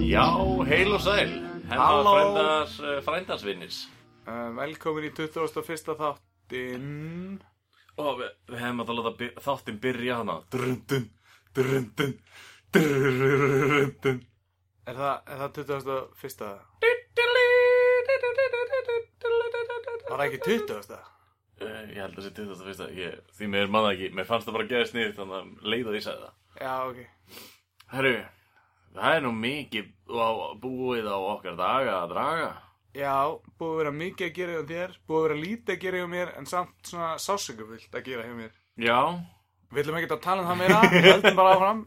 Já, heil og sæl, hennar Halló. frændas, eh, frændansvinnis. Uh, velkomin í 21. þáttinn Og við, við hefum að láta by- þáttinn byrja hana. Drundun, drundun, drundun. Er það, er það 21. Var það ekki 20. Uh, ég held að sé 21. Ég, því mér manna ekki, mér fannst það bara að geða snið þannig að um leiða því sagði það. Já, ok Herru, það er nú mikið á, búið á okkar daga að draga. Já, búið að vera mikið að gera hjá þér Búið að vera lítið að gera hjá mér En samt svona sásökufullt að gera hjá mér Já, Við ætlum ekkert að tala um það meira Höldum bara áfram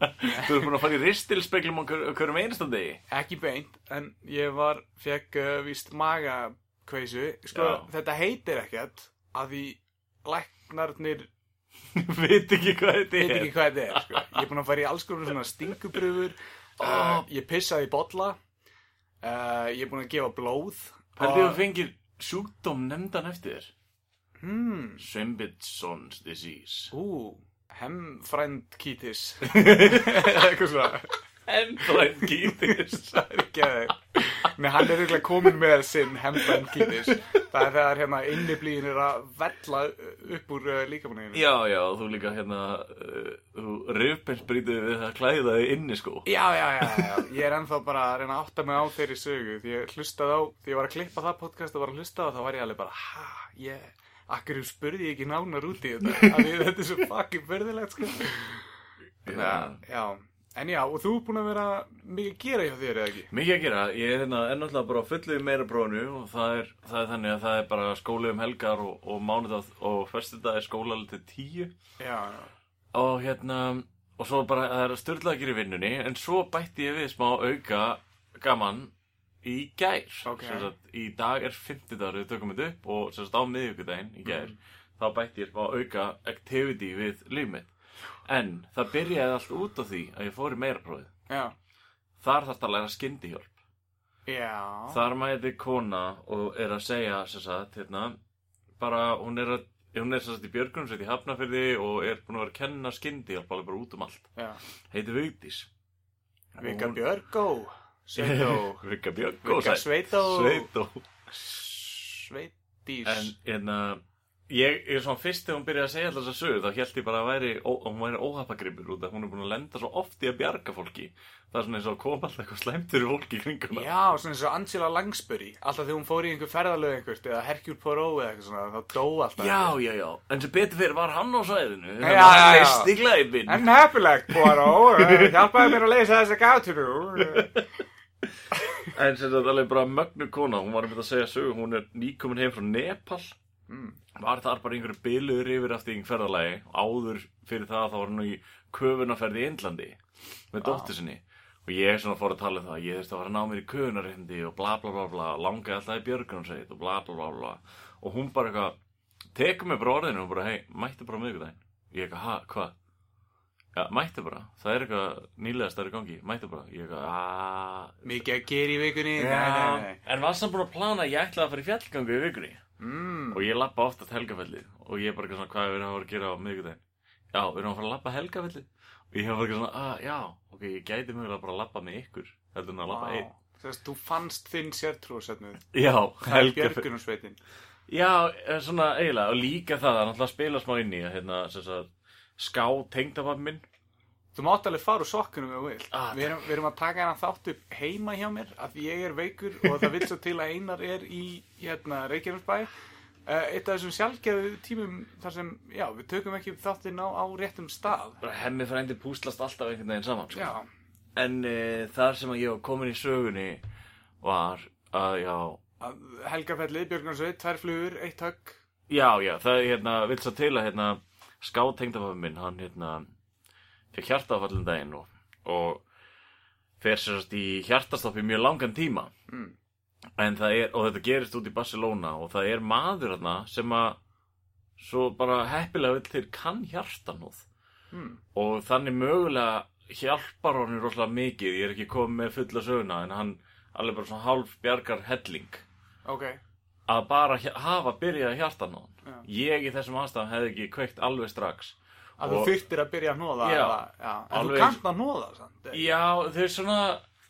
þú erum búin að fara í ristilspeglum á hver- hverjum einasta degi. Ekki beint En ég var, fekk uh, víst magakveisu Sko, Já. þetta heitir ekkert Að því læknarnir Veit ekki hvað þetta er. veit ekki hvað þetta er sko. ég er búin að fara í alls konar svona stingubröfur uh, Ó. ég pissaði í bolla uh, ég er búin að gefa blóð Pældi Og- þú fengir sjúkdóm nefndan eftir þér? hmm, Swimbitson's disease. ú, hemmfrændkítis eitthvað svona Endrænt kýtis. Geðið. Nei, hann er eiginlega komin með sinn hemmfrændkítis það er þegar hérna inniblíðin er að vella upp úr uh, líkamaneginu Já, já, þú líka hérna, uh, þú röfbensbrítið við að klæða þig inni sko. Já, já, já, já, ég er ennþá bara að reyna að átta mig á þeirri sögu því ég hlustaði á, því ég var að klippa það podcast og var að hlusta á það, þá var ég alveg bara, ha, ég, akkur spurði ég ekki nánar út í þetta, af því þetta er svo fucking börðilegt, sko. Þannig að, já, en já, og þú er búin að vera mikið að gera hjá þér, eða ekki? Mikið að gera, ég er hérna ennáttúrulega bara á fullu í meira brónu og það er, það er þannig að það er bara skóli um helgar og, og mánudag og fyrstudag er skóla alveg til tíu Já, já, og hérna, og svo bara það er að styrla að gera í vinnunni en svo bætti ég við smá auka gaman í gær. Ok. Sem Sagt, í dag er fimmtudagur, við tökum þetta upp og sem sagt á miðvikudaginn í gær þá bætti ég smá auka activity við líf mitt. En það byrjaði allt út á því að ég fór í meira bróðið. já, Þar þarf að læra skyndihjálp. já, Þar mæti kona og er að segja sem sagt, hérna, bara hún er, að, hún er sem sagt í björgunum í hafnafyrði og er búin að vera að kenna skyndi og bara út um allt. já, Heitir Vigdís. Vika Hún- Björgó, Sveitó, Vika Björgó. Vika sæ- Sveitó, Sveitó. En Sveitís, hérna, ég er svona fyrst þegar hún byrjaði að segja alltaf þess að sögur þá held ég bara að væri, ó, að hún væri óhafagripur út af hún er búin að lenda svo oft í að bjarga fólki. Það er svona eins og að koma alltaf eitthvað slæmt fyrir fólki í kringum. Já, svona eins og Angela Langsbury Alltaf þegar hún fór í einhver ferðalög einhvert eða Hercule Poirot eða eitthvað svona þá dó alltaf Já, já, já, en sem betur fyrir var hann á svæðinu Já, já, já. Leist í glæbin En heppilegt Poirot eh, Hjálpaði mér að leysa þessa gátu nú Eh, En sem þetta alveg bara mögnu kona, hún var um þetta að segja sögu, hún er nýkomin heim frá Nepal Mm. Var þar bara einhverju biluður yfir eftir einhver ferðalagi Áður fyrir það þá var hann í köfunarferði í Indlandi Með dóttur sinni Og ég svona fór að tala um það, ég þurfti að fara að ná mér í köfunarhindi Og bla bla bla bla, langaði alltaf í björgunarsveit og bla bla bla bla Og hún bara eitthvað, tekur mig bara á orðinu og bara hei, mættu bara á miðvikudaginn Ég eitthvað, ha, hvað? Ja, mættu bara, það er eitthvað nýlega stærri gangi, mættu bara Ég eitthvað, "Ah, aaaah Mikið að gera í vikunni nei, nei, Já, nei. en var samt búin að plana að ég ætlaði að fara í fjallgangu í vikunni Mm. og ég lappa ofta til helgafellið og ég er bara eitthvað svona hvað við erum að fara að gera á miðvikudaginn Já, við erum að fara að lappa helgafellið og ég hef bara eitthvað svona, að já, ok, ég gæti mögulega bara að lappa með ykkur heldur en að lappa Vá. einn Þess að þú fannst þinn sértrúarsöfnu Já, helgafellið Björgunarsveitin Já, eh, svona eiginlega og líka það að náttúrulega spila smá inn í að hérna, sem sagt, ská tengdapappi minn Þú mátt alveg fara úr sokkunum ef þú vilt Ah, við, erum, við erum að taka hana þátt upp heima hjá mér af því ég er veikur og það vil svo til að Einar er í hérna, Reykjanesbæ uh, Eitt af þessum sjálfgeðu tímum þar sem, já, við tökum ekki upp þáttinn á, á réttum stað bara hemmi frændi púslast alltaf einhvern veginn saman sko. Já, En e, þar sem að ég var komin í sögunni var að, já, að- Helgafellið, Björgunarsveit, tvær flugur, eitt högg Já, já, það er hérna, vil svo til að hérna, skátengdafafin minn, hann hérna, fyrir hjartafallin daginn og, og fer sérst í hjartastopp í mjög langan tíma. Mm. En það er, og þetta gerist út í Barcelona og það er maður hérna sem að svo bara heppilega vill til kann hjartanóð Hmm. og þannig mögulega hjálpar honum rosalega mikið ég er ekki komið með fulla söguna en hann alveg bara svona hálf bjargar helling Ok, að bara hja- hafa byrjað að hjarta hann Já. ég í þessum aðstæðum hefði ekki kveikt alveg strax að þú Og- þyrtir að byrja að nóða Já. eða, já. En Alveg þú kannt að nóða samt eða? já þau er svona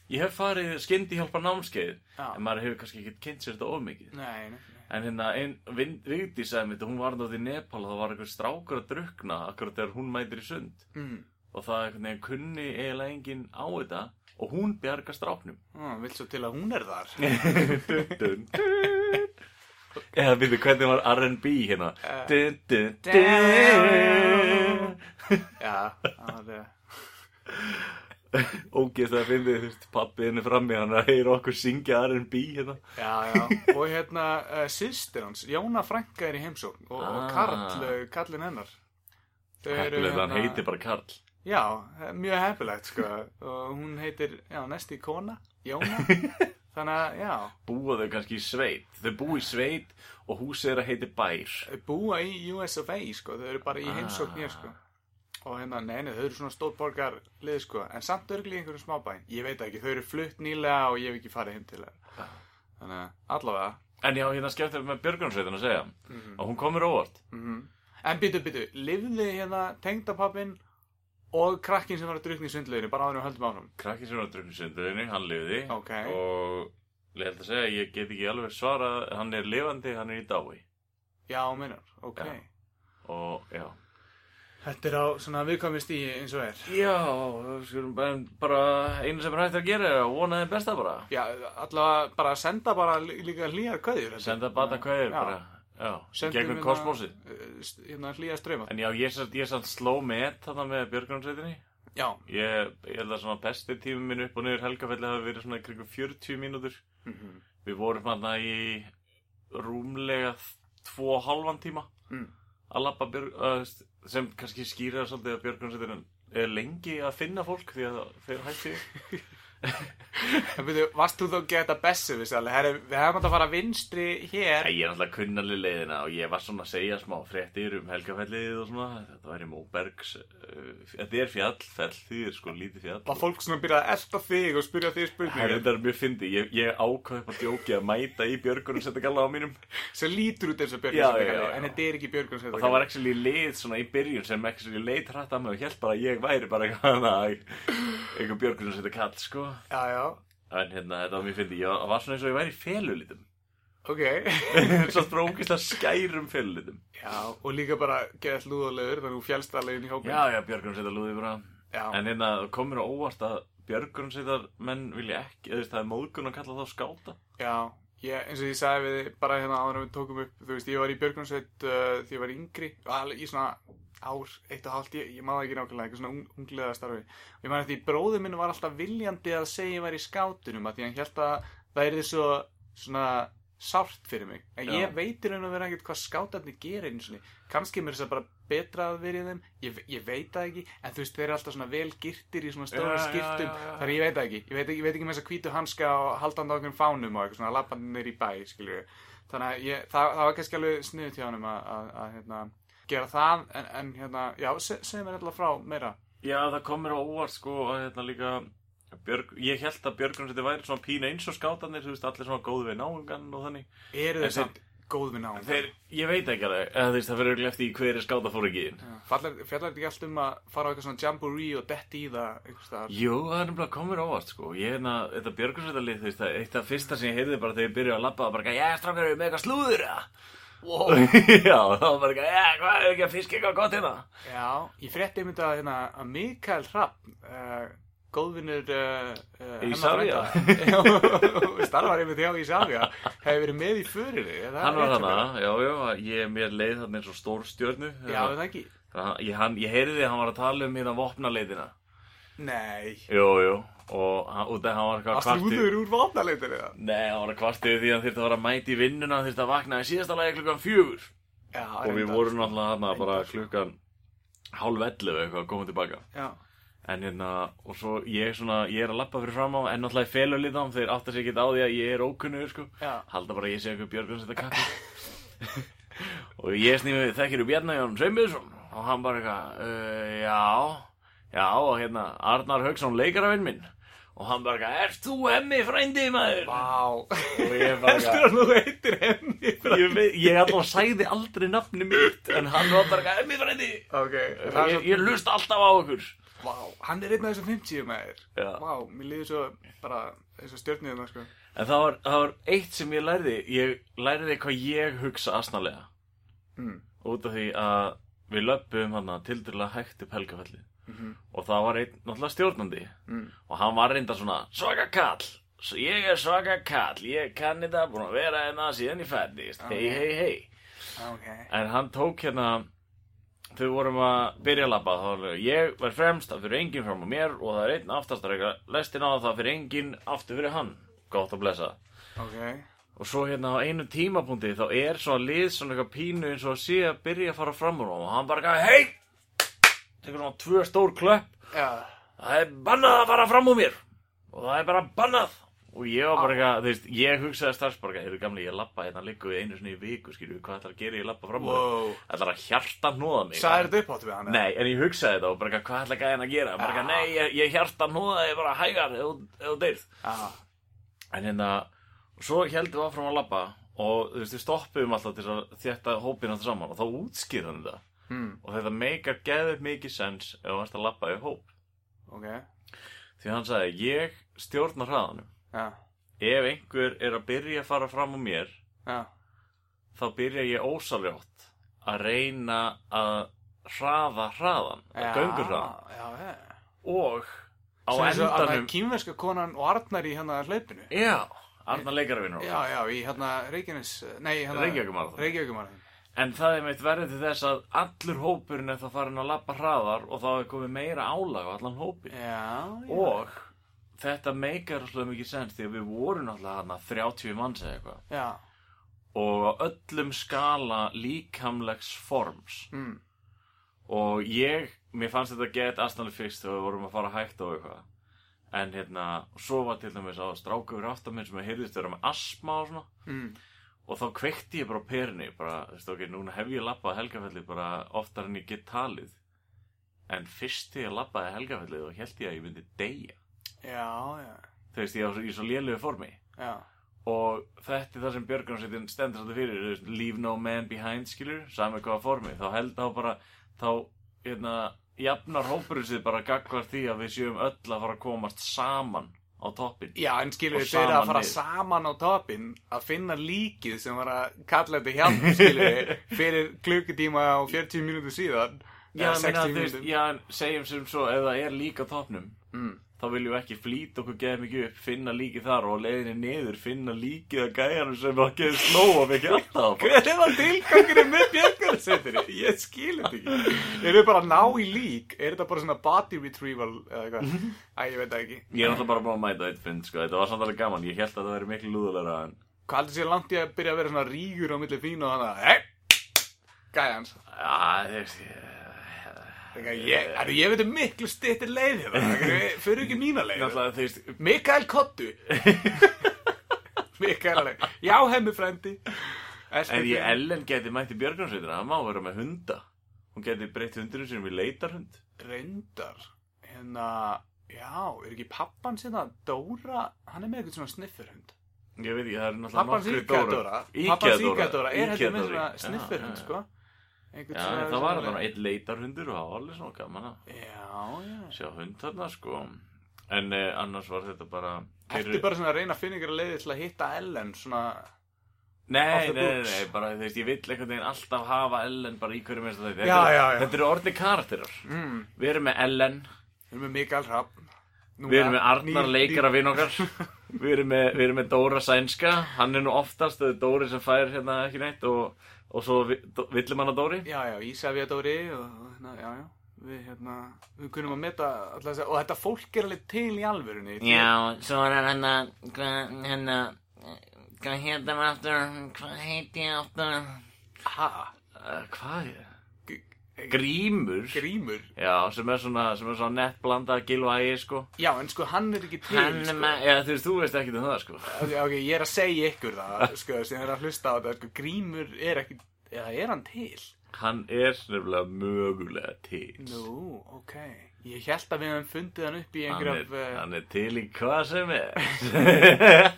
ég hef farið skyndi hjálpa námskeið Já. en maður hefur kannski ekki kynnt sér þetta of mikið Nei, nei, nei En hérna, ein, Vind- Vigdís sagði mér þetta, hún var náttúrulega í Nepal og það var einhver strákur að drukna akkurat þegar hún mætir í sund mm. og það einhvern veginn kunni eiginlega enginn á þetta og hún bjarga stráknum. ah, Vilt svo til að hún er þar dun, dun, dun. Eða við þið, hvernig var R&B hérna? Eh. Dun, dun, dun. Já, það er Ógeðst að finna þið, þú veist, pappiðinu frammi, hann er að heyra okkur syngja R&B hérna. Já, já, og hérna uh, sýstir hans, Jóna Franka er í heimsókn og, Ah. og Karl, uh, Karlin hennar Þau eru hérna- Heppilega, hann heitir bara Karl. Já, eh, mjög heppilegt sko og hún heitir, já, næst í kona Jóna, þannig að, já Búa þau kannski í sveit. Þau búa í sveit og húsið er að heiti Bær. þau búa í US of A sko, þau eru bara í Ah. heimsókn hér sko og hérna, nei, nei, þau eru svona stórborgar lið sko, en samt örgli í einhverjum smábæn ég veit það ekki, þau eru flutt nýlega og ég hef ekki farið heim til þeirra Ah. þannig að allavega En já, hérna skemmt er með Björgunarsveitin að segja að hún komir óvart. Mhm. En býtu, býtu, lifði hérna tengdapappin og krakkin sem var að drukna í svindluðinu, bara áður en við höldum áfram. Krakki sem var að drukna sunduðinni, hann lifði Ok. og ég held að segja, ég get ekki alveg svarað, hann er lifandi, hann er í dái Já, meinar, ok. Já. og já. Þetta er á svona viðkvæmi stíi eins og er. Já, skulum bara, bara einu sem er hægt að gera er að vona þið besta bara. Já, allavega bara senda bara lí- líka hlýjar kvæðjur. Senda bata kveður Já. bara, já, Sendum gegnum kosmosið. Hérna hlýjar ströma. En já, ég satt, ég satt sló með þarna með Björgunarsveitinni. Já, Ég, ég held að svona besti tími minn upp og niður helgafelli hafi verið svona í kringum 40 mínútur. Mhm. Við vorum hann í rúmlega tvo og halvan tíma Mm. að labba björg, uh, sem kannski skýra svolítið að björgunarsveitin er lengi að finna fólk því að þeir hætti en býtu, varst þú þá að geta bessu við sérlega? Herri, við hefum átt að fara vinstri hér. Ég er alltaf kunnalið leiðina og ég var svona að segja smá fréttir um helgafellið og svona þetta væri Móbergs uh, þetta er fjallfell því er sko lítið fjall Var fólk svona að byrja að elta þig og spyrja þig Herri, spurningar Þetta er mjög fyndi, ég, ég ákvað upp að djóki að mæta í björgunum setja á mínum sem lítur út eins og Já, já, björgunsveitakallið, já, en já. þetta er ekki björgunsveitakallið. og það var actually lið svona í byrjun sem actually leit hrætt að mig og held bara að ég væri bara eitthvað að eitthvað björgunum setja kall sko Já, já, en hérna þetta var mjög fyndi, ég var svona eins og ég væri í felulitum ok. svo brókislega skærum felulitum Já, og líka bara geðað hlúðulegur þannig að þú fjálst alveg inn í hópin. já já björgunum setja lúði bara Já, en hérna komur á óvart að björgunum setja menn vilja ekki, eða þú veist, það er móðgun að kalla þá skáta já. Ég, eins og ég sagði við þig bara hérna áður en við tókum upp, þú veist, ég var í Björgunsveit uh, því ég var yngri, alveg í svona ár, eitt og hálft, ég, ég maður ekki nákvæmlega, eitthvað svona ung, ungliða starfi. Og ég maður því bróður minn var alltaf viljandi að segja ég var í skátunum, að því hann held að það er svo svona sárt fyrir mig. En Já. ég veitir hann að vera ekkert hvað skátarnir gera einu sinni. Kanski mér þess að bara betra að vera í þeim, ég, ég veit það ekki, en þú veist, þeir eru alltaf svona vel girtir í svona Já, stóra já, skiptum, já, já. þar ég veit það ekki. Ég veit ekki, ég veit ekki með þess að hvítu hanska og haldandi á okkur fánum og eitthvað svona lappanir í bæ, skiljur Þannig að ég, það, það var kannski alveg sniðut hjá hann að, að, að hérna, gera það, en, en hérna, já, se, segðu mér alltaf frá meira. já það komur á óvart sko að hérna líka Björg, ég held að björgunum setja væri svona pína eins og skátanir, þú veist, allir svona góð við náungan og þannig Eru En þeir samt góð við náum? Þeir, ég veit ekki alveg, eða þú veist, það fyrir eftir í hverju skátafóringiðin. Fjallar fjallar þetta ekki allt um að fara á eitthvað svona jamboree og detti í það einhvers staðar? Jú, það er nefnilega komur óvart, sko. Ég er hérna, þetta björgursveitarlið, þú veist, það er eitt af fyrsta sem ég heyrði bara þegar ég byrjaði að labba, það var bara, eitthvað, já, strákar, erum við með eitthvað slúður, eða? Wow. já, það var bara, eitthvað, já, hvað, erum við ekki að fiska eitthvað gott hérna? Já, ég frétti einmitt að, hérna, að Mikael Hrapp, uh, góðvinnur uh, uh, Isavia. frænda- starfar einmitt hjá Ísafja, hefur verið með í förinni. er það Hann var rétt hjá hana, mér? já, já, ég, mér leið þarna eins og stór stjörnu. Já, er það ekki? Hann- Ég, hann, ég heyrði að hann var að tala um hérna vopnaleitina. Nei. Jú, jú, og hann, út af hann var eitthvað að Varstu kvarta- úður úr vapnaleitinni það? Nei, hann var að kvartið því að hann þurfti að vera að mæti í vinnuna, hann þurfti að vakna í síðasta lagi klukkan fjögur. Já, og við reyndar. vorum náttúrulega þarna bara Reyndar. klukkan hálf 11 eða eitthvað að koma tilbaka Já. en hérna, og svo ég svona ég er að lappa fyrir fram á, en náttúrulega ég felur lið á þeir átt að segja ekki á því að ég er ókunnur sko. Já. halda bara að ég sé einhver björgun þetta kappi og ég snými þekkir úr Bjarnæjón Sveinbjörnsson og hann bara eitthvað, uh, já, já, og hérna, Arnar Hauksson, leikarafinn minn, og hann bara eitthvað, ert þú emmi frændi maður? Vá Og ég bara Eftir eitthvað, að þú heitir henni ég, veit- ég alltaf sagði aldrei nafni mitt, en hann var bara eitthvað, emmi frændi, Ok það er ég, ég lusta alltaf á okkur. svo- Vá Hann er einn af þessum 50 maður Já. Vá Mér líður svo bara eins og stjörniðum sko En það var, það var eitt sem ég lærði, ég lærði hvað ég hugsa asnalega, mm. út af því að við löpum hann að tildurlega hægt upp helgafellið. Mhm. Og það var einn náttúrulega stjórnandi Mm. og hann var reynda svona svaka kall S- ég er svaka kall, ég kann þetta búin að vera hérna síðan ég fættist hei Ok. hei hei Ok en hann tók hérna þau vorum að byrja að labba þá var hann, ég verð fremst, það fyrir enginn fram á mér og það er einn aftast að reyka lestin á það fyrir enginn aftur fyrir hann gott að blessa Ok og svo hérna á einu tímapunkti þá er svona lið svona eitthvað pínu eins og að sé að byrja að fara fram úr honum og hann bara gaf hei tekur hann á tvö stór klöpp Já það er bannað að fara fram úr mér og það er bara bannað og ég var bara eitthvað, þú veist, ég hugsaði strax bara eitthvað, heyrðu gamli, ég lappa hérna liggu við einu sinni í viku, skilju, hvað ætlar að gera ég lappa fram úr þér? Wow ætlar að hjarta hnóða mig Sæðir þetta upp áttu við hann eða? Nei, en ég hugsaði þetta og bara eitthvað, hvað ætlar gæðin að gera bara eitthvað, nei, ég, ég hjarta hnóða þig bara hægar ef þú- ef þú deyrð Já en hérna, svo heldum við áfram að lappa og þú veist, við stoppuðum alltaf til að þétta hópina saman og þá útskýrðum við þetta mm. og þetta meikar geðið mikið sens ef þú varst að lappa í hóp Ok því hann sagði, ég stjórna hraðanum Já ef einhver er að byrja að fara fram á mér Já þá byrja ég ósaljótt að reyna að hraða hraðan, að Já. göngur hraðan Já, já og á Sem eins og alveg endanum Kínverska konan og Arnar í hérna hlaupinu já, Arna leikarvinur Já, já, í hérna Reykjanes Nei, hérna Reykjavíkurmaraþon. Reykjavíkumarðin en það er meitt verðið til þess að allur hópurinn er þá farin að lappa hraðar og þá er komið meira álag á allan hópin Já, já og þetta meikar alltaf mikið sens því að við vorum alltaf hana 30 manns eða eitthvað Já, og á öllum skala líkamlegs forms mm. og ég, mér fannst þetta gett aðstæðanlega fyrst þegar við vorum að fara hægt og eitthvað en hérna, svo var til dæmis að stráka yfir aftan minn sem ég heyrðist vera með asma og svona Mm. og þá kveikti ég bara á perunni bara, þú veist ok, núna hef ég labbað helgafelli bara oftar en ég get talið en fyrst þegar ég labbaði helgafelli þá held ég að ég myndi deyja já, já, þú veist, ég var svo- í svo lélögu formi já og þetta er það sem Björgunarsveitin stendur þetta fyrir, þú veist, leave no man behind skilur, sami hvaða formi, þá held þá bara, þá, hérna jafnar hópurinn sér bara gagvar því að við séum öll að fara að komast saman á toppin. Já, en skilur Og við þeirra saman að fara niður. saman á topin að finna líkið sem var að kalla þetta hjálp, skilur við fyrir klukkutíma og 40 mínútur síðan Já, eða ég meina, 60 þú veist, mínútur já, en segjum sem svo, ef það er líka á toppnum, mm. þá viljum við ekki flýta okkur geða mikið upp, finna líkið þar og á leiðinni niður, finna líkið að gæjanum sem að geða slóa mikið alltaf. Hver var tilgangurinn með björgarsveitinni? Ég skil þetta ekki Eru þau bara að ná í lík? Er þetta bara svona body retrieval eða eitthvað? Æ, ég veit það ekki Ég er alltaf bara búin að mæta eitt fund, sko, þetta var samt alveg gaman, ég held að það væri miklu lúðulega en Hvað heldur sér langt ég að byrja að vera svona rígur á milli þín og þannig að Hei, gæjans Já, þú veist, ég... Þegar ég, er, ég veit um miklu styttir leiði Fyrir ekki mína leið Náttúrulega, þú veist, Mikael Kottu Mikael leið Já, hemmi frændi en ég SPB. Ellen geti mætti björgunarsveitina, það má vera með hunda. Hún geti breytt hundurinn sem við leitar hund. Reyndar Hérna, já, er ekki pappan sinna Dóra, hann er með eitthvað svona sniffurhund Ég veit ekki, það er náttúrulega Pappans nokkru íkjadóra Pappans íkjadóra er heldur með svona sniffurhund, sko Já, Einhvern en það var þarna einn leitarhundur og það var alveg svona gaman að Já, já sjá hund þarna, sko. En eh, annars var þetta bara... Ertu bara svona að reyna að finna ykkur leiði til að hitta Ellen svona off Nei, nei, the nei, books? nei, bara þú veist, ég vill einhvern veginn alltaf hafa Ellen bara í hverju minnst að þetta. Já, Þetta er- já, já. Þetta eru orðni karakterar. mm, Við erum með Ellen, Við erum með Mikael Hrafn Við erum með Arnar leikara vinn okkar við erum, með, við erum með Dóra Sænska Hann er nú oftast þau Dóri sem fær hérna ekki neitt og, og svo villum hann að Dóri Já, já, Ísafja Dóri og, og hérna, já, já Við, hérna, við kunum að meta alltaf þess Og þetta fólk er alveg til í alvörunni Því- Já, svo er hann að, hvað, hérna, hvað heitir hann aftur, hvað heiti ég aftur? Ha, uh, Hvað er g- Grímur grímur Já, sem er svona, sem er svona nettblanda gilvægi sko Já, en sko, hann er ekki til Hann er sko. með, Já, þú veist, þú veist ekki um það sko Ok, ok, ég er að segja ykkur það, sko, sem er að hlusta á þetta, sko, grímur er ekki, eða er hann til? Hann er nefnilega mögulega til. Nú, ok. Ég held að við hefum fundið hann upp í Hann einhverja... er, af, eh, hann er til í hvað sem er.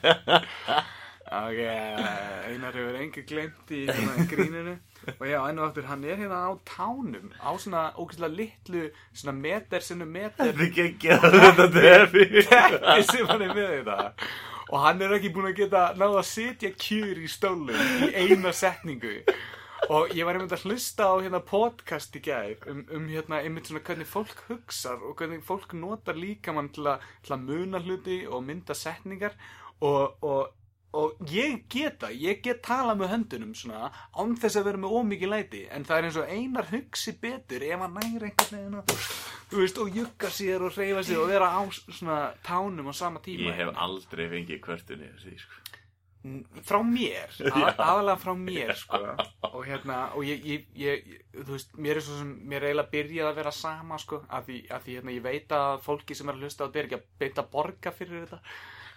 Ok, Einar hefur engi glemt í hérna, gríninu og já, enn og aftur, hann er hérna á tánum á svona ógeðslega litlu svona meter sinni meter Þetta er geggjað þetta defi. teppi sem hann er með þetta og hann er ekki búin að geta náða að sitja kjur í stólum í eina setningu og ég var einmitt að hlusta á hérna podcast í gær um, um hérna einmitt svona hvernig fólk hugsar og hvernig fólk notar líkamann til að, til að muna hluti og mynda setningar og, og Og ég geta, ég get talað með höndunum svona án þess að vera með ómikið læti en það er eins og einar hugsi betur ef hann næri einhvern veginn að þú veist og jugga sér og reyfa sér og vera á svona tánum á sama tíma Ég hef aldrei fengið kvörtunni þessi, sko. N- frá mér, að, aðalega frá mér sko. og hérna og ég, ég, ég, þú veist, mér er svo sem mér er eiginlega byrjað að vera sama sko, að því, að því hérna, ég veit að fólki sem er að hlusta á þetta er ekki að beita að borga fyrir þetta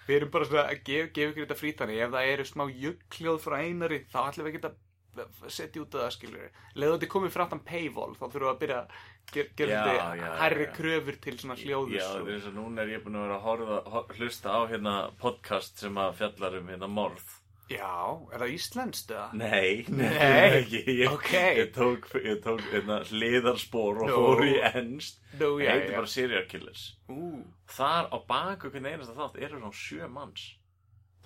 við erum bara svona að gefa, gefa ykkur þetta frítanni ef það eru smá juggljóð frá einari þá ætlum við ekki að setja út að það skilur leðu þetta er komið framtan paywall þá þurfum við að byrja að ger, gera Já, þetta já, hærri já. kröfur til svona sko. hljóðus Já, það er eins og núna er ég búin að vera að horfa, hor- hlusta á hérna podcast sem að fjallar um hérna morð. já, er það íslenskt eða? Nei, nei, Nei, ekki. Ég, ok. ég tók, ég tók hérna, hliðarspor og Nú. fór í ennst. Nú, Það já, heitir já. bara serial killers. Ú, Þar á baku hvernig einasta þátt eru svona sjö manns.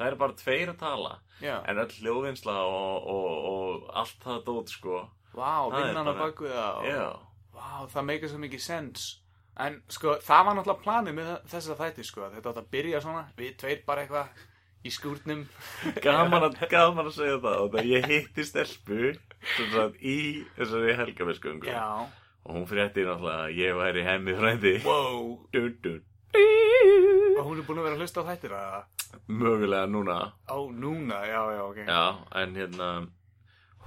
Það eru bara tveir að tala. já. En öll hljóðvinnsla og, og, og allt það dót, sko. Vá, Það er vinnan á bara- baku það og... Já. Vá, það meikar svo mikið sens En sko, það var náttúrulega planið með þessa þætti sko að Þetta átt að byrja svona, við tveir bara eitthvað í skúrnum gaman að, gaman að segja það og það ég hitti stelpu sem sagt, í þessari helgafisköngu Já, og hún frétti náttúrulega að ég væri hemmi frændi wow dun, dun. Og hún er búin að vera að hlusta á þættir að mögulega núna Ó, núna, já, já, ok Já, já, en hérna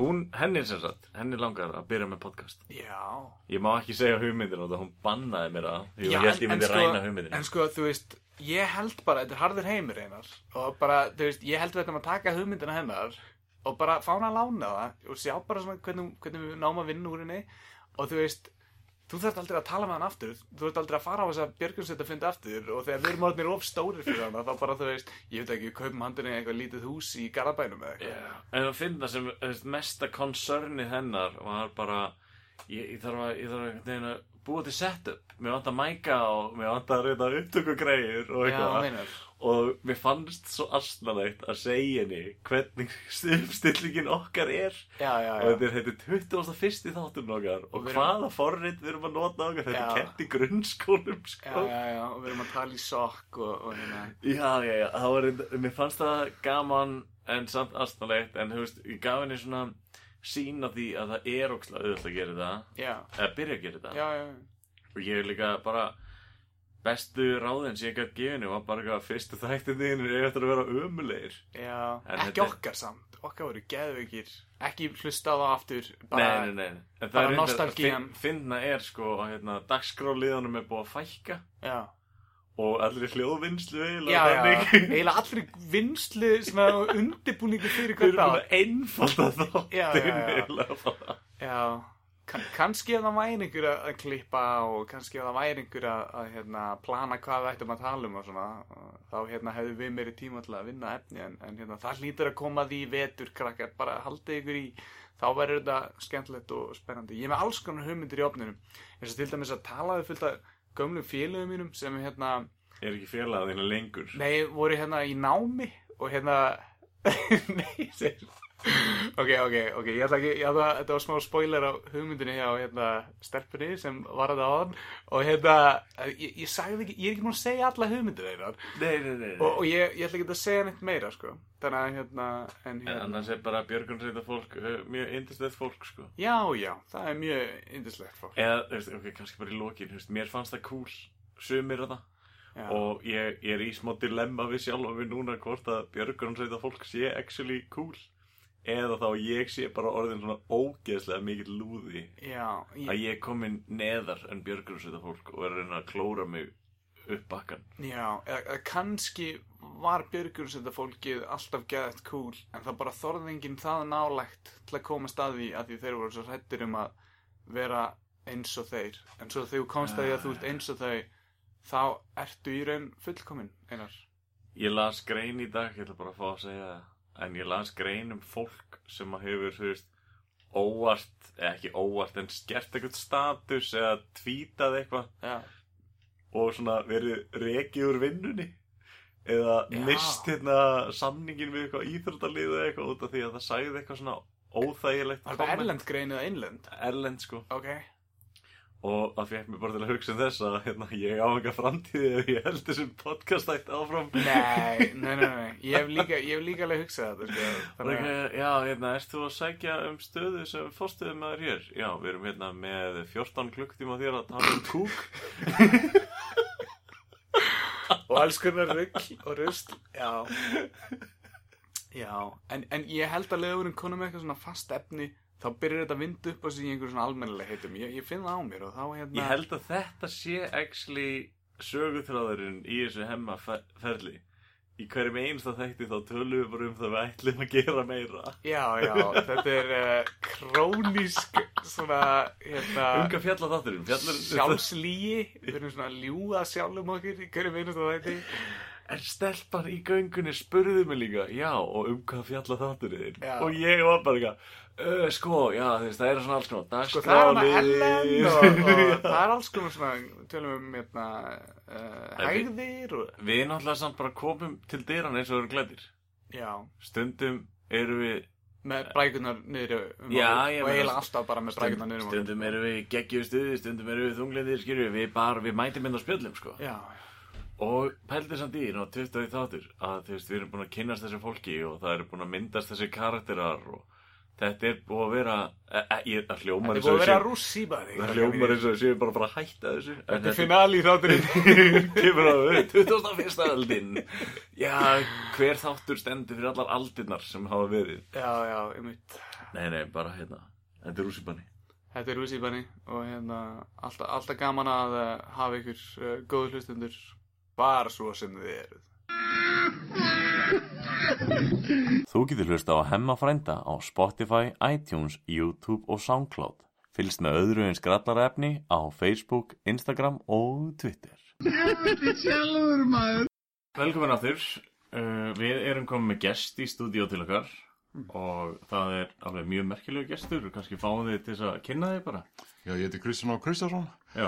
hún, henni sem sagt, henni langar að byrja með podcast já, ég má ekki segja hugmyndin á það, hún bannaði mér það því ég held ég myndi ræna hugmyndin En sko, þú veist, ég held bara, þetta er harður heimur einar Og bara, þú veist, ég held við þetta að taka hugmyndina hennar Og bara fá hana að lána það Og sjá bara svona hvernig, hvernig við náum að vinna úr henni Og þú veist, þú þarft aldrei að tala með hann aftur þú þarft aldrei að fara á þess að Björgunsveit að funda aftur og þegar við erum orðinir of stórir fyrir hann þá bara þú veist, ég veit ekki, við kaupum handinni eitthvað lítið hús í Garabænum eða eitthvað Já, en að finna sem þú veist, mesta konserni hennar var bara ég, ég þarf að, ég þarf að, einhvern veginn að búa til setup, mér vant að mæka og mér vant að reyna upptöku greiður og Já, eitthvað meinar. og mér fannst svo astnalegt að segja henni hvernig uppstillingin okkar er já, já, og já, þetta er þetta er 21. þátturinn okkar og Og við erum- hvaða forrið við erum að nota okkar þetta Já. er kent í grunnskólum já, sko. já, já, og við erum að tala í sokk og, og hérna Já, já, já, það var, reyndar- mér fannst það gaman en samt astanlegt en þú veist, ég gaf henni svona sín af því að það er ókslega auðvitað að gera það já, eða byrja að gera það já, já, og ég er líka bara bestu ráðin sem ég gætt henni var bara eitthvað að fyrstu þættinni er eftir að vera ömulegir já. En ekki þetta er- okkar samt, okkar voru geðveikir ekki hlusta á það aftur bara, Nei, nei, nei, en það bara er reyndar að nostalgían. fin- finna er sko að hérna, dagskráliðanum er búið að fækka já, og allir hljóðvinnslu já, eiginlega já, þannig. eiginlega allri vinslu svona undirbúningu Við fyrir hvern erum dag bara einfalda þáttinn Já, já, já. eiginlega bara Já, kann, kannski að það væri einhver að að klippa og kannski að það væri einhver að, að hérna, plana hvað við ættum að tala um og svona og þá hérna hefðu við meiri tíma til að vinna efni en, en hérna, það hlýtur að koma því í vetur krakkar, bara haldið ykkur í þá verður þetta skemmtilegt og spennandi ég er með alls konar hugmyndir í opninum eins og til dæmis að talaðu fullt af gömlum félögum mínum sem hérna, Er ekki félaga þínu lengur? nei, voru hérna í námi og hérna nei, segir ok, ok, ok, ég ætla ekki ég ætla, þetta var smá spoiler á hugmyndinni hjá hérna, stelpunni sem var þetta áðan og hérna, ég, ég sagði ekki ég er ekki múin að segja alla hugmyndina einar Nei, nei, nei, og, og ég, ég ætla ekki að segja neitt meira sko, þannig að hérna, en, En hérna annars er bara björgunsveita fólk uh, mjög indislegt fólk, sko. já, já, það er mjög indislegt fólk Eða, þú veist, ok, kannski bara í lokin, þú veist, mér fannst það cool, sumir að það. já, Og ég, ég er í smá dilemma við sjálf og við núna hvort að björgunsveita fólk sé actually cool. Eða þá ég sé bara orðin svona ógeðslega mikill lúði já, að ég, ég er komin neðar en björgunsveita fólk og er að reyna að klóra mig upp bakkan. já eða, eða kannski var björgursendafólkið alltaf geðast cool en það bara þorði enginn það nálægt til að koma staði að því þeir voru svo hrættir um að vera eins og þeir en svo þegar þú komst að því að þú ert eins og þau þá ertu í raun fullkomin einar Ég las grein í dag, ég ætla bara að fá að segja það En ég las grein um fólk sem að hefur, þú veist, óvart Eða ekki óvart, en skert eitthvað status eða tvítað eitthvað Já. Og svona verið rekið úr vinnunni Eða Já. mist hérna samningin við eitthvað íþrótaliðu eitthvað út af því að það sagði eitthvað svona óþægilegt Var þetta comment. erlend grein eða innlend? Erlend sko Ok og það fekk mér bara til að hugsa um þess að hérna, ég á enga framtíði ef ég held þessum podcast ætti áfram Nei, nei, nei, nei, ég hef líka, ég hef líka alveg hugsað þetta sko. Bara Þannig að eitthvað, já, hérna, ert þú að sækja um stöðu sem fórstöðum maður hér? Já, við erum hérna með 14 klukktíma þér að tala um kúk og alls konar rugg og rust já já, en, en ég held að leiðurinn konum með eitthvað svona fast efni þá byrjar þetta að vinda upp á sig í einhver svona almennilega heitum ég, ég finn það á mér og þá hérna Ég held að þetta sé actually sögutráðurinn í þessu hemmaferli Í hverjum einsta þætti þá tölum við bara um það við ætlum að gera meira já, já, þetta er uh, krónísk svona Um hérna hvað fjalla þátturinn? Fjallar, sjálfslíi við erum svona að ljúða sjálfum okkur í hverju minnast að þetta En stelpan í göngunni spurði mig líka, já, og um hvað fjalla þátturinn þinn? Já. Og ég var bara eitthvað, "Ö, sko, já, þú veist, það er svona alls konar sko það er hana dagskrárliðir." Ellen og, og það er alls konar svona tölum um hérna uh, En hægðir og Við náttúrulega samt bara komum til dyran eins og við erum glæðir. já Stundum eru við, með brækunar niður um Já, okkur ég og meina- eiginlega alltaf bara með brækunar niður um okkur stundum eru við geggjum stuði, stundum eru við þunglindir, skilju, við bara, við mætum inn á spjöllum, sko. já, Og pældi samt í, ná, 20 þáttur, að þú veist, við erum búin að kynnast þessu fólki og það eru búin að myndast þessi karakterar og þetta er búin að vera, e, e, ég, það hljómar þetta er eins og búið að við vera séum, rússi bara það hljómar eins og við séum bara bara að hætta þessu. en þetta er finali í þátturinn kemur á við 21. aldin. Já, hver þáttur stendur fyrir allar aldirnar sem hafa verið. já, já, einmitt Nei, nei, bara hérna Þetta er rússipanni þetta er rússi bara og hérna alltaf, alltaf gaman að uh, hafa ykkur uh, góðu hlustundur bara svo sem þið eruð Þú getur hlusta á Hemma frænda á Spotify, iTunes, YouTube og Soundcloud Fylgst með öðru eins grallarefni á Facebook, Instagram og Twitter Velkomin aftur uh, Við erum komin með gest í stúdíó til okkar og það er alveg mjög merkilegu gestur og kannski fáum þið til þess að kynna þig bara Já, ég heiti Kristján Á Kristjánsson Já,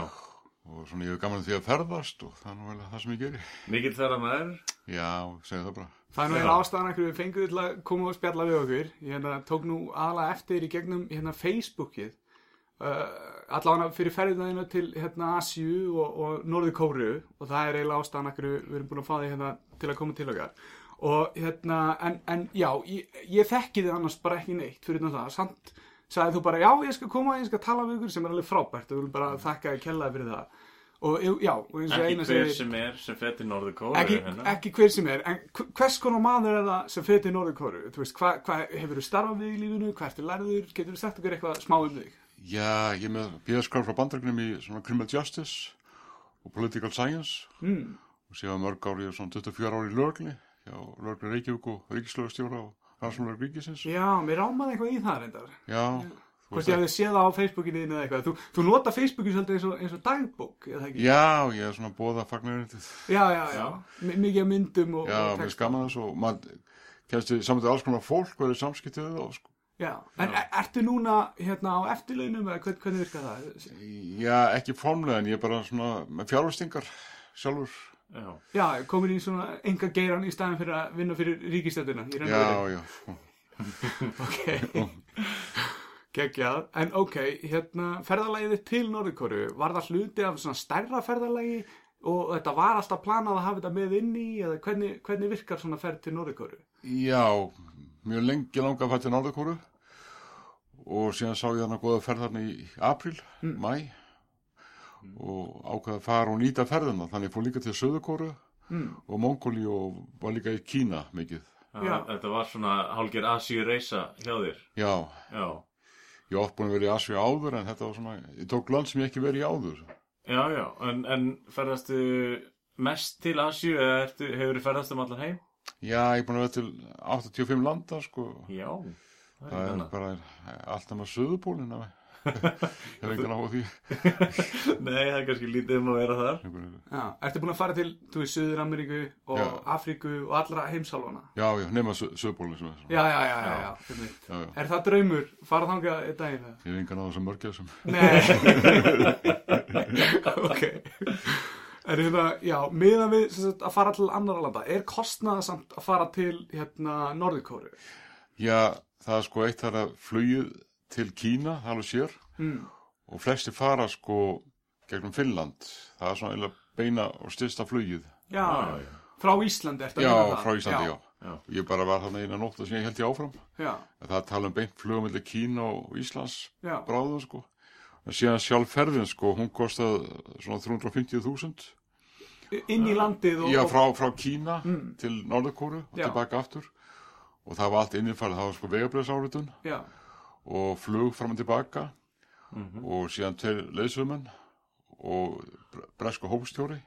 og svona ég hef gaman af því að ferðast og það er nú vel það sem ég gerir. mikill þeirra maður Já, segja það bara. það er nú Já. einn ástæðan að við fengum til að koma og spjalla við okkur ég hérna, tók nú aðla eftir í gegnum hérna Facebookið Uh, allavega fyrir ferðinæðina til hérna Asju og, og Norður Kóru og það er eiginlega ástæðan akkur við erum búin að fá því hérna til að koma til okkar og hérna, en, en já ég, ég þekki þið annars bara ekki neitt fyrir utan það, samt sagði þú bara já ég skal koma, ég skal tala við ykkur sem er alveg frábært og við viljum bara þakka að kella fyrir það og já, og eins og Ekki eina hver sem er sem fer til Norður hérna. Kóru ekki, ekki hver sem er, en hv- hvers konar maður er það sem fyrir til Norðurkóru? Þú veist, hvað hva, hefur þú starfað við í lífinu, hvað ertu lærður, getur þú sagt okkur eitthvað smá um þig? Já, ég er með bíðaskraf frá bandargrunum í svona criminal justice og political science Mm. og séða mörg ári, svona 24 ári í lögli, já, lögli Reykjavík og Ríkislögustjóra og Rannsónlög Ríkisins. Já, mér rámaði eitthvað í það reyndar. Já, þú Hvort ég hefði séð það á Facebookinu þínu eða eitthvað. Þú, þú nota Facebookin svolítið eins og, eins og dagbók, eða ekki? Já, ég er svona bóða fagnarindið. Já, já, já. M mikið af myndum og, Já, og mér skaman þess og maður kemst í samvættu alls konar fólk og er í samskiptið við það og sko. Já, en er, ertu núna hérna á eftirlaunum eða hvern, hvernig virkar það? Já, ekki formlega en ég er bara svona með fjárvestingar sjálfur. Já Já, komin í svona enga geiran í staðin fyrir að vinna fyrir ríkistöndina. Já, sko. já. Ok. Geggjað. En ok, hérna, ferðalagið þitt til Norðurkóru, var það hluti af svona stærra ferðalagi og þetta var alltaf planað að hafa þetta með inn í eða hvernig, hvernig virkar svona ferð til Norðurkóru? Já, mjög lengi langa að fætt til Norðurkóru og síðan sá ég hana góða ferðarni í apríl, mm. mæ og ákvaði að fara og nýta ferðina. Þannig ég fór líka til Söðurkóru Mm. og Mongóli og var líka í Kína mikið. Já. Já. Þetta var svona hálgir Asi reysa hjá þér Já, Já, ég átt búin að vera í Asfi áður en þetta var svona, ég tók land sem ég ekki verið í áður. já, já En, en ferðastu mest til Asi eða ertu, hefur ferðast um allan heim? Já, ég er búin að vera til 85 landa, sko. Já, það er Það er ekki bara allt nema söðupólinn af Ég er engan á því. annað. Nei, það er kannski lítið um að vera þar. Já, ertu búin að fara til, þú veist, Suður Ameríku og Já. Afríku og allra heimsálfana? Já, já, nema söðupólinn sem er. Já, já, já, já, já, einmitt. Já, já. Er það draumur? Fara þangað einn daginn það? Ég er engan á þessum mörgja sem. Nei. ok. Er þetta, já, miðan við sem sagt, að fara til annara landa, er kostnaðasamt að fara til, hérna, Norðurkóru? Já, það er sko eitt þar að flugið til Kína, það er alveg sér. Mm. Og flesti fara sko gegnum Finnland. Það er svona eiginlega beina og styrsta flugið. Já, Já, já. frá Íslandi ertu að Ah. Já, meina það? frá Íslandi, já. Já. Ég bara var þarna eina nótt og sem ég held ég áfram. Já, En Það tala um beint flugum millir Kína og Íslands já, bráðum sko en síðan sjálf ferðin sko, hún kostað svona 350.000 inn í landið og... já, frá, frá Kína Mm. til Norðurkóru og Já. tilbaka aftur og það var allt innifærið, það var sko vegabrjöðsáritun Já, og flug fram og tilbaka Mhm. og síðan tveir leðsumenn og bre- bresku hópstjóri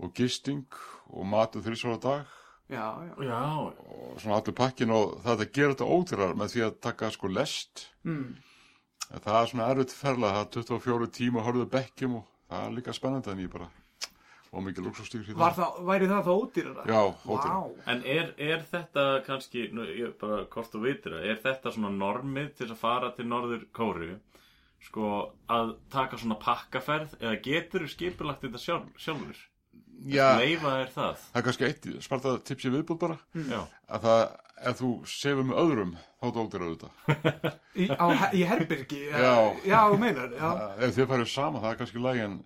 og gisting og matu þrísvara dag já, já. Já, og svona allur pakkin og það er að gera þetta ódýrar með því að taka sko lest Mm. En það er svona erfitt ferla, það er 24 tíma að horfðu bekkjum og það er líka spennandi en ég bara, og mikið luxustýr í Var það, væri það þá ódýrara? Já, ódýrara. Vá. en er, er þetta kannski, nú, ég bara hvort þú veitir það, er þetta svona normið til þess að fara til norður Kóru, sko, að taka svona pakkaferð eða getur þú skipulagt þetta sjálf, sjálfur? Já, Leifa er það? það er kannski eitt sparta tipsi viðbúð bara, Já. að það, ef þú sefur með öðrum, þá er það ódýrar auðvitað. Í, á, í herbergi? Já. Já, þú meinar, já. Það- Ef þið færðu sama, það er kannski lægi en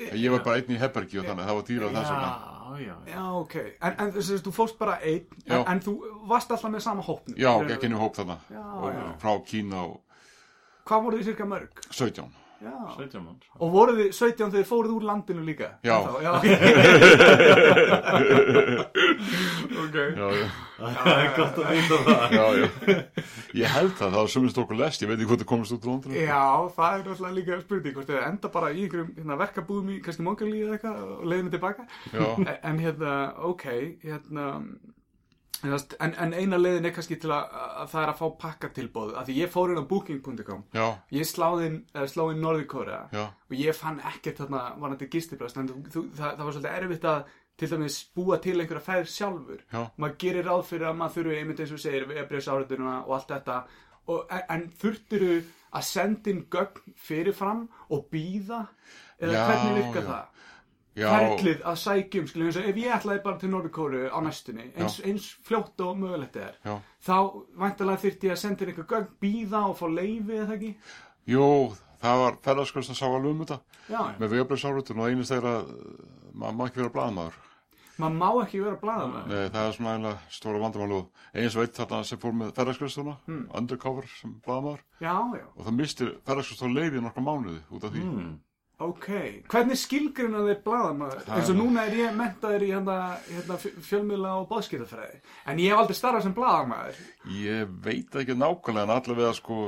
en ég var bara einn í Hebergi og þannig, það var dýrar þess vegna. Já, já, já. Já, ok. En, en þú veist, þú fórst bara einn, Já. en, en þú varst alltaf með sama hópnum. Já, gekk inn í hóp þarna, Já, og já. frá Kína og Hvað voru þið cirka mörg? 17. Já. 17 manns. Og voru þið 17 þegar þið fóruð úr landinu líka? Já. Þá, já. ok. Já, já, Það er gott að vita það. já, já. Ég held það, það var sumist okkur lest, ég veit ekki hvort það komist út úr landinu. Já, það er náttúrulega líka spurning, hvort þið enda bara í einhverjum hérna, verkabúðum í kannski mongalíð eða eitthvað og leiðinu tilbaka. Já. En- en hérna, ok hérna þú veist, en, en eina leiðin er kannski til að, að það er að fá pakkatilbóð af því ég fór inn á booking.com Já, ég sláði inn, eh, sló inn Norðurkóra já, og ég fann ekkert þarna varandi gistibrast en þú, þú, það, það var svolítið erfitt að til dæmis búa til einhverja fæður sjálfur já. maður gerir ráð fyrir að maður þurfi einmitt eins og þú segir vefbreyðsáriðuna og allt þetta og, en, en þurftiru að senda inn gögn fyrirfram og býða eða Já, hvernig virka já. það Já. ferlið að sækjum skilum eins og ef ég ætlaði bara til Norðurkóru á næstunni eins, eins fljótt og mögulegt er Já. þá væntalega þyrfti ég að senda þér einhver gögn býða og fá leifi eða ekki Jú, það var ferðarskvöld sem sá alveg um þetta já, með vegabræðsárutun og einist þegar að uh, maður má ekki vera blaðmaður. maður má ekki vera blaðan Nei, það er svona eiginlega stóra vandamál og eins veit þarna sem fór með ferðarskvöldstuna, Hmm. undercover sem blaðmaður já, já, og það mistir ferðarskvöldstuna leiðið nokkra mánuði út af því. Hmm. Hmm. ok hvernig skilgruna þeir blaðan eins og núna er ég mentaður í hérna, hérna fj- fjölmiðla og bóðskiptafræði en ég hef aldrei starfað sem blaðamæður Ég veit ekki nákvæmlega en allavega sko,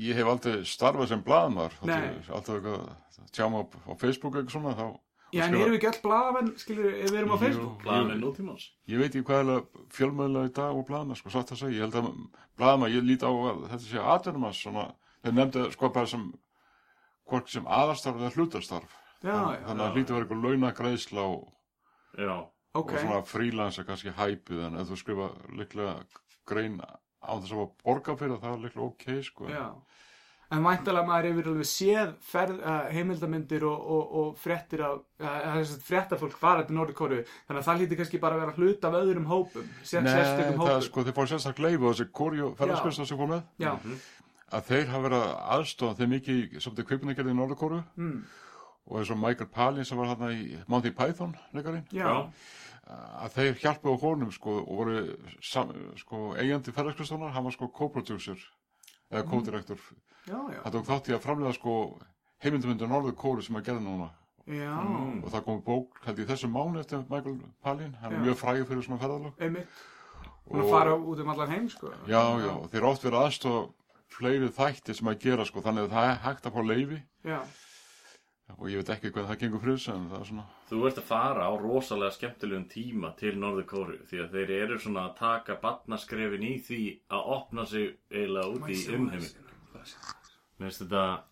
ég hef aldrei starfað sem blaðmaður. Þótt Nei. ég sé Alltaf eitthvað, tjá maður á- á Facebook eitthvað svona þá. já, en skrifa- erum við ekki all blaðamenn skilur ef við erum á Facebook Plan er nútímans. Ég veit ekki hvað er fjölmöðlega í dag og blaðma, sko, satt að segja, ég held að blaðma, ég lít á að þetta sé aðverðum að svona, þeir nefndu það, sko bara sem, hvort sem aðarstarf eða hlutastarf, já, já, þannig að hlýta að vera eitthvað launagreðsla og, Já. ok og svona frílansa kannski hæpið, en ef þú skrifa líklega grein á þess að fá borga fyrir það, það er líklega ok, sko. Já. En væntalega maður hefur alveg séð ferð, uh, heimildamindir og, og, og fréttir af, uh, fréttafólk fara til Norðurkóru, þannig að það hlýtti kannski bara að vera hlut af öðrum hópum, sér, Nei, sérstökum það hópum. er sko, þeir fá sérstak leif og þessi korju ferðarskjösta sem kom með, Já, að þeir hafa verið aðstofan þeir mikið í samt að kveipinagerði í Norðurkóru mm, og eins og Michael Palin sem var hérna í Monty Python leikarinn já, Já. að þeir hjálpuðu honum sko og voru sam, sko, eigandi ferðarskristonar, hann var sko co-producer eða co-direktor já, já, hann tók þátt í að framlega sko heimildumyndur Norður Kóru sem að gera núna já, Mm. og það kom bók held ég í þessum mánu eftir Michael Palin hann Já. er mjög frægur fyrir svona ferðarlög einmitt. Hún að fara út um allan heim, sko. já, já, og þeir oft verið aðstofa fleiri þætti sem að gera sko þannig að það er hægt að fá leifi Já, og ég veit ekki hvernig það gengur fyrir þessu en það er svona Þú ert að fara á rosalega skemmtilegum tíma til Norður Kóru því að þeir eru svona að taka batnaskrefin í því að opna sig eiginlega út í umheimi. Mér finnst þetta,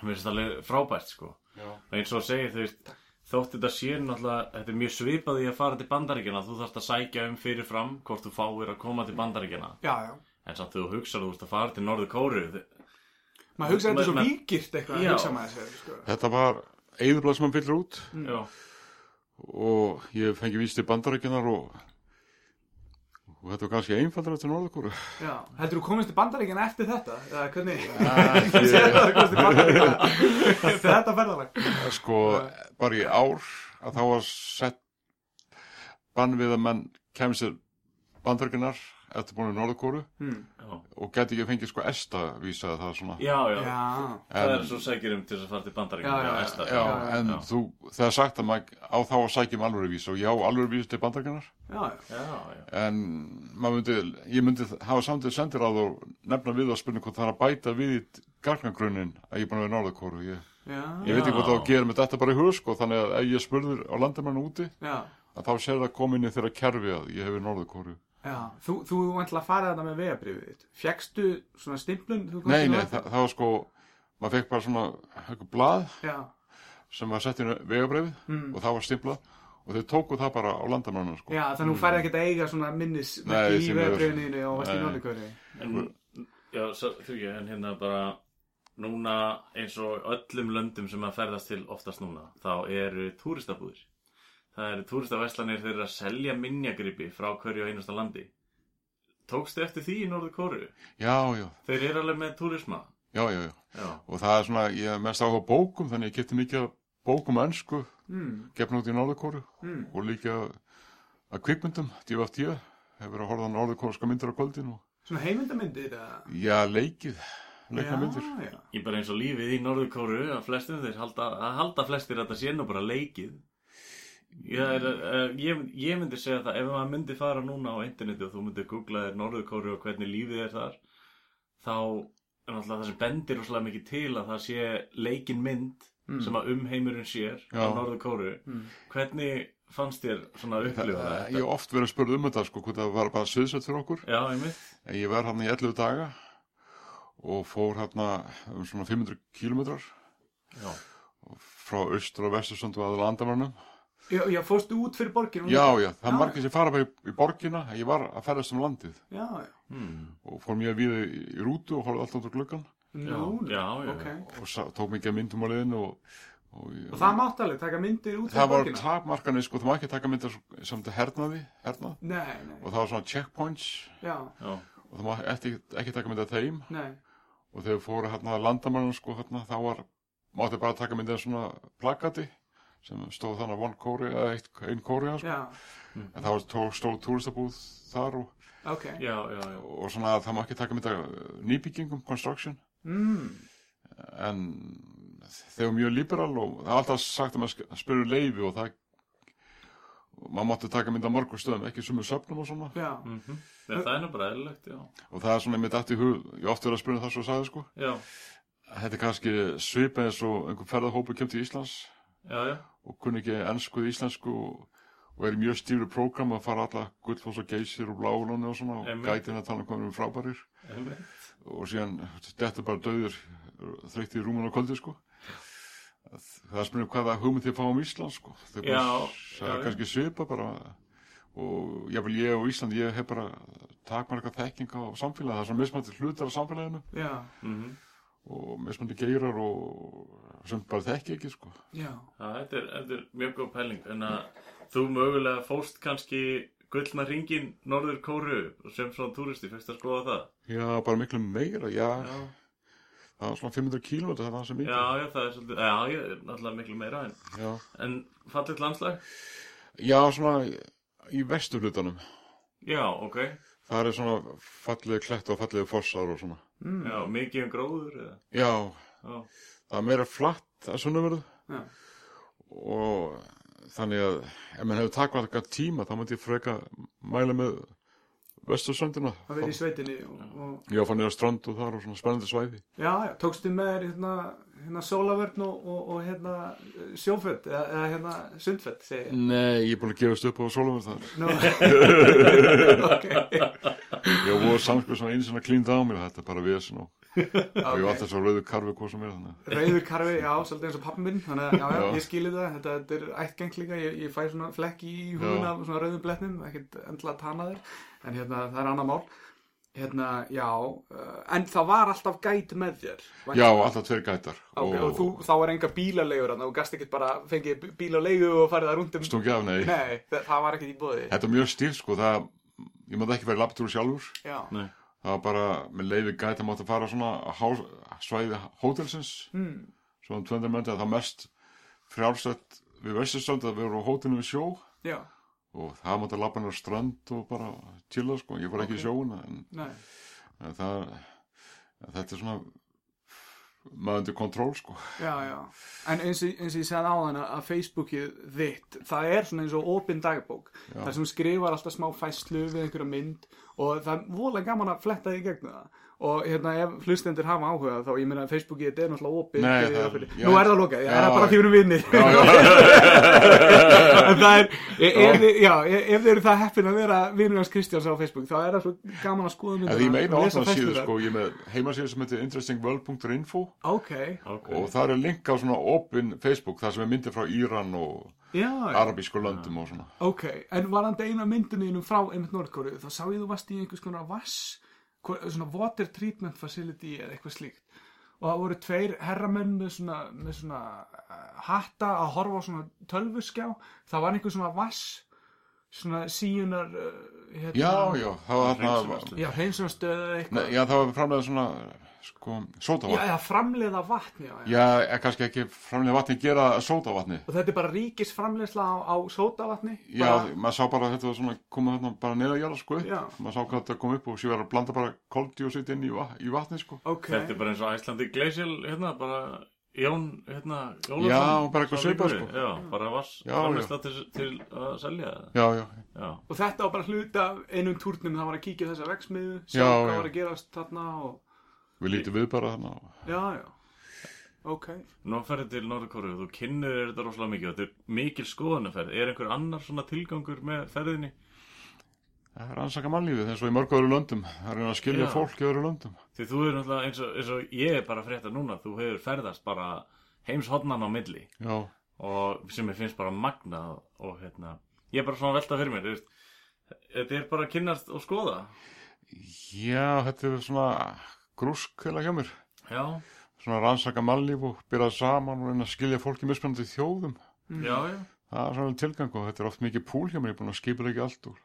mér finnst þetta alveg frábært sko. Já. Eins og að segja þú veist, þótt þetta sé náttúrulega, þetta er mjög svipað í að fara til bandaríkjana, þú þarfst að sækja um fyrirfram hvort þú fáir að koma til bandaríkjana. Já, já. En samt þú hugsar að þú ert að fara til Norður Kóru, Maður hugsa þetta er Ma- svo ma- víkirt eitthvað Já. að hugsa maður sér, sko. Þetta var eigðublað sem hann fyllir út já, og ég fengi víst til bandarækjunar og, og þetta var kannski einfaldra til norðakóru. Já. Heldur þú komist til bandaríkjana eftir þetta? Eða hvernig? Ég, Þú komst til Bandaríkjanna eftir þetta ferðalag. sko, bara í ár að þá var sett bann við að menn kemur sér bandarækjunar eftir búinu norðakóru Hmm. já, og geti ekki fengið sko esta vísaði það svona. já, já. Já. Það En- er svo sækjur um til þess að fara til Já, já, bandaríkjana. já. Esta. Já, en Já. þú, það er sagt að maður á þá að sækjum alvöru vísu og ég á alvöru vísu til bandarækjunar Já, já. já, já. en maður myndi, ég myndi hafa samtid sendir á þú nefna við og spurning hvort það er að bæta við í gargnagrunnin að ég er búin að vera norðakóru ég, Já. ég veit Já. ekki hvað það á að gera með þetta bara í hug sko, þannig að ef ég spurður á landamann úti Já. að þá sér það komin í þeirra kerfi að ég hefur norðakóru Já. Þú, þú ætla að fara þetta með vegabrifið þitt. Fjekkstu svona stimplun? þú komst nei, til nei, Norður? það, það var sko maður fekk bara svona eitthvað blað Já. sem var sett inn vegabrefið Mm. og það var stimplað og þau tóku það bara á landamannu sko. Já, þannig að þú færði ekkert að eiga svona minnis Nei, í því miður. vegabrifiðinu og varst í Nei. norðurkvöri. En, Mm. já, svo- þú ekki, en hérna bara núna eins og öllum löndum sem að ferðast til oftast núna, þá eru túristabúðir. Það eru túristaveslanir þeir eru að selja minnjagripi frá hverju og einasta landi. Tókstu eftir því í Norður Kóru? já, já, Þeir eru alveg með túrisma. já, já, já Já, og það er svona, ég er mest áhuga á bókum þannig að ég geti mikið af bókum á ensku Mm. gefn út í norðakóru Mm. og líka að kvikmyndum, DFT hefur að horfa á norðakóruska myndir á kvöldin og Svona heimildamindir? eða? já, leikið, leikna myndir Já, já. ég bara eins og lífið í Norður Kóru að flestum þeir halda, að halda flestir að þetta sé nú bara leikið. Já, er, uh, ég, ég myndi segja það ef maður myndi fara núna á interneti og þú myndi googla þér Norður Kóru og hvernig lífið er þar þá er náttúrulega það sem bendir rosalega mikið til að það sé leikin mynd sem að umheimurinn sér á Já. Norður Kóru Mm. hvernig fannst þér svona að Þa- upplifa það- þetta? Ég hef oft verið að spurða um þetta sko, hvort það var bara sviðsett fyrir okkur Já, einmitt en ég var hann í 11 daga og fór hérna um svona 500 kilometrar Já. frá austur og vestursundu að landamannum Já, já, fórstu út fyrir borginu? já, já, Mm. það Já. er margir sem fara bara í, í borgina en ég var að ferðast um landið Já, já. hmm. og fór mjög við í, í rútu og horfði alltaf út á gluggan Já, Nú, já, já, ok. og sa, tók mikið af myndum á leiðin og, og, Og það mátti alveg taka myndir út það fyrir var borginu? takmarkanir sko, það má ekki taka myndir sem þetta hernaði, hernað Nei, nei, og það var svona checkpoints já, já, og það má ekki, ekki taka myndir af þeim nei. og þegar fóru hérna landamannum sko hérna þá var, mátti bara taka myndir af svona plakati sem stóð þannig one Korea, eða eitt, ein Korea sko. Já, en það var tó, stóð túristabúð þar og, ok. já, já, já. og svona það má ekki taka myndir af eh, nýbyggingum, construction Mm. en þeir eru mjög liberal og það er alltaf sagt að maður spyrur leifi og það og maður mátti taka mynd á mörgum stöðum, ekki sumu söfnum og svona Já, Mhm. En Það er nú bara eðlilegt, já og það er svona mitt eftir hug, ég hef oft verið að spyrja það svo sagði sko, Já, þetta er kannski svipa eins og einhver ferðahópu kemur til Íslands já, já, og kunni ekki ennsku eða íslensku og, og er í mjög stífri prógram að fara alla gullfoss og geysir og bláulónu og svona og Einmitt. gætin að tala um hvað við erum frábærir einmitt og síðan þetta bara döður þreytti í rúmun á kvöldi sko það spyrir hvaða hugmynd þið fá um Ísland sko þau bara Já, já. sagði kannski svipa bara og jáfnvel ég og Ísland ég hef bara takmarka þekking á samfélagi það er svona mismandi hlutar á samfélaginu já, Mhm. og mismandi geirar og sem bara þekki ekki sko já. Já, þetta er, þetta er mjög góð pæling en að þú mögulega fóst kannski gullna ringin Norður Kóru sem svona túristi, fyrst að skoða það já bara miklu meira já, Já, það var svona 500 km það var sem já, já það er svolítið Já, ég er náttúrulega miklu meira en, já. en fallit landslag? já svona í vestur hlutanum Já, ok það er svona fallið klett og fallið fossar og svona Mm. Já, Hmm. mikið um gróður eða já Já, það er meira flatt að sunnumverðu Já. og þannig að ef maður hefur takvað eitthvað tíma þá myndi ég freka mæla með vestursöndina Það verið í sveitinni og, og ég fann ég að strand og þar og svona spennandi svæði já, já, tókstu með þér hérna, hérna sólavörn og, og, og hérna sjóföld eða, eða hérna sundföld segi ég. Nei, ég er búin að gefast upp á Sólumar þar. Nú, ok, Ég voru samskuð svona einu sinna klínd á mér, þetta er bara vesen og, og ég var ok. alltaf svo rauðu karfi hvað sem er þannig. Rauður karfi, já, svolítið eins og pappi minn þannig að já, já, Já. ég skilið það, þetta, þetta er ættgeng líka ég, ég fæ svona flekk í húðun Já. af svona rauðum bletnum, ekkert endla tanaður en hérna, það er annað mál hérna, já, uh, en það var alltaf gæt með þér Já, alltaf tveir gætar. Ok, og þú, þá er enga bílalegur þannig að þú gast ekki bara fengið bíl á leigu og farið það rúnd um Stungi af, nei. Nei, það, það var ekkert í bóði Þetta er mjög stíl, sko, það, ég maður ekki verið lapptúru sjálfur. Já, Það var bara, með leiði gæta mátt að fara svona á hás, svæði hótelsins, mm, svona 200 mönti, það mest frjálsett við vesturstrand að við vorum á hótelinu við sjó já, og það mátt að lappa nýra strand og bara chilla, sko. Ég var ekki í sjóuna, en, nei en það, en þetta er svona, maður undir kontról, sko. Já, já, en eins og, eins og ég segði á þann að Facebookið þitt, það er svona eins og opin dagbók, já. þar sem þú skrifar alltaf smá fæslu við einhverja mynd og það er voðlega gaman að fletta því gegna það og hérna ef hlustendur hafa áhuga þá ég meina að Facebookið þetta er náttúrulega opið Nei, fyrir- það er- fyrir- já. Nú er það lokað, já, Já, það er bara já. því við erum vinnir Já, já, En það er, e- ef þið, já, e- ef þið eru það heppin að vera vinnur hans Kristjáns á Facebook þá er það svo gaman að skoða myndir Því ég meina opna síðu sko, ég er með heimasíðu sem heitir interestingworld.info Ok, og það er link á svona open Facebook, þar sem er myndir frá Íran og já, já. arabísku löndum og svona. ok, en varandi eina myndunum frá einmitt Norðkóru, þá sá ég þú varst í einhvers konar vass, hva- svona water treatment facility eða eitthvað slíkt og það voru tveir herramenn með svona, með svona uh, hatta að horfa á svona tölvuskjá það var einhver svona vass svona síunar uh, hérna, Já, já, það var þarna, Hreinsunarstöð. já hreinsunarstöð eða Nei, eitthvað já, það var framlega svona, sko, já, sótavatn. já, framleiða vatn, já, já. Já, er kannski ekki framlega vatni gera sótavatni. og þetta er bara ríkisframleiðsla á, á sótavatni Já, bara, maður sá bara að þetta var svona, komið þarna bara neða að gera, sko, upp. Já. maður sá hvað þetta kom upp og sér verið að blanda bara koldíósit inn í, va í vatni, sko. ok, Þetta er bara eins og Æslandi Glacial, hérna, bara Jón, hérna, Jólasson. Já, bara eitthvað sá svipað, leikurinn. sko. Já, bara vass, Já, já. framist það til, til að selja það. Já, já, Já, og þetta var bara hluta af einum túrnum, það var að kíkja á þessa veksmiðu sjá Já, hvað já. var að gerast þarna og, við lítum við bara þarna. já, já ok, nú ferði til Norðkóru og þú kynnir þér þetta rosalega mikið og þetta er mikil skoðanaferð. Er einhver annar svona tilgangur með ferðinni? Það er ansaka mannlífið eins og í mörgu öðru löndum. Það er að reyna að skilja Já. fólk í öðru löndum. Því þú er náttúrulega eins og, eins og ég er bara að frétta núna, þú hefur ferðast bara heimshotnan á milli Já, og sem ég finnst bara magnað og hérna, ég er bara svona að velta fyrir mér, þú veist, þetta er bara að kynnast og skoða. já þetta er svona grúsk heila hjá mér. Já, Svona rannsaka mannlíf og byrja saman og reyna að skilja fólk í mismunandi þjóðum. já, já. Það er svona tilgang og þetta er oft mikið púl hjá mér. Ég er búin að skipa ekki allt úr.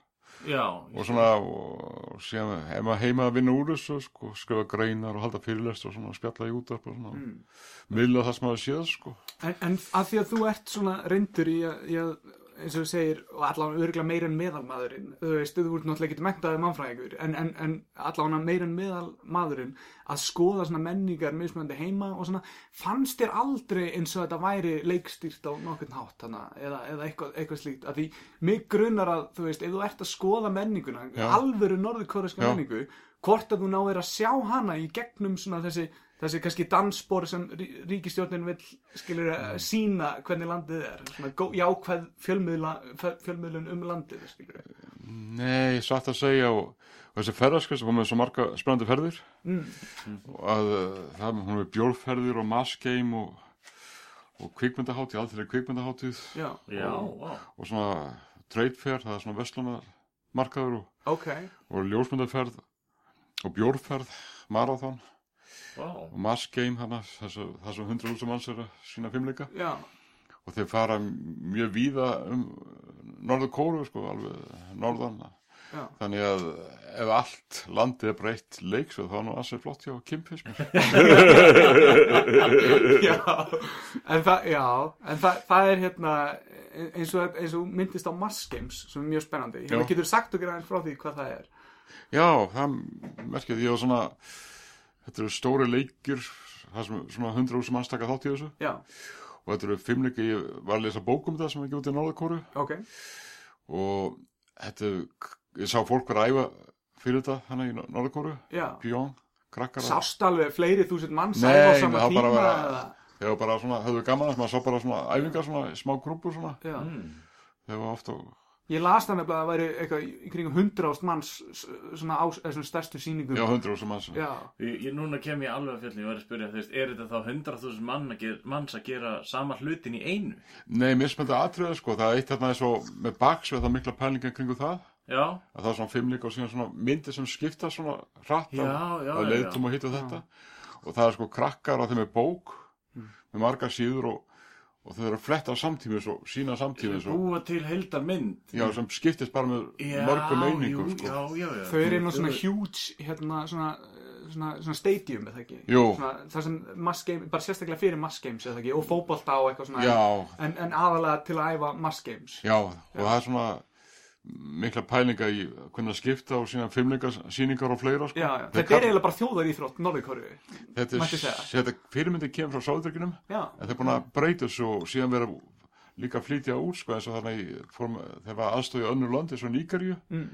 Já, Og svona, og síðan, ef maður heima að vinna úr þessu, sko, skrifa greinar og halda fyrirlest og svona spjalla í útarp og svona. Mm. Milla það sem maður séð, sko. en, en að því að þú ert svona reyndur í að, í að eins og þú segir, og allavega örgulega meira en meðalmaðurinn, þú veist, þú ert náttúrulega ekki menntaði mannfræðingur, en, en, en allavega meira en meðalmaðurinn að skoða svona menningar mismunandi heima og svona, fannst þér aldrei eins og þetta væri leikstýrt á nokkurn hátt hana, eða, eða eitthvað, eitthvað slíkt, að því mig grunar að, þú veist, ef þú ert að skoða menninguna, Já. alvöru norðurkóreska Já. menningu, hvort að þú náir að sjá hana í gegnum svona þessi þessi kannski dansbor sem rí- ríkisstjórnin vil skilur að Mm. sína hvernig landið er svona gó, jákvæð fjölmiðla, fe- fjölmiðlun um landið skilur Nei, satt að segja og, og þessi ferðarskvist kom með svo marga spennandi ferðir Mm, og að uh, það hún er bjólferðir og maskeim og, og kvikmyndahátíð, aldrei kvikmyndahátíð já, Já, vá. og svona treytferð, það er svona veslanar og, ok, og ljósmyndaferð og bjórferð, marathon Vá, og maskeim hana, þessu, það sem hundra húsum manns er að sína fimmleika já og þeir fara mjög víða um norður kóru sko, alveg norðan Já. þannig að ef allt landið er breytt leik svo þá er nú aðsveg flott hjá Kimfismur já, en það, já, en það, það er hérna eins og, eins og myndist á Mars Games sem er mjög spennandi, hérna Já. getur sagt okkur aðeins frá því hvað það er já, það merkja því að svona þetta eru stóri leikir það sem svona 100.000 manns taka þátt í þessu já, og þetta eru fimmleiki, ég var að lesa bókum það sem ekki út í norður kóru ok, og þetta, er- ég sá fólk vera að æfa fyrir þetta hana í norður kóru já Bjón, krakkar að- sást alveg fleiri þúsund mann Nei, sæfa á sama það tíma bara var- eða- þegar bara svona, höfðu gaman að maður sá bara svona æfingar svona, smá grúpur svona já. Mm. þegar var oft á, Mm. Ég las það nefnilega að það væri eitthvað í kringum hundrást manns s- svona á þessum stærstu sýningum. já, hundru og sem manns Já, Ég, ég, núna kem ég alveg að fjallin, ég var að spyrja, þú veist, er þetta þá 100.000 mann að gera, manns að gera sama hlutin í einu? nei, mér sem þetta atriða sko, það er eitt þarna eins og með baks við það mikla pælingar kringu það Já, að það er svona fimmleika og síðan svona myndir sem skipta svona hratt já, já, að já, leitum og hitt og þetta og það er sko krakkar að þeim er bók Mm. með margar síður og, og þau eru að fletta á samtímis og sína samtímis og Búa til heildarmynd. já, sem skiptist bara með Já, mörgum einingum jú, sko. Já, já, já. þau eru inn á svona huge, hérna, svona, eh, svona, svona stadium, eða ekki? Jú. Svona, það sem mass games, bara sérstaklega fyrir mass games, eða ekki? Og fótbolta og eitthvað svona. Já. En, en aðalega til að æfa mass games. já, og það er svona mikla pælinga í hvernig að skipta og sína fimmleika síningar og fleira sko. Já, já. Þeir Þetta er kall- eiginlega bara þjóðaríþrótt Norðurkóru. mætti þetta, er, segja. Mm. þetta fyrirmyndin kemur frá sáðdrykkjunum Já. en það er búin að breyta þessu og síðan vera líka að flytja út sko, eins og þannig í form, þegar var aðstóði önnur landi, svo nýkarju Mm.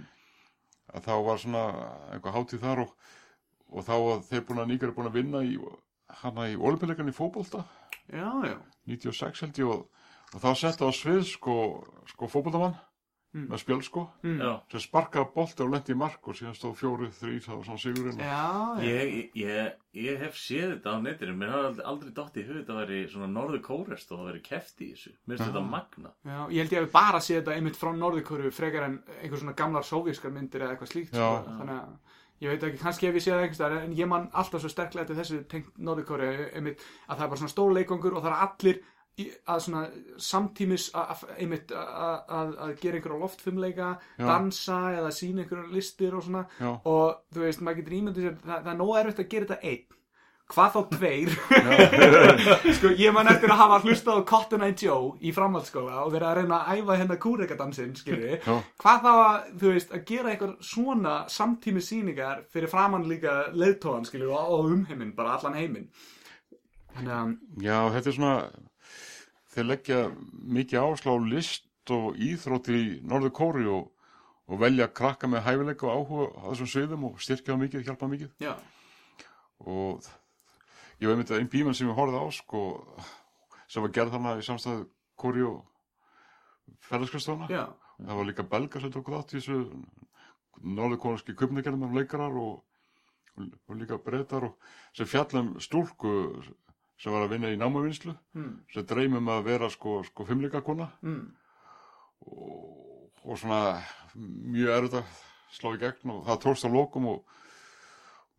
að þá var svona einhver hátíð þar og, og þá að þeir búin að nýkarju búin að vinna í, hana í olimpíleikan í fótbolta Já, já. 96 held ég og, og þá setta á svið sko, sko fótboltamann Mm. með spjöld sko Mm. Já, sem sparkaði bolti og lendi í mark og síðan stóð fjórið, þrýr, það var svona sigurinn Já, já. Ég, ég, ég hef séð þetta á netinu, mér hafði aldrei, aldrei dott í hugið að veri svona norðu kórest og það veri keft í þessu. Mér finnst þetta magna. Já, ég held ég að við bara séð þetta einmitt frá norðurkóru frekar en einhver svona gamlar sovjískar myndir eða eitthvað slíkt Já. sko. þannig að ég veit ekki, kannski hef ég séð það einhvers staðar en ég man alltaf svo sterklega til þessu tengt norðurkóru einmitt að það er bara svona stór leikongur og það er allir í, að svona samtímis að- að- einmitt að- að að gera einhverja loftfumleika Já. dansa eða sína einhverja listir og svona Já. og þú veist, maður getur ímyndið sér það, það er nóg erfitt að gera þetta einn hvað þá tveir sko, ég man eftir að hafa hlustað á Cotton Eye Joe í framhaldsskóla og verið að reyna að æfa hérna kúrekadansinn, skilji Já. hvað þá að, þú veist, að gera eitthvað svona samtími sýningar fyrir framann líka leðtóðan, skilji, og, og umheiminn bara allan heiminn þannig að, Já, þetta er svona þeir leggja mikið áslá list og íþrótt í Norður Kóri og, og velja að krakka með hæfileika og áhuga á þessum sviðum og styrkja það mikið, hjálpa mikið já, og ég veit myndið að einn bíman sem ég horfði á sko, sem var gerð þarna í samstæðu Kóri og ferðarskristóna já það var líka belgar sem tók þátt í þessu norðurkónarski kupnagerðum um leikarar og, og, og líka breytar og sem fjallum stúlku sem var að vinna í námavinnslu mm, sem dreymum að vera sko, sko fimmleikakona mm, og, og svona mjög erut að slá í gegn og það tókst á lokum og,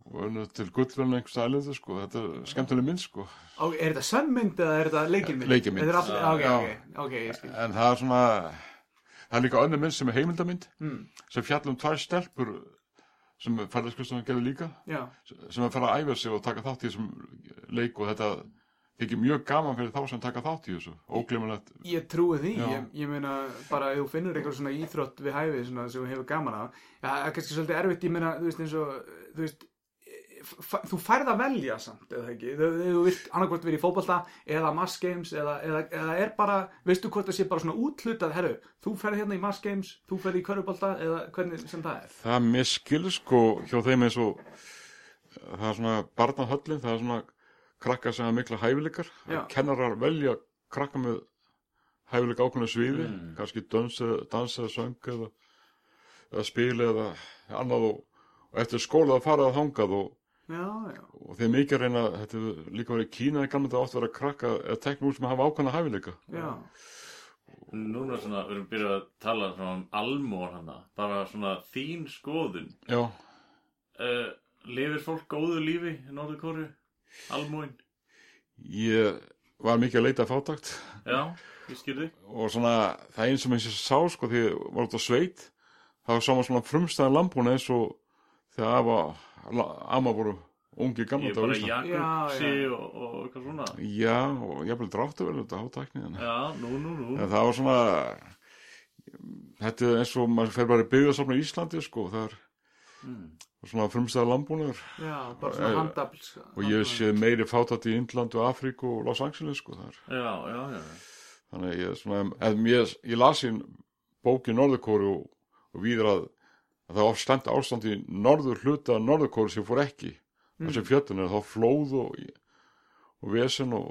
og unnu til gullverðin einhvers aðlið sko, þetta er skemmtileg mynd sko og er þetta sömmynd eða er þetta leikinmynd? Leikjamynd. Þetta er all... Já. ok, ok, ok, ég skil en það er svona það er líka önnur mynd sem er heimildamynd mm, sem fjallum tvær stelpur sem færðarskustofan gerði líka já, sem að fara að æfa sig og taka þátt í þessum leik og þetta þykir mjög gaman fyrir þá sem taka þátt í þessu óglimanlegt Ég trúi því, Já. ég, ég meina bara ef þú finnur einhver svona íþrótt við hæfið svona sem þú hefur gaman af, ja, það er kannski svolítið erfitt, ég meina, þú veist eins og, þú veist, f- þú færð að velja samt, eða ekki, þú, þú vilt annarkvort verið í fótbolta eða mass games eða, eða, eða er bara, veistu hvort það sé bara svona útlutað, herru, þú ferð hérna í mass games, þú ferð í körfubolta eða hvernig sem það er. Það er mér skil sko hjá þeim eins og eh, það er svona barnahöllin, það er svona krakka sem er mikla hæfileikar. Já. Kennarar velja krakka með hæfileika ákveðna sviði, kannski dans eða, dans eða söng eða, eða spil eða annað og, og eftir skóla að fara að þangað og, Já, já, og þeir mikið að reyna, þetta hefur líka verið í Kína, gamla þetta átt að vera krakka eða teknum úr sem hafa ákveðna hæfileika. já, Núna svona, við erum byrjað að tala svona um almór hana, bara svona þín skoðun. Já, Uh, lifir fólk góðu lífi í norðu kóru? Almóin? ég var mikið að leita að fátakt. Já, ég skilði. og svona það eins sem eins og sá sko því ég var út á sveit þá sá maður svona frumstæðan lambúna eins og þegar afa, la, ama voru ungi gamla Ég daga á bara Íslandi. jakubsi og, og eitthvað svona. já og ég bara dráttu vel þetta hátækni en, Já, nú, nú, nú. en það var svona þetta er eins og maður fer bara í byggðasafna í Íslandi sko það er Mm. svona frumstæðan lambúnaður já, bara svona Eh, handabl. og ég sé meiri fátætt í Indland og Afríku og Los Angeles sko það er Já, já, já. þannig að ég, svona, en ég, ég las í bóki Norðurkóru og, og víður að, að það var stemt ástand í Mm. norður hluta Norðurkóru sem fór ekki mm. þessi fjöldunir, þá flóð og, og og vesen og,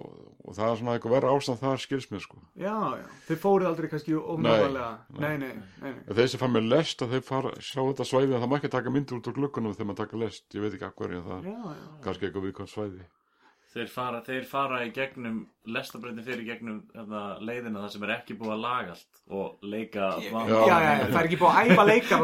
og það er svona eitthvað verra ástand það skils mér sko. já, já, þið fóruð aldrei kannski ónáðalega, nei, nei. nei, nei, nei. En þeir sem fær með lest að þeir fara, sjá þetta svæði en það má ekki taka myndir út úr glöggunum þegar maður taka lest, ég veit ekki af hverju en það Já, já, er kannski eitthvað viðkvæmt svæði. Þeir fara, þeir fara í gegnum, lestabreitin fyrir gegnum hérna, leiðina það sem er ekki búið að laga allt og leika já, já, já, það er ekki búið að æfa leikar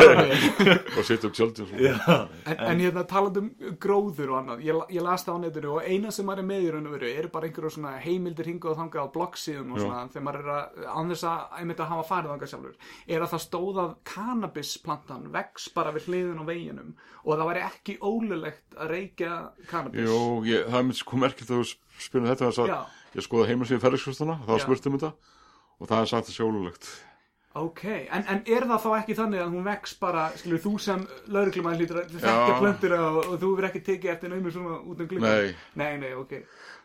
Og setja upp tjöldin sko. svona. en, en hérna talandi um gróður og annað ég, ég las það á netinu og eina sem maður er með í raun og veru eru bara einhverjum svona heimildir hingað og þangað á bloggsíðum og Já. svona þegar maður er að, án þess að einmitt að hafa farið þangað sjálfur er að það stóð að kannabisplantan vex bara við hliðin á veginum og það væri ekki ólulegt að reykja kannabis Jó, ég, það er mér sko merkilt að þú spyrir þetta þess að Já. ég skoði heimasíðu ferðarskustana, það var Já. spurt um þetta og það er sagt að sjálfulegt. Ok, en, en er það þá ekki þannig að hún vex bara, skilur þú sem lauruglumann hlýtur að þekkja Já. plöntur og, og þú verður ekki tekið eftir naumur svona út um glugga? Nei. Nei, nei, ok.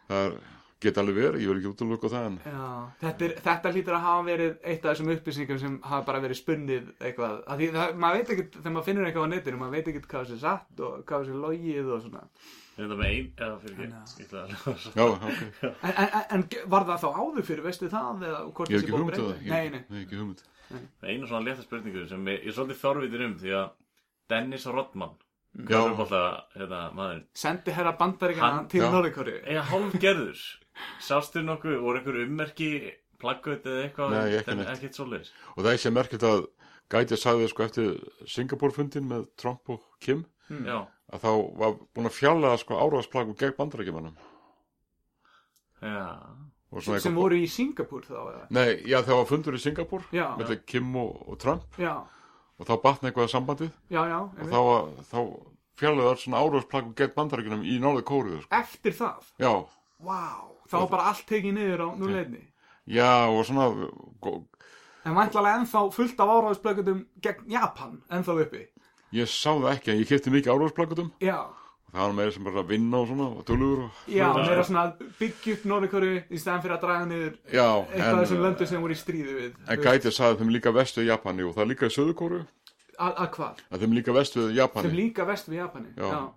Það er, geta alveg verið, ég vil ekki útlöku það en Já, þetta, er, þetta hlýtur að hafa verið eitt af þessum upplýsingum sem hafa bara verið spunnið eitthvað. Af Því það, maður veit ekkert, þegar maður finnur eitthvað á netinu, maður veit ekkert hvað sé satt og hvað sé logið og svona. Þetta með ein, eða fyrir ekki, ég ætla að já, ok, En, en, en- en var það þá áður fyrir, veistu það? Eða, hvort ég hef sé ekki búið að hugmynd breyta að það, því? ég Nei, nei. ég hef ekki hugmynd. Einu svona létta spurningu sem ég, ég er svolítið fjárvitir um því að Dennis Rodman, Já, körfubolta, hérna, maður, Sendi herra bandaríkana Hann- til Já. Norðikóri. eða hálfgerður, sástu nokkuð, voru einhver ummerki, plaggöt eða eitthvað? Nei, ekki neitt. Ekkert svoleiðis. og það er sem merkilt að gæti að sagði sko eftir Singapore-fundin með Trump og Kim Já, að þá var búin að fjallaða sko áraðsplakum gegn bandarækjumannum já, og Sem, svona sem eitthvað voru í Singapúr þá, eða? Nei, já, það var fundur í Singapur Já. með Kim og, og Trump Já, og þá batna eitthvað sambandið já, já. og einmitt. þá, var- þá fjallaði það svona áraðsplakum gegn bandarækjunum í norðu kóruðu sko. Eftir það? Já, Vá, þá var bara allt tekið niður á núleginni. já og svona gó- En vantlalega ennþá fullt af áráðsblökkutum gegn Japan, ennþá uppi. ég sá það ekki en ég kipti mikið áraðsplakutum Já, það var meira sem bara að vinna og svona og dölur og já, meira svona að byggja upp Norðurkóru í staðan fyrir að draga niður Já, eitthvað af þessum en, eh, löndu sem voru í stríði við. en gæti að sagði þeim líka vestu í Japani og það er líka í söðu kóru Að að hvað? að þeim líka vestu í Japani Sem líka vest við Japani. Já.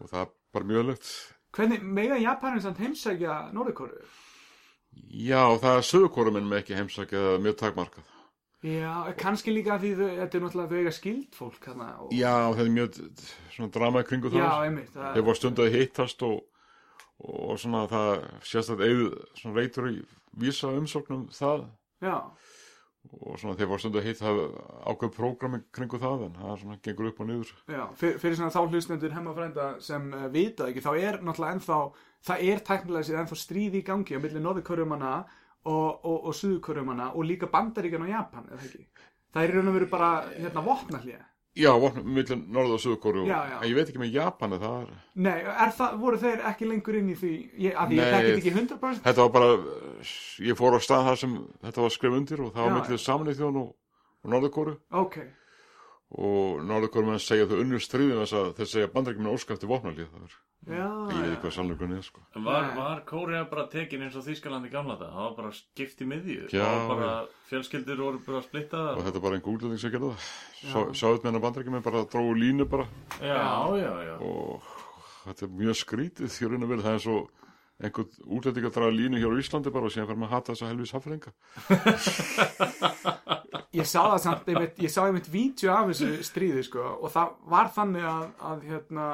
og það er bara mjög leitt Hvernig, mega Japanin samt heimsækja Norðurkóru? já og það er sögurkórum en með ekki heimsækja eða mjög takmarkað Já, kannski líka af því þau, þetta er náttúrulega þau eiga skild fólk þarna. Og... já og það er mjög t- t- svona drama í kringu Já, það einmitt. Það... þeir voru stund að hittast og, og svona það sést að eða svona reytur í vísa umsóknum um það Já, og svona þeir voru stund að hitt það ákveð prógrami kringu það en það svona gengur upp og niður já. Fyrir, fyrir svona þá hlustnendur hemmafrænda sem uh, vita ekki, þá er náttúrulega ennþá, það er teknilega sér ennþá stríð í gangi á milli norðurkörjumanna og, og, og suðurkörjumanna og líka bandaríkjan og Japan, eða ekki? Það er í raun og veru bara, hérna, vopnahlið. já, vopnum millir norða og sögurkóru Já, já. en ég veit ekki með Japani það er Nei, er það, voru þeir ekki lengur inn í því, ég, af því ég Nei. þekkit ekki 100%? þetta var bara, eh, ég fór á stað þar sem þetta var skrif undir og það var Já, millir samanlega þjón og, og norðurkóru Ok, og norðurkóru menn segja að þau unnur stríðum þess að þeir segja bandarækjum er óskæfti vopnalíð það er, já, ég veit já. ekki hvað sannleikurinn er sko. En Var, Nei. var Kórea bara tekin eins og Þýskaland í gamla þetta? Það var bara skipt í miðju. Já, það var bara, fjölskyldur voru bara og splittaðar. þetta er bara einhver útlending sem gerði það sáðut með hennar bandarækjum er bara að dróðu línu bara Já, já, já. og þetta er mjög skrítið því að reyna vel það er svo einhvern útlending að draga línu hér á Íslandi bara og síðan fer maður að hata þessa helvið safringa Ég sá það samt, einmitt, ég sá einmitt vídeo af þessu stríði sko og það var þannig að, að hérna,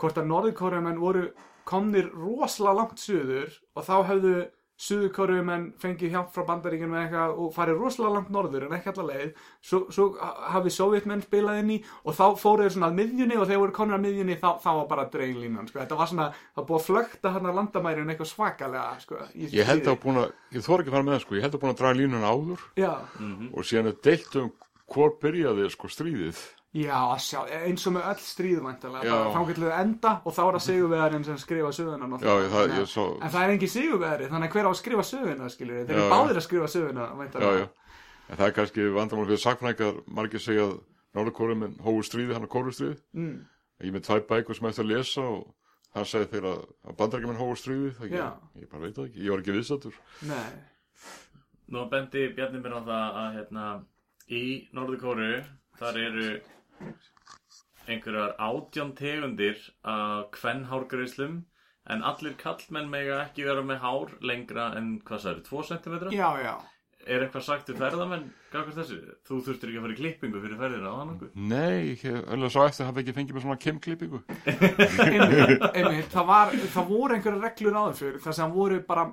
hvort að norðkórumenn voru komnir rosalega langt suður og þá hefðu suðurkórumenn fengið hjálp frá bandaríkinu með eitthvað og farið rosalega langt norður en ekki allar leið svo, svo hafið sovjetmenn spilað inn í og þá fóruðu svona að miðjunni og þegar voru konur að miðjunni þá, þá var bara dreiglínan sko. þetta var svona, það var búið að flökta hann að landamærin eitthvað svakalega sko, í þessu ég held stríði. að búin að, ég þor ekki að fara með það sko ég held að búin að draga línuna áður Já. og síðan er deilt um hvort byrjaði sko stríðið Já, að sjá, eins og með öll stríðvæntalega, Já. þá getur þau enda og þá er það sigurvegarinn sem skrifa söguna náttúrulega. Já, ég- það- Þannig að- ég sá- En það er engin sigurvegari, þannig að hver á að skrifa söguna, skilur við, þeir Já, eru já. báðir að skrifa söguna, já, væntalega. já. En það er kannski vandamál fyrir sakfræðingar, margir segja að Norðurkóru minn hófu stríði, hann er kóru stríði. Mm, Ég er með tvær bækur sem ég eftir að lesa og það sagði þeir að, að bandarækja minn hófu stríði. Það Já. ég, ég bara veit það ekki, ég var ekki viðstættur. nei, Nú bendi Bjarni mér á það að hérna, í Norðurkóru þar eru einhverjar átján tegundir af kvennhárgreislum en allir kallmenn mega ekki vera með hár lengra en hvað sagði, 2 cm? já, já, Er eitthvað sagt við ferðamenn, gafkvæmt þessu? Þú þurftir ekki að fara í klippingu fyrir ferðina á hann okkur. Nei, ég öll að sá eftir að hafa ekki fengið með svona kemklippingu. einmitt, einmitt það, var, það voru einhverja reglur áður fyrir þar sem voru bara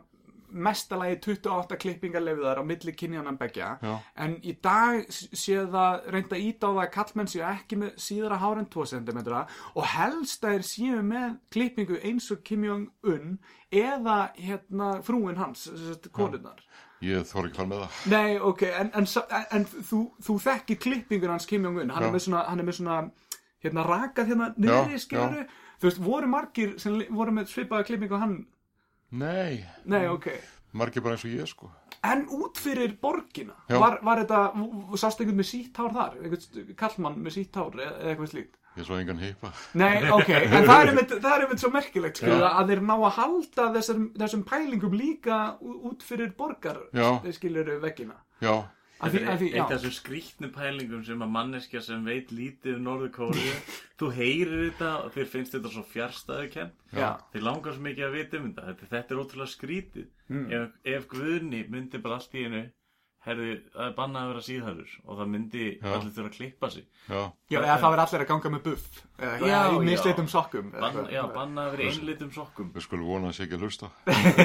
mestalagi 28 klippingar leifiðar á milli kynjanan begja Já. en í dag s- sé það reynda ít á það að kallmenn séu ekki með síðara hár en 2 cm og helst að þeir séu með klippingu eins og Kim Jong-un eða hérna frúin hans, þessi konunnar Ég þor ekki að fara með það. Nei, ok, en, en, sa- en, en þú, þú þekkir klippingur hans Kim Jong-un, hann, er Já. með svona- hann er með svona, hérna, rakað hérna niðri, já. skilur Þú veist, voru margir sem li- voru með svipaða klippingu og hann, Nei, nei, ok. margir bara eins og ég sko. En út fyrir borgina, Já. var, var þetta, v- v- sást einhvern með sítt hár þar, einhvern kallmann með sítt hár eða eða eitthvað slíkt? Ég svo engan heipa. Nei, ok, en það er einmitt, það er einmitt svo merkilegt, skilur að þeir ná að halda þessum, þessum pælingum líka ú- út fyrir borgar, Já. skilur veggina. Já, Að því, að því, Eitt af já, þessum skrýtnu pælingum sem að manneskja sem veit lítið um Norður Kóriðu, þú heyrir þetta og þér finnst þetta svo fjarstæðukent. já. Þið langar svo mikið að vita um þetta. Þetta, þetta er ótrúlega skrítið. Hmm. Ef, ef Guðni myndi bara allt í hennu, herði, það er bannað að vera síðhærður og það myndi allir þurfa að klippa sig. já. Já, eða það verður allir að ganga með buff eða eitthvað, Já, eða í já. misleitum sokkum eða Bann, eitthvað. já, bannað að vera í einlitum sokkum. Við skulum vona að sé ekki að hlusta.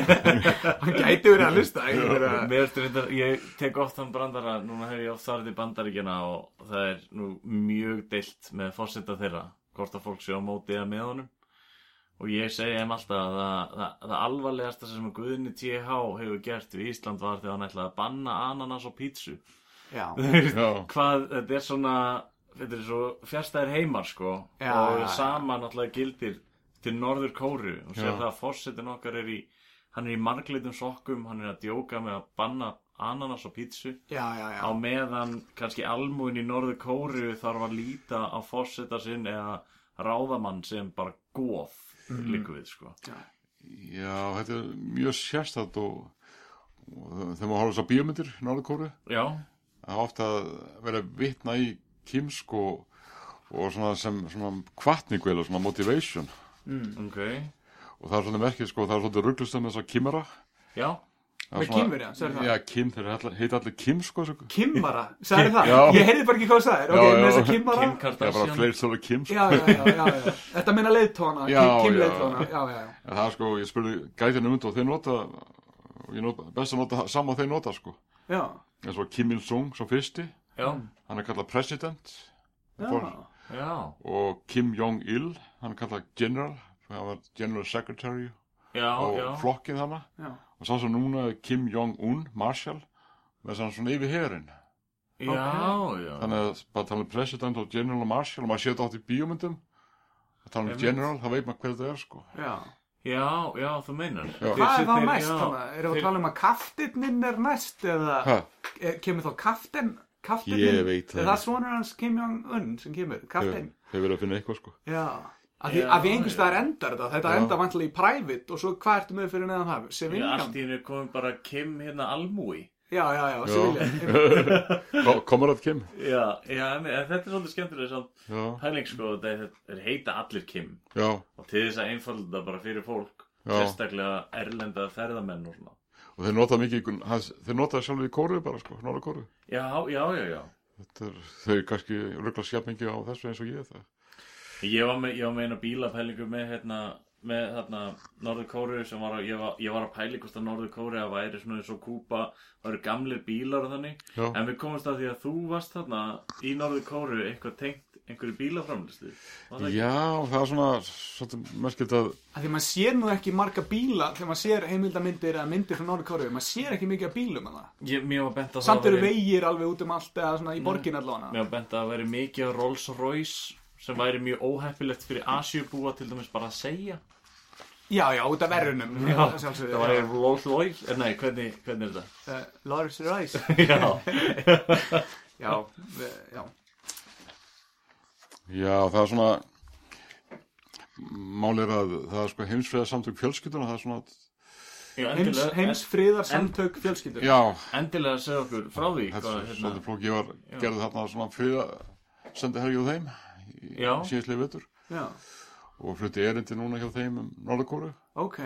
Hann gæti verið að lusta Mér ertu reyndar, ég tek oft þann brandara, núna hef ég oft þarði bandaríkjana og það er nú mjög deilt með fórseta þeirra, hvort að fólk sé á móti eða með honum. Og ég segi þeim alltaf að það, það, það alvarlegasta sem að Guðni TH hefur gert við Ísland var þegar hann ætlaði að banna ananas og pítsu. Já, Já, Hvað, þetta er svona, þetta er svo fjärstæðir heimar sko Já, og já, já. sama náttúrulega gildir til norður kóru og sér Já. það að fórsetin okkar er í, hann er í margleitum sokkum, hann er að djóka með að banna ananas og pítsu já, já, já. á meðan kannski almúin í norðu kóru þarf að líta á fórseta sinn eða ráðamann sem bara góð Mhm. mm. líku við sko já, þetta er mjög sérstætt og, og þegar maður horfður svo bíómyndir náleikóru, já, það er ofta að vera vitna í kímsk og, og svona sem svona kvartningu eða svona motivation. ok Og það er svolítið merkið sko, það er svolítið rugglust um þess að kímara. já, Það er Með svona- Kínverja, sagði það? Já, kim, þeir alla- heita allir kim sko, sko. Kimmara, sagði það? Já. Ég heyrði bara ekki hvað það er, ok, Já, með já. þess að kimmara Kim Það er bara Kardashian fleir stóra kim sko. Já, já, já, já, já. Þetta meina leiðtóna, Já, Kim já. leiðtóna, já, já, já. En það er sko, ég spurði gætinu um þetta og þeir nota, og ég nota, best að nota það sama og þeir nota sko. Já, En svo Kim Il-sung, svo fyrsti, já, hann er kallað president. já, já, Og Kim Jong-il, hann er kallað general, hann var general secretary já, og já. flokkin þarna. já. Og sá svo núna er Kim Jong-un, marshal, með þess að hann svona yfir herinn. já, já Þannig að bara tala um president og general og marshal og maður sé þetta átt í bíómyndum. Að tala um Einmitt. general, það veit maður hver þetta er sko. já. Já, já, þú meinar Já. Hvað er þá Þeir- næst já, þannig? Erum við þeir- að tala um að kaftinninn er næst eða Ha, eh, kemur þá kaftin, kaftinninn? Ég veit það Er það ekki. svonur hans Kim Jong-un sem kemur, kaftin? þau vilja finna eitthvað sko. Já, af því, Já, af því einhvers já. staðar endar þetta, þetta Já. endar vantilega í private og svo hvað ertu með fyrir neðan haf? Já, allt í Seviljan? hennu komum bara Kim hérna almúi Já, já, já, Seviljan. Sevilja. Komur að Kim. Já, já, en en þetta er svolítið skemmtilega samt Já, pæling sko, þetta er- þeir heita allir Kim já. og til þess að einfalda þetta bara fyrir fólk Já. sérstaklega erlenda ferðamenn og svona Og þeir nota mikið, í- hans, þeir nota það sjálfur í kóruðu bara sko, norra kóruðu. Já, já, já, já Þetta er, þau kannski ruggla skjafningi á þessu eins og ég það. Ég var með, ég var með eina bílapælingu með hérna með þarna Norður Kóru sem var að, ég var, ég var að pæli hvort að Norður Kóru að væri svona eins og Kúpa, væri gamlir bílar og þannig, Já. en við komumst að því að þú varst þarna í Norður Kóru eitthvað tengt einhverju bílaframlistu Já, það er svona, svolítið merkilt að, Af því maður sér nú ekki marga bíla þegar maður sér heimildamindir eða myndir frá Norður Kóru, maður sér ekki mikið af bílum að það. ég, Mér var Mm. bent að Samt það eru vegir alveg út um allt eða svona í borgin allavega. Mér var bent að það væri mikið að Rolls Royce sem væri mjög óheppilegt fyrir Asjubúa til dæmis bara að segja Já, já, út af verðunum. Já, Eh, Það væri Rolls Royce, eh, nei, hvernig, hvernig er þetta? Lars Reis. Já, Já, eh, já. já, það er svona, mál er að það er sko heimsfriða samtök fjölskylduna, það er svona, já Heims, endilega, heims friðarsamtök fjölskyldur. já, endilega segja okkur frá því þetta er hérna- svolítið flók, ég var, gerði þarna svona friða, sendi herri á þeim, Já. síðislega vettur Já, og flutti erindi núna hjá þeim um norra kóruðu. ok.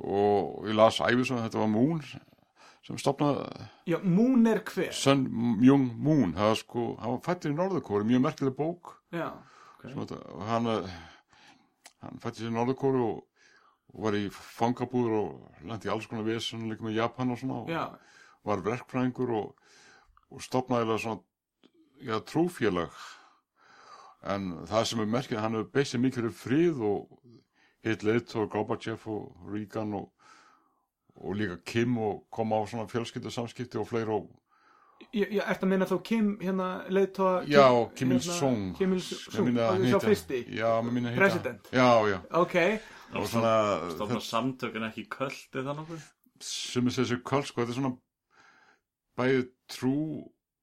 og ég las æfisum að þetta var Moon sem stopnaði Já, Moon er hver? Sun Myung Moon það var sko, hann var fættur í Norðurkóru mjög merkileg bók Já, sem þetta, og hann eh, hann fættist í Norðurkóru og, og var í fangabúður og lendi í alls konar vesen líka með Japan og svona og já, var verkfræðingur og, og stopnaði eiginlega svona já, trúfélag en það sem er merkið hann hefur beist sig mikið fyrir frið og hitt leitt og Gorbachev og Reagan og, og líka Kim og kom á svona fjölskyldu samskipti og fleira og já, já ertu að minna þá Kim, hérna, leiðtóa... já, Kim Il-sung hérna, Kim Ég Il-sung, meina að sá hitta- fyrsti. já, mér minna að hitta- President. já, já Ok, og svona Stofna samtökin ekki kvöld eða nokkuð? sem er þessi kvöld sko, þetta er svona bæði trú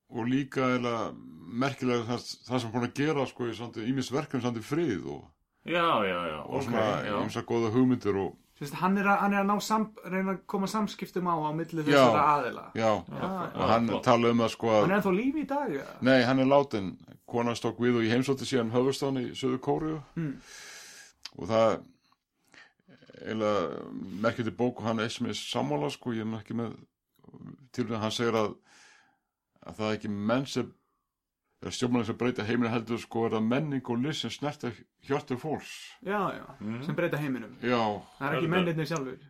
og líka eða merkilega það, það sem er búin að gera sko í samt- ýmis verkefni samt í frið og, Já, já, já. og svona já. ýmsa góða hugmyndir og Sérst, hann, er að, hann er að ná sam, reyna að koma samskiptum á á milli Já. þessara aðila. já, Ah. Já, og hann flott. tala um að sko Hann að, er ennþá lífi í dag, já. nei, hann er látin konan stokk við og ég heimsótti síðan höfustán í söðu kóru Mm. og það eða merkjandi bók og hann er sem er sammála sko, ég er nú ekki með til þess að hann segir að, að það er ekki menn sem er stjórnmæðin sem breyta heiminu heldur sko er það menning og list sem snerta hjörtu fólks Já, já, sem breyta heiminum. já, Það er ekki Heldur. mennirnir sjálfur.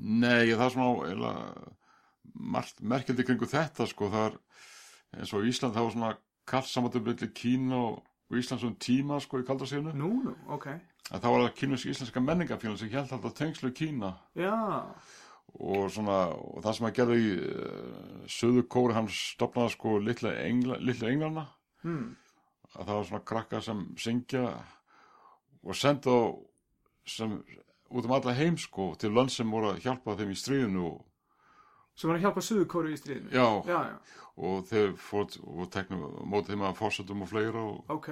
nei, það er svona eða margt merkjandi kringu þetta sko, það er eins og í Ísland það var svona kallt samvættu Kína og, og Ísland svona tíma sko í kaldarsíðinu Nú, nú, ok. að það var það kínusk íslenska menningafélag sem held alltaf tengslu við Kína Já, og, svona, og það sem hann gerði í uh, söðu kóri hann stopnaði sko litla, engla, litla englana hmm. að það var svona krakka sem syngja og senda á sem út um alla heim sko til lönd sem voru að hjálpa þeim í stríðinu og, Svo var að hjálpa suðukoru í stríðinu. já, Já, já, og þeir fórt og teknum mótið þeim að fórsetum og fleira og, ok.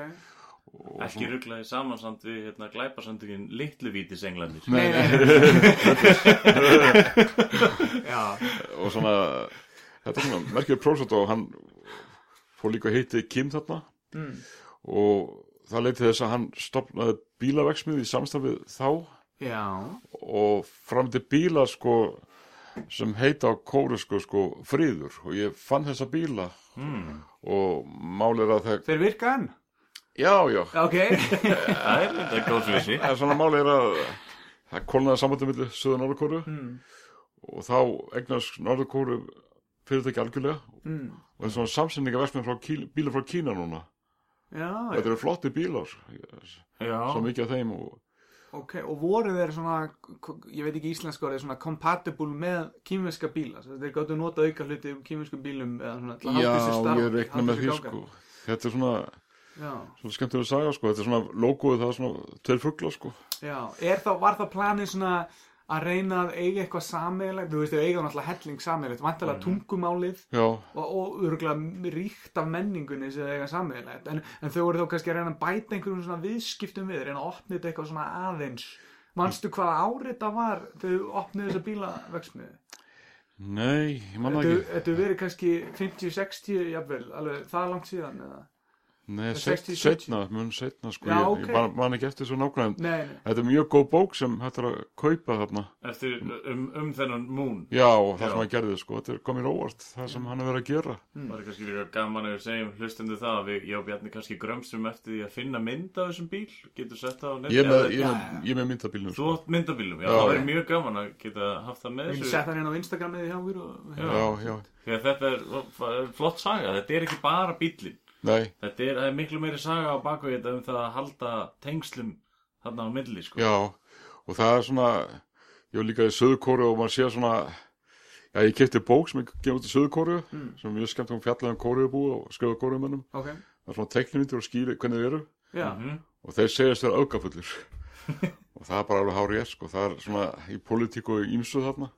og Ekki rugglaði samansamt við hérna glæpasamtökin Littluvítis englandir. Nei, nei, Já, og svona þetta er svona merkjur prófsat og hann fór líka að heiti Kim þarna mm. og það leiti þess að hann stopnaði bílaveksmið í samstafið þá já, og framdi bíla sko sem heita á kóru sko, sko friður og ég fann þessa bíla Hmm. og málið er að það þeir virka enn. já, já, Ok, Það er þetta góð fyrir sig. en svona málið er að það kolnaði samvættu milli söður norðurkóru mm. og þá eignast norðurkóru fyrirtæki algjörlega Mm. og það er svona samsendingaversmið frá Kíl, bíla frá Kína núna já, Og já, Þetta eru flotti bílar, Já. svo mikið af þeim og ok. Og voru þeir svona, k- ég veit ekki íslensku orðið, svona compatible með kýmverska bíla? Svo þeir gáttu nota auka hluti um kýmversku bílum eða svona til að halda þessu starf. ég reikna halda með þessu því sko. gangandi. Þetta er svona, Já, svona skemmtilega saga sko, þetta er svona logoið, það er svona tveir fuglar sko. já. Er þá, var þá planið svona að reyna að eiga eitthvað sameigilegt? Þú veist, þau eiga náttúrulega helling sameigilegt, vantilega Mhm. tungumálið. Já, og, og örgulega ríkt af menningunni sem það eiga sammeðilegt en, en þau voru þá kannski að reyna að bæta einhverjum svona viðskiptum við, reyna að opna þetta eitthvað svona aðeins manstu hvaða árið það var þegar þau opnuðu þessa bílaveksmiðu nei, ég manna þetta ekki. þetta hefur verið kannski 50-60 jafnvel, alveg það langt síðan eða? er Nei, 60, set- setna, mun setna sko, Já, ég, ok. ég bara man ekki eftir svo nákvæm. nei, nei, Þetta er mjög góð bók sem hægt er að kaupa þarna. Eftir um, um þennan Moon. Já, og það Já. sem hann gerði sko, þetta er komið óvart, það Mm. sem hann er verið að gera. Það er kannski líka gaman að við segjum hlustundu það að við, ég og Bjarni kannski grömsum eftir því að finna mynd af þessum bíl, getur sett það á nefndi. Ég er með, ég, er- ég er með Þú myndabílnum sko. átt myndabílum, já, Já, það já. verður mjög gaman að geta haft það með við þessu. setja hann inn á Instagramið hjá okkur og Já. Já, já, Því að þetta er það er flott saga, þetta er ekki bara bílinn. nei, Þetta er, það er miklu meiri saga á bakvið þetta um það að halda tengslum þarna á milli, sko. Já, og það er svona, ég var líka í Söðukóru og maður sé svona, já, ég kefti bók sem ég gefið út í Söðukóru, sem er mjög skemmt um fjallaðum kóruðubú og skrifa kóruðumennum. ok, Það er svona teknimindur og skýri hvernig þeir eru já, Mhm. og þeir segjast þeir aukafullir. og það er bara alveg hárið er, sko, það er svona í politík og í ímsuð þarna,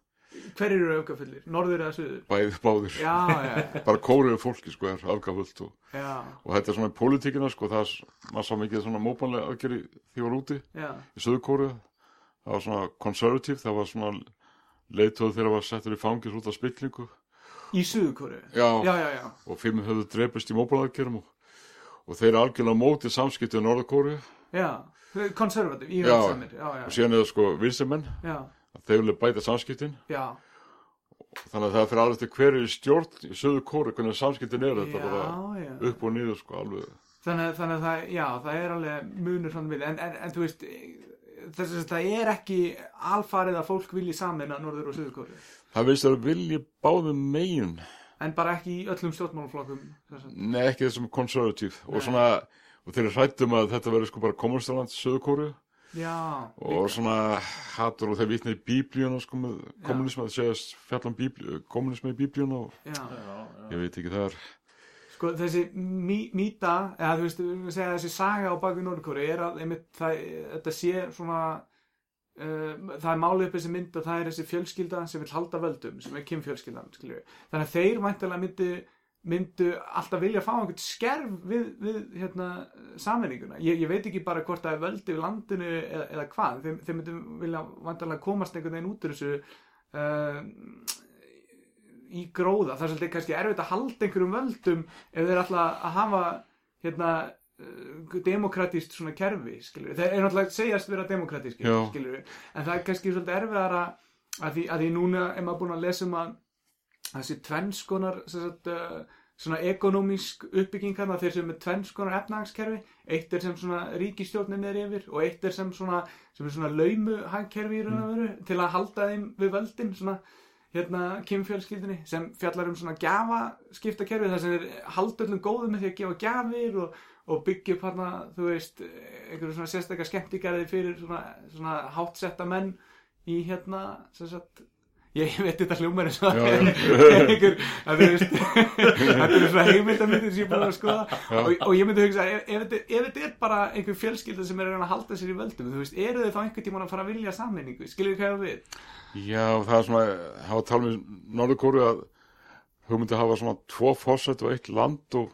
hver eru aukafullir, norður eða suður bæði báðir. já, já, Bara kóruðu fólki, sko, er aukafullt og, já, og þetta er svona í politíkina, sko, það er, maður sá mikið svona móbanlega aðgeri því var úti. já, í Suðurkóru það var svona conservative, það var svona leitóð þegar það var settur í fangis út af spillingu í suðurkóru já, já, já, já, og fimm höfðu drepist í móbalaðarkerum og, og þeir eru algjörlega á móti samskiptið í Norðurkóru já konservativ, Já. íhaldssamir já, og já, síðan er það sko vinstamenn já, þeir vilja bæta samskiptin já, þannig að það fyrir alveg til hverju stjórn í söðu kóru hvernig samskiptin eru þetta bara já, já. upp og niður sko alveg Þannig, að- þannig að það, já, það er alveg munur svona við, en, en, en þú veist þess að það er ekki alfarið að fólk vilji sameina norður og suðurkóri það veist að vilja báðum megin en bara ekki í öllum stjórnmálaflokkum sem sagt. Nei, ekki þessum konservatív Nei. og svona, og þeir hrættum að þetta verður sko bara kommunistaland söðukóru já, og svona hattur og þeir vitna í bíblíuna sko með kommunisma, þeir segja fjallan bíblíu, kommunisma í bíblíuna og já. ég veit ekki það er, sko þessi mý, mýta eða þú veist, við viljum segja þessi saga á baku norðurkóri er að einmitt það, þetta sé svona uh, það er málið upp þessi mynd að það er þessi fjölskylda sem vil halda völdum, sem er kynfjölskyldan skiljum við, þannig að þeir væntalega myndu myndu alltaf vilja fá einhvern skerf við, við hérna, sameininguna. Ég, ég veit ekki bara hvort það er völdi við landinu eða, eða hvað. Þeir, þeir myndu vilja vantarlega komast einhvern veginn út úr þessu uh, í gróða. Það er svolítið kannski erfitt að halda einhverjum völdum ef þeir alltaf að hafa hérna, uh, demokratíst svona kerfi, skilur við. Þeir eru alltaf að segjast vera demokratísk, Já. skilur við. En það er kannski svolítið erfiðara að því, að því núna er maður búin að lesa um að þessi tvennskonar sagt, uh, svona ekonomísk uppbygging þarna þeir sem er með tvennskonar efnahagskerfi eitt er sem svona ríkistjórnin er yfir og eitt er sem svona, sem er svona laumuhagkerfi í raun og veru til að halda þeim við völdin svona hérna kynfjölskyldinni sem fjallar um svona gjafaskiptakerfi þar sem er haldöllum góðum með því að gefa gjafir og, og byggja upp hérna þú veist einhverju svona sérstakar skemmtigarði fyrir svona, svona hátsetta menn í hérna sem sagt Ég veit þetta hljómar eins og Já, það já. er einhver, að þú veist, þetta eru svona heimildamindir sem ég er búin að skoða og, og ég myndi hugsa, ef, ef, þetta- ef þetta er bara einhver fjölskylda sem er að reyna að halda sér í völdum, þú veist, eru þau þá einhvern tímann að fara að vilja sammenningu, skilur þau hvað ég á við? já, það er svona hafa talað með norðukóru að hugmyndi hafa svona tvo fósætt og eitt land og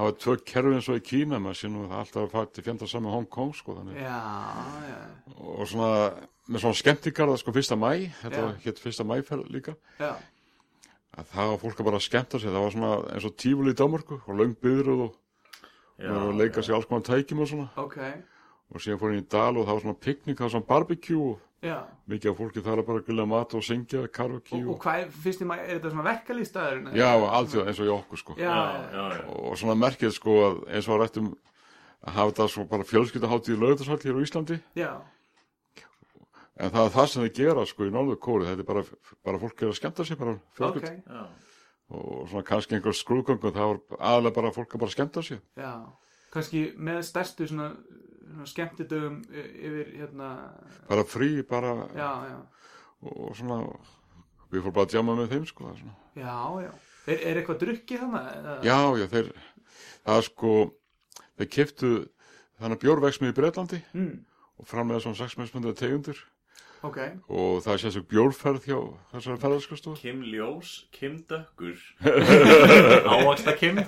hafa tvö kerfi eins og í Kína maður sé nú það alltaf að fara til fjönda saman Hong Kong sko þannig Já, já, og svona, með svona skemmtikarða sko fyrsta mæ, þetta Já. var hétt fyrsta mæferð líka já, að það var fólk að bara skemmta sér, það var svona eins og tíful í Danmarku og löng byðröð og Já, það var að leika sér alls konar tækjum og svona ok, og og síðan fór ég í dal og það var svona piknik, það var svona barbecue og já. mikið af fólki þar að bara gulja mat og syngja, karaoke Og, og og, hvað, er- finnst þið maður, er þetta svona verkalýstaður? já, allt því eins og í okkur sko Já, já, já, já. og svona merkið sko að eins og að rættum að hafa þetta svo bara fjölskyldaháttið í lögutarsall hér á Íslandi já, en það er það sem þið gera sko í norður kóri þetta er bara, bara fólk er að skemmta sér bara ok, fjölskyld og svona kannski einhver skrúðgöngu það var aðalega bara fólk að bara skemmta sér já. Kanski með stærstu svona, svona skemmtidögum y- yfir, hérna, bara frí, bara já, já. og svona við fórum bara að djama með þeim sko það er svona. Já, já. Er, er eitthvað drukkið þannig? Já. já, já, þeir það er sko, þeir keftu þannig bjórveksmið í Breitlandi Mm, og framlega svona sexmessmyndið tegundur ok. og það er sérstök bjórferð hjá þessari ferðarskastofu Kim Ljós, Kim Dökkur Ávaxta Kim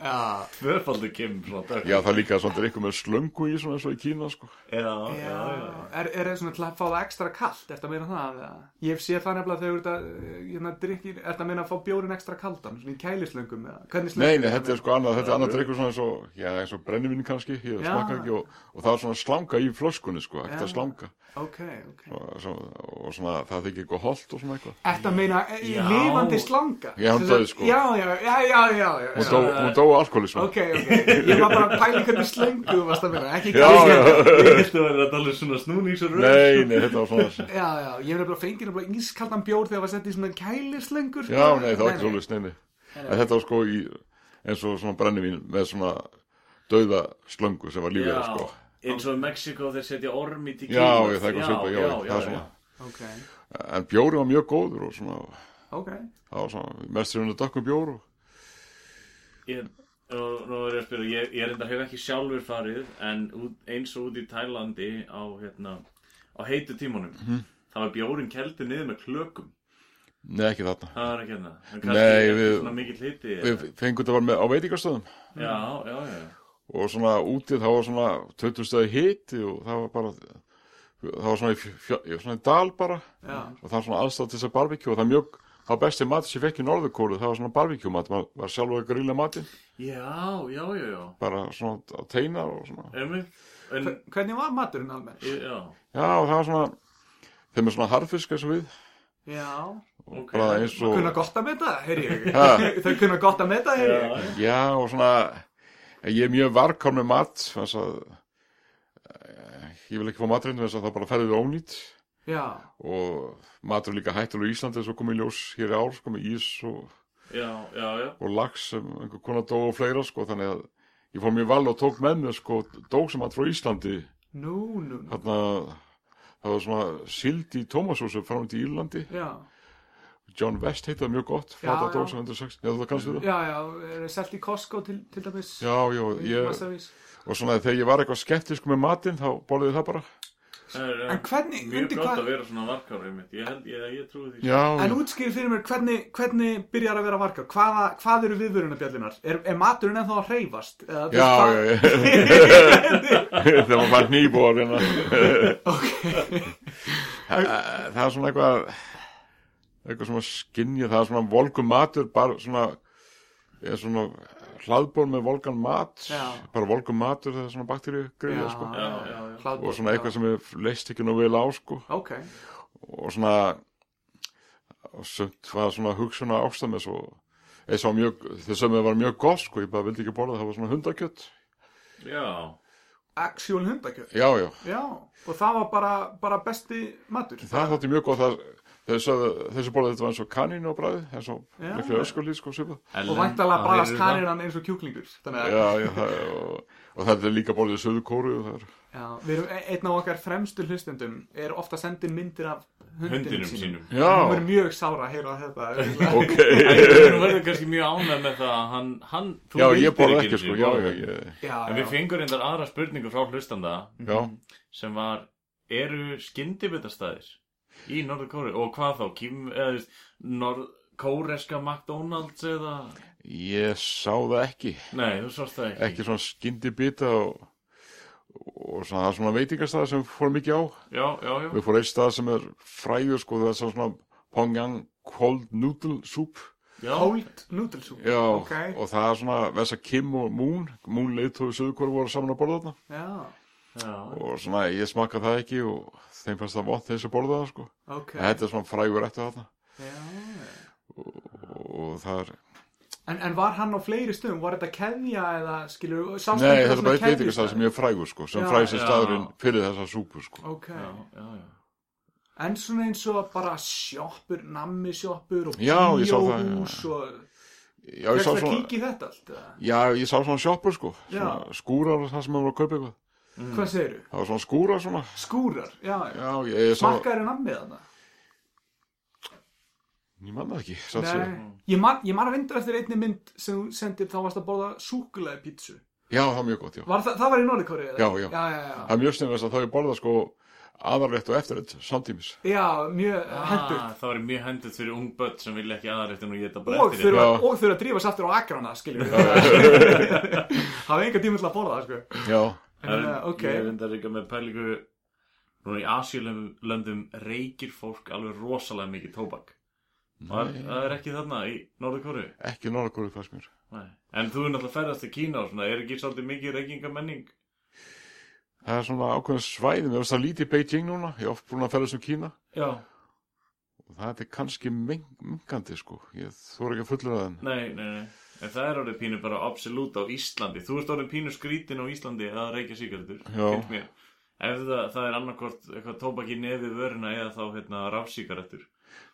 Já, Tvöfaldur Kim svona Dökkur já, það er líka svona drikkum með slöngu í svona eins og í Kína sko já, já, já, já. Er, er það svona til að fá það ekstra kallt? Er það meina það? eða? Ég sé það nefnilega þegar þú ert að, eh, hérna, drikkir, er það meina að fá bjórin ekstra kaldan, svona í kælislöngum eða? Hvernig nei, nei, þetta er sko annað, þetta er annað drikkum svona eins og, já, eins og brennivinn kannski ég Já. smakka ekki og, og það er svona slanga í flöskunni sko, ekkert Já. að slanga Ok, ok. og, svo, og svona, það þykir eitthvað holt og svona eitthvað Er það meina eh, í Já. lifandi slanga? Já, hún Sem sagt- dói, sko. Já, já, já, já, já, já. hún dó, hún dó alkoholisma Ok, ok. Ég var bara að pæla í hvernig slöngu þú varst að meina, ekki já, kælislöngu. já Ég held að vera að tala um svona sko. snúnings og röð Nei, nei, þetta var svona Já, já, ég hef nefnilega fengið nefnilega ískaldan bjór þegar var sett í svona kælislöngur. Já, nei, það var ekki svolítið sneini En þetta var sko í, eins og svona brennivín með svona dauða slöngu sem var lífið Já, það sko eins og í Mexiko þeir setja orm í Já, ég, það er eitthvað svipa, já, já, það er svona Ok, En bjóri var mjög góður og svona ok. Það var svona, mesturinn að dökkum bjór og, Ég, nú, nú er ég að spyrja, ég, ég reyndar hef ekki sjálfur farið en út, eins og út í Tælandi á, hérna, á heitu tímanum Mhm. það var bjórin keldur niður með klökum Nei, ekki þarna það var ekki hérna En Nei, kannski er við- svona mikill hiti Við fengum þetta var með á veitingastöðum já, já, já Og svona úti það var svona 20 stöði hiti og það var bara Það var svona í, fjö, fjö, svona í dal bara Já, og það er svona aðstæð til þess að barbekjú og það er mjög þá besti mat sem ég fekk í norðurkóru það var svona barbíkjúmat, maður var sjálfur að grilla matinn Já, já, já, já. bara svona að teina og svona Einmitt. En, Hvernig var maturinn almennt? já, já og það var svona þeim er svona harfisk eins og við Já, ok. bara eins og kunna gott að meta, heyri ég Ha. Þau kunna gott að meta, heyri ég Já, Já, og svona, ég er mjög varkar með mat, þannig að eh, ég vil ekki fá maturinn, þannig að það bara ferðið ónýtt Já, og matur er líka hættulega í Íslandi, svo komið ljós hér í ár, sko, með ís og, já, já, já. og lax sem einhver konar dó og fleira, sko, þannig að ég fór mjög val og tók með mér, sko, dóksamat frá Íslandi, nú, nú, nú þarna, það var svona sild í tómasósu frá til Írlandi, Já, John West heitaði mjög gott, Já, flata já. dósa 160, já, það kannski það. já, já, er selt í Costco til, til dæmis Já, já, ég, massavís. og svona þegar ég var eitthvað skeptisk með matinn, þá borðið það bara. Það er, En hvernig, Mjög undir gott hvað að vera svona varkar einmitt. Ég held, ég, ég trúi því. Já, En útskýri fyrir mér, hvernig, hvernig byrjar að vera varkar? Hvaða, hvað eru viðvörunabjallinar? Er, er maturinn ennþá að hreyfast? Eða, þú já, veist, hvað- já, já. þegar maður fær nýbúar hérna. það, það er svona eitthvað, eitthvað svona skinja, það er svona volgum matur, bara svona, eða svona hlaðbór með volgan mat, Já. bara volgum matur, það er svona bakteríugriða, sko. Já, já, já. Hlaðbór, Og svona já. eitthvað sem er leist ekki nú vel á, sko. Ok, og svona og sumt var svona hugsunar ástæð með svo eins og mjög, þess að mér var mjög gott sko, ég bara vildi ekki borða, það var svona hundakjött Já, actual hundakjöf já, já, Já, og það var bara, bara besti matur það þótti mjög gott það, þessu, þessu borða þetta var eins og kanínu á bræði, eins og Já. miklu öskulíð sko, svipað Og væntalega bræðast kaninan eins og kjúklingur Þannig að já, já, það, og, og þetta er líka borðið í söðu kóru og það er, já, við erum e- einn af okkar fremstu hlustendum Er ofta sendin myndir af hundinum, hundinum sínum. Hún verður já, mjög sára að heyra þetta ok En þú verður kannski mjög ánægð með það að hann, hann, þú já, vildir ég borða einu ekki sko, sinni já, borða. já, ég, Já, En við fengum reyndar aðra spurningu frá hlustanda já sem var, eru skyndibitastæðir í Norður Kóru og hvað þá, Kim, eða þú veist, Norð, Kóreska McDonalds eða, ég sá það ekki nei, þú sást það ekki. ekki svona skyndi bita og, og svona, það er svona veitingastæð sem fór mikið á Já, já, já. við fór eitt stað sem er fræður sko, það er svona Pongyang Cold Noodle Soup já. Old noodlesúp já, Ok. og það er svona Vessa Kim og Moon, Moon leiðtói söðurkóru voru saman að borða þarna Já, já. og svona ég smakka það ekki og þeim fannst það vont þeir sem borða það sko ok en þetta er svona frægur eftir þarna Já og það er, En, en var hann á fleiri stöðum? Var þetta keðja eða skilur Nei, nei þetta er bara eitt veitingastæð sem ég er frægur sko, sem Já, fræðist já. staðurinn fyrir þessa súpu sko Ok, Já, já, já. en svona eins og bara sjoppur, nammi sjoppur og Já, ég sá það, bíóhús og já, ég sá Fyrst að svona, kíkja í þetta allt eða? já, ég sá svona sjoppur sko Já. svona skúrar það sem maður var að kaupa eitthvað Hvað segirðu? það var svona skúrar svona Skúrar, já, já. Mm. já, ég, ég sá, Smakkar er nammið þarna? ég manna ekki satt sér Ég man, ég man að vindur eftir einni mynd sem þú sendir þá varst að borða súkulega pítsu. Já, það er mjög gott, já. Var það, það var í Norðikóri eða? Já, Já, já. já, Það já. er mjög snemmast að þá ég borða sko aðarlegt og eftirleitt samtímis. Já, mjög ah, hendur. Ah, það var mjög hendut fyrir ung börn sem vilja ekki aðrættin og geta bara Og eftir þurfa, Já. og þurfa að drífa sáttur á akrana, skiljum við. Það var enga tíma til að borða það, sko. Já, En, uh, ok. Ég er enda líka með pælingu Núna í Asíulöndum reykir fólk alveg rosalega mikið tóbak Það er- það er ekki þarna í Norður Kóru ekki norðakóru fannst mér. En þú er náttúrulega ferðast til Kína og svona Er ekki svolítið mikið reykingamenning? Það er svona ákveðin svæði, mér finnst það lítið í Beijing núna, ég er oft búin að ferðast um Kína Já og það er kannski mingandi sko, ég þóra ekki að fullur að henn. Nei, nei, nei En það er orðið pínu bara absolutt á Íslandi Þú ert orðið pínu skrítin á Íslandi að reykja sigaretur Já. finnst mér. Ef það, það er annarkvort eitthvað tóbak í nefi vöruna eða þá hérna rafsigarettur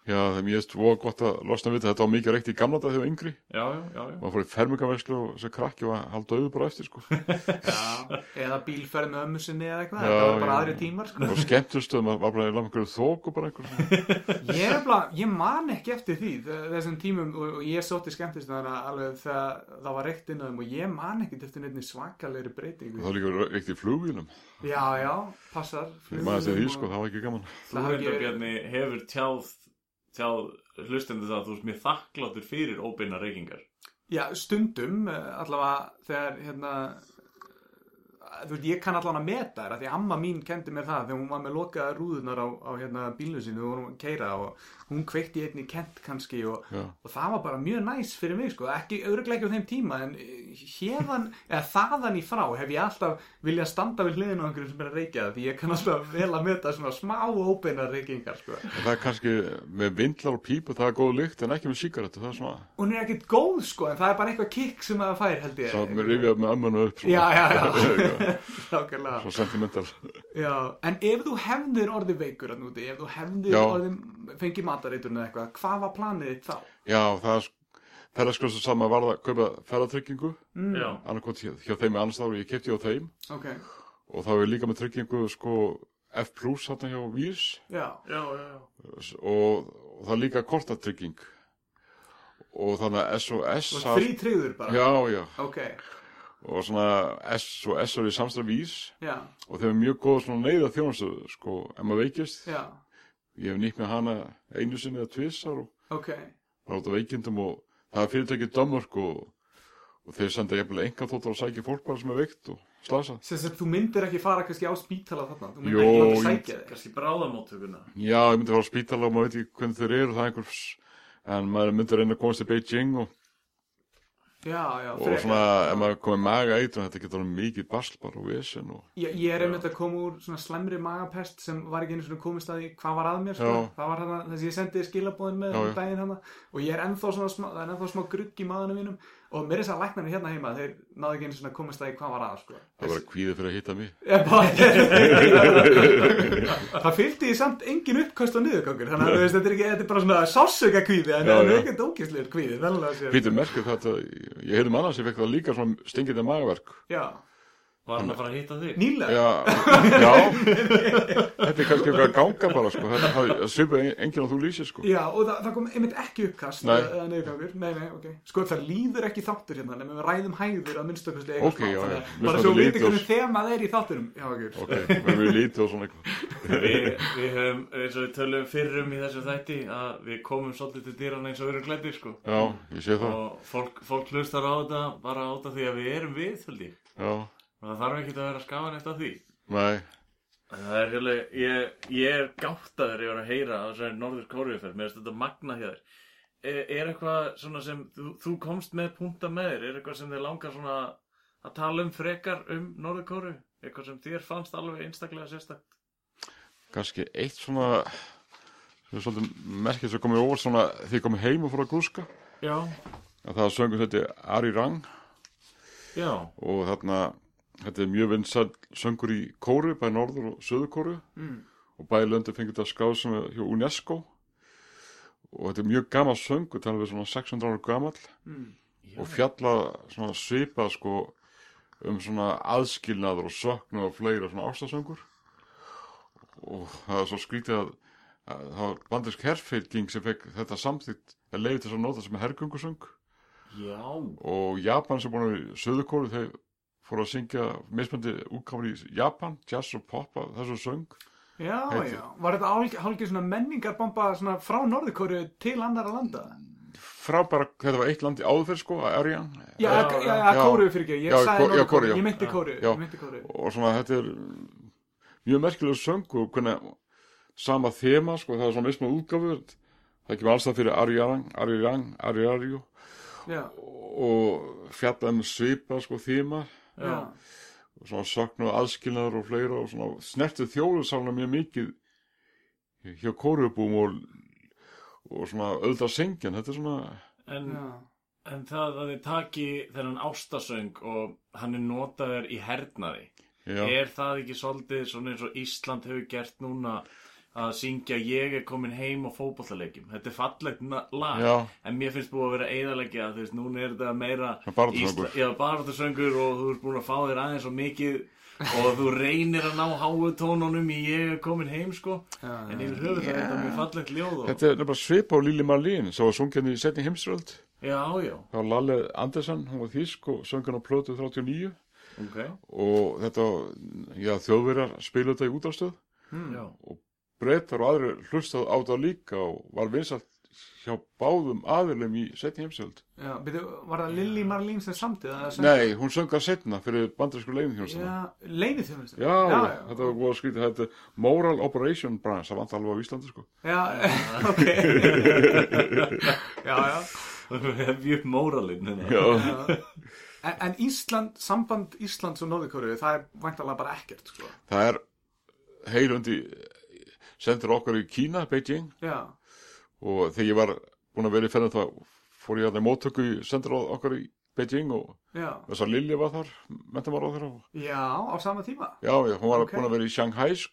Já, það er mjög voða gott að losna við þetta, þetta var mikið reykt í gamla dag þegar ég var yngri. Já, já, já, já. Maður fór í fermingaverslu og þessi krakki var halda auðu bara eftir sko. Já. Eða bílferð með ömmu sinni eða eitthvað. Já, það var bara já. aðri tímar, sko. Og skemmtustöðum, maður var bara í langur þóku bara einhverjum. Ég, er nefnilega- ég man ekki eftir því þe- þessum tímum og og ég sótti skemmtist alveg þegar það var reykt inn á þeim og ég man ekki eftir nefnir svakalegri Og breytingu það líka reykt í flugvílum. Já, já, passar Ég maður eftir því sko, það var ekki gaman. Þú Það hafi reyndar ekki verið- Bjarni hefur tjáð, tjáð hlustendur það að þú ert mér þakkláttur fyrir óbeina reykingar. Já, stundum eh, allavega þegar hérna þú veist, ég kann allan að meta þær af því að amma mín kendi mér það þegar hún var með lokaða rúðunar á, á hérna, bílnum sínu og hún var að keira og hún kveikti í einni kent kannski og, Já. og það var bara mjög næs fyrir mig sko, ekki, örglega ekki á þeim tíma en hérðan, eða þaðan í frá hef ég alltaf viljað standa við hliðinu á einhverjum sem er að reykja það því ég kann alltaf vel að meta svona smá óbeinar reykingar sko. En það er kannski með vindlar og pípu, það er góð lykt, en ekki með sígarettu, það er svona, hún er ekkert góð sko en það er bara eitthvað kikk sem það fær held ég það er rifjað með ömmunu upp, já, svona, já, já, nákvæmlega svo sentimental. Já, en ef þú hefðir orðið veikur að núti, ef þú hefðir Já. orðið fengið matareiturinn eða eitthvað, hvað var planið þitt þá? Já, það er, það er sko svo sama að varða, kaupa ferðartryggingu, Já, annarkot hjá, hjá þeim í annarstáru, ég kefti hjá þeim, Ok, og þá er ég líka með tryggingu, sko, F plus hérna hjá Vís, já, já, já, já. og, og það er líka kortatrygging, og þannig að SOS, þú var frítryggður bara. já, já, Ok, og svona SOS er í samstæð Vís, já, og þeir eru mjög góð svona neyða þjónustu, sko, ef maður veikist, já, ég hef nýtt með hana einu sinni eða tvissar og ok, var út af veikindum og það er fyrirtækið Dömörk og, og þeir senda jafnvel enga þóttur að sækja fólk bara sem er veikt og slasa. sem sagt þú myndir ekki fara kannski á spítala þarna, þú myndir Jó, ekki láta ég- sækja þig. Kannski bráðamóttökuna. Já, ég myndi fara á spítala og maður veit ekki hvernig þeir eru, það er einhvers, en maður myndi reyna að komast til Beijing og, Já, já, og svona, ef maður komið maga eitrun, þetta getur alveg mikið basl bara og vesen og Ég, ég er einmitt að koma úr svona slemri magapest sem var ekki einu svona komist að því hvað var að mér sko. Já. það var hana, þess að ég sendi skilabóðin með Já, um já. daginn hana og ég er ennþá svona smá, það er ennþá smá grugg í maðunum mínum og mér er þess að læknarnir hérna heima þeir náðu ekki einu svona komist að því hvað var að sko. það var að kvíða fyrir að hitta mig. Ég bara- það fylgdi ég samt engin uppkast á niðurgangur þannig að þú veist, þetta er, ekki, þetta er bara svona sásöka kvíði en Já, það er já. ekkert ókýrslegur kvíði vellega sér Pítur merkir þetta, ég heyrðum annars, ég fekk það líka svona stingandi magaverk. Já. Var hann að fara að hitta þig? nýlega Já, já, þetta er kannski eitthvað að ganga bara, sko, þetta það svipa enginn að þú lýsir, sko. Já, og það, það kom einmitt ekki uppkast Nei. eða neyðgangur, nei, nei, ok Sko, það líður ekki þáttur hérna, nema við ræðum hæðir að minnstakosti Ok, já, já. þannig að Mismunandi bara svo við litir. veitum hvernig þemað er í þátturum Já, ok, Ok, við við lítið og svona eitthvað. Við, við höfum, eins og við töluðum fyrrum í þessu þætti, að við komum svolítið til dýran eins og við erum glættir, sko. Já, ég sé það, Og fólk, fólk hlustar á þetta bara á þetta því að við erum við, held ég. já, Og það þarf ekki að vera að skafa neitt af því. nei, En Það er hérlega, ég, ég er gáttaður yfir að heyra á þessari norður kóriðuferð, mér finnst þetta magna hjá þér. Er, er eitthvað svona sem, þú, þú komst með punta með þér, er eitthvað sem þið langar svona að tala um frekar um norður kóru? Eitthvað sem þér fannst alveg einstaklega sérstakt? kannski eitt svona, sem er svolítið merkið sem komið óvart svona, því ég komið heim og fór að grúska, Já. að það söngur þetta Ari Rang Já. og þarna, þetta er mjög vinsal söngur í Kóru, bæði Norður og Söður Kóru Mm. og bæði löndi fengið þetta skráð sem er hjá UNESCO og þetta er mjög gammal söngur, þannig að við svona 600 ára gamall mm. og fjalla svona svipa sko um svona aðskilnaður og söknuð og fleira svona ástasöngur og það er svo skrítið að, að það var bandisk herrfeyrking sem fekk þetta samþýtt að leiði til að nota sem herrgöngusöng Já. og Japan sem búin í söðukóru þeir fóru að syngja mismandi útkáfur í Japan, jazz og pop af þessu söng Já, Heitir- já, var þetta hálfgeir hálf svona menningarbomba svona frá Norðurkóru til andara landa? frábæra, þetta var eitt land í áður fyrir sko, Arian Já, Já, já, já, já, já. Kóru fyrir ekki, ég Já, sagði Kó- já, Kóreu, Norðurkóru, já. ég myndi Kóru, Já. ég myndi Kóru og svona þetta er mjög merkilega söng og hvernig sama þema sko, það er svona mismað útgáfu það kemur alls það fyrir Ari Arang, Ari Rang, Ari Arjú Já, og fjallað um svipa sko þema já, og svona sakna og aðskilnaður og fleira og svona snertu þjóðursána mjög mikið hjá kórubúum og, og svona auðvitað sengjan, þetta er svona En, já, en það að þið taki þennan ástasöng og hann er notaður í hernaði. já, Er það ekki svolítið svona eins og Ísland hefur gert núna að syngja ég er komin heim á fótballaleikjum Þetta er fallegt na- lag Já. en mér finnst búið að vera eðalegja þú veist, núna er þetta meira Svona baráttusöngur. Ísla- Já, baráttusöngur og þú ert búin að fá þér aðeins og mikið og þú reynir að ná háu tónunum í ég er komin heim sko en yfir höfuð það er þetta mjög fallegt ljóð og... þetta er nefnilega svipa á Lili Marlín sem var sungjan í setni heimsröld Já, já, þá Lalle Andersen, hún var þýsk og söngan á plötu 39 ok og þetta, já, þjóðverjar spila þetta í útastöð Já, breytar og aðrir hlustað á það líka og var vinsalt hjá báðum aðilum í setni heimsöld. Já, byrju, var það Lilli Marlín sem samtið? Nei, hún söngar setna fyrir bandarísku leiðinþjónustana. Já, leinið þjónustan. Já, þetta var góð að skrýta, þetta er Moral Operation Brands, það vant alveg á Íslandi sko. Já, ok. já, já. Hefjum móralinn hérna. Já, En, en Ísland, samband Íslands og Norðurkóru, það er væntalega bara ekkert, sko. það er heilundi, sendur okkar í Kína, Beijing, Já, og þegar ég var búin að vera í ferðin þá fór ég að það móttöku í sendur okkar í Beijing og já. þessar Lilja var þar, mentamára á þeirra. Já, á sama tíma. Já, já, hún var Ok. búin að vera í Shanghai sko.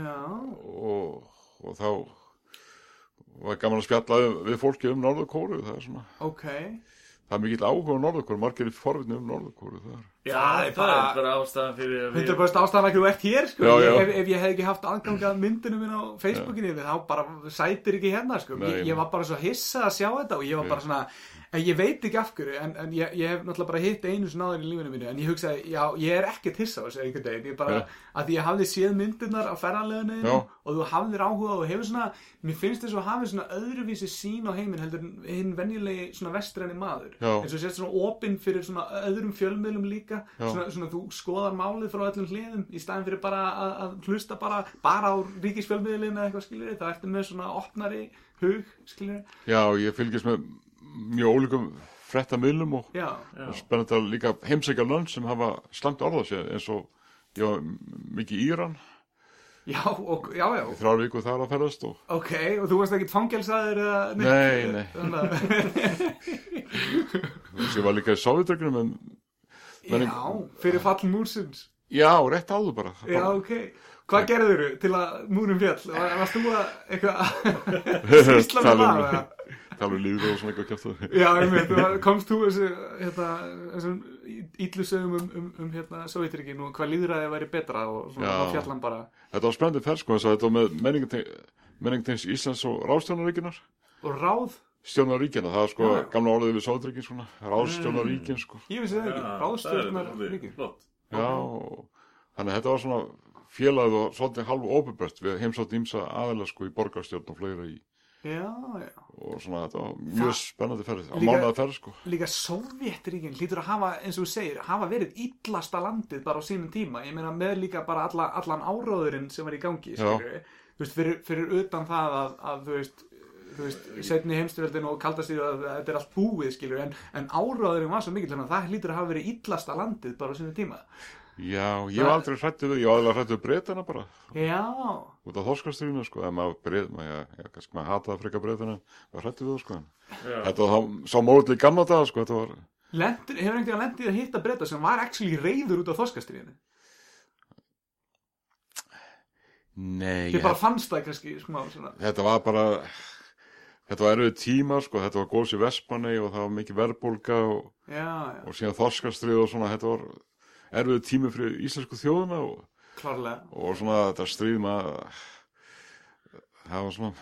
Já, og, og þá var gaman að spjalla um- við fólki um Norðurkóru það er svona, ok. það er mikill áhuga um Norðurkóru, margir er forvinni um Norðurkóru það er, Já, það, er það bara- er bara ástæðan fyrir að 100% ástæðan að hverju þú ert hér, sko. Já, já. Ég- Ef, ef ég hef ekki haft angangað myndinu minn á Facebookinu, þá bara sætir ekki hérna, sko. Nei, ég, nei. ég var bara svo hissa að sjá þetta og ég var bara svona, en ég veit ekki af hverju, en, en ég, ég hef náttúrulega bara hitt einu svona áður í lífinu mínu, en ég hugsaði, já, ég er ekkert hissa á þessu einhvern veginn, ég bara, Nei. að því ég hafði séð myndirnar á ferðarleginu Já. og þú hafðir áhuga og hefur svona, mér finnst þess að hafi svona öðruvísi sín á heiminn heldur en hinn venjulegi svona vestræni maður, Já. eins og sést svona opinn fyrir svona öðrum fjölmiðlum líka Já. svona, svona þú skoðar málið frá öllum hliðum í staðin fyrir bara að, að hlusta bara bara á ríkisfjölmiðlinu eða eitthvað skilur þá ertu með svona opnari hug skilur, já, ég fylgist með mjög ólíkum frettamilum og, já, og spennandi að líka heimsækja lönd sem hafa slæmt orða sér eins og ég var m- mikið í Íran já, og, já, já þrjár viku þar að ferðast og ok, og þú varst ekkit fangelsaður eða Nei, nei. nei þess ég var líka í Sávitrögnum en Menning- já, fyrir fall múrsins já, rétt áður bara já, ok, hvað gerður þú til að múrum fjall, Var- varst þú að eitthvað sýsla um- með það eða? talveg líður um og svona eitthvað kjátt Já, einmitt, og komst þú þessu, hérna, þessum ídlusögum um, um, um hérna, Sovjetrygin og hvað líðræði væri betra og svona Já. þá fjallan bara Þetta var spennandi ferð sko, þess að þetta var með menningateng- menningatengs Íslands og ráðstjónaríkinar og ráð, stjónaríkina, það er sko Já. gamla orðið við sóðryggjum svona, ráðstjónaríkin sko ég vissi það ekki, ráðstjórnar ríkir. ríkir Flott. Mm. já, og- þannig að þetta var svona félagið og svolítið halvu óbyrbröst við heimsátt ímsa aðeila sko í borgarstjórn og fleira í, Já, já, og svona þetta var mjög spennandi ferð, á Líka- mánuða ferð sko líka Sovjetrygin hlýtur að hafa, eins og þú segir, hafa verið illasta landið bara á sínum tíma, ég meina með líka bara alla, allan áróðurinn sem var í gangi, Já. skilur þú veist, fyrir, fyrir utan það að, að þú veist, þú veist, setni heimstyrjöldin og kaldastýrðu að þetta er allt búið, skilur, en, en áróðurinn var svo mikill, þannig að það hlýtur að hafa verið illasta landið bara á sínum tíma. já, ég var aldrei hrættu við, ég var aðeila hrættu við breytana bara, Já, út af þorskastríðinu sko, eða maður breyð, maður, já, já, kannski maður hataði freka breytana, maður hrættu við það sko en þetta var þá- sá móðið í gamla daga sko, þetta var Lentur, hefur einhvern veginn lendið að hitta breyta sem var actually reyður út á þorskastríðinu? Nei, Þið bara fannst það kannski smá svona. þetta var bara þetta var erfið tíma sko, þetta var góðs í Vespanei og það var mikið verðbólga og, Já, já, og síðan þorskastrið og svona þetta var erfið tími fyrir íslensku þjóðuna og, klárlega. og svona þetta stríð maður það var svona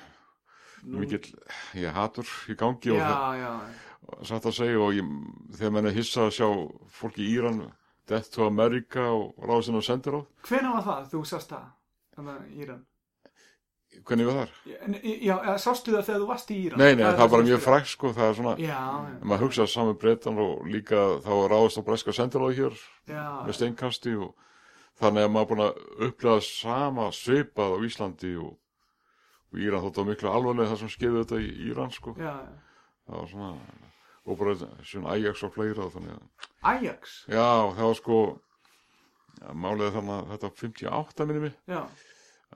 mikill, ég hatur í Já, gangi og það, já, satt að segja og ég, þegar menn er hissa að sjá fólki í Íran Death to America og ráðsinn á sendiráð, Hvenær var það þú sást það? Þannig að Íran. hvernig var þar? Já, en- Já, eða sástu það þegar þú varst í Íran? Nei, nei, það er var bara sem mjög skrifa. frækt sko, það er svona Já, En maður hugsaði saman breytan og líka þá ráðast á breska sendiráði hér já, já, með steinkasti og þannig að maður búin að upplega sama svipað á Íslandi og, og Íran þótt á miklu alvarlega það sem skeiði þetta í Íran sko. já. Það var svona, og bara svona Ajax og fleira þannig að, Ajax, já það var sko, ja, málið er þannig að þetta 58 minni mig já,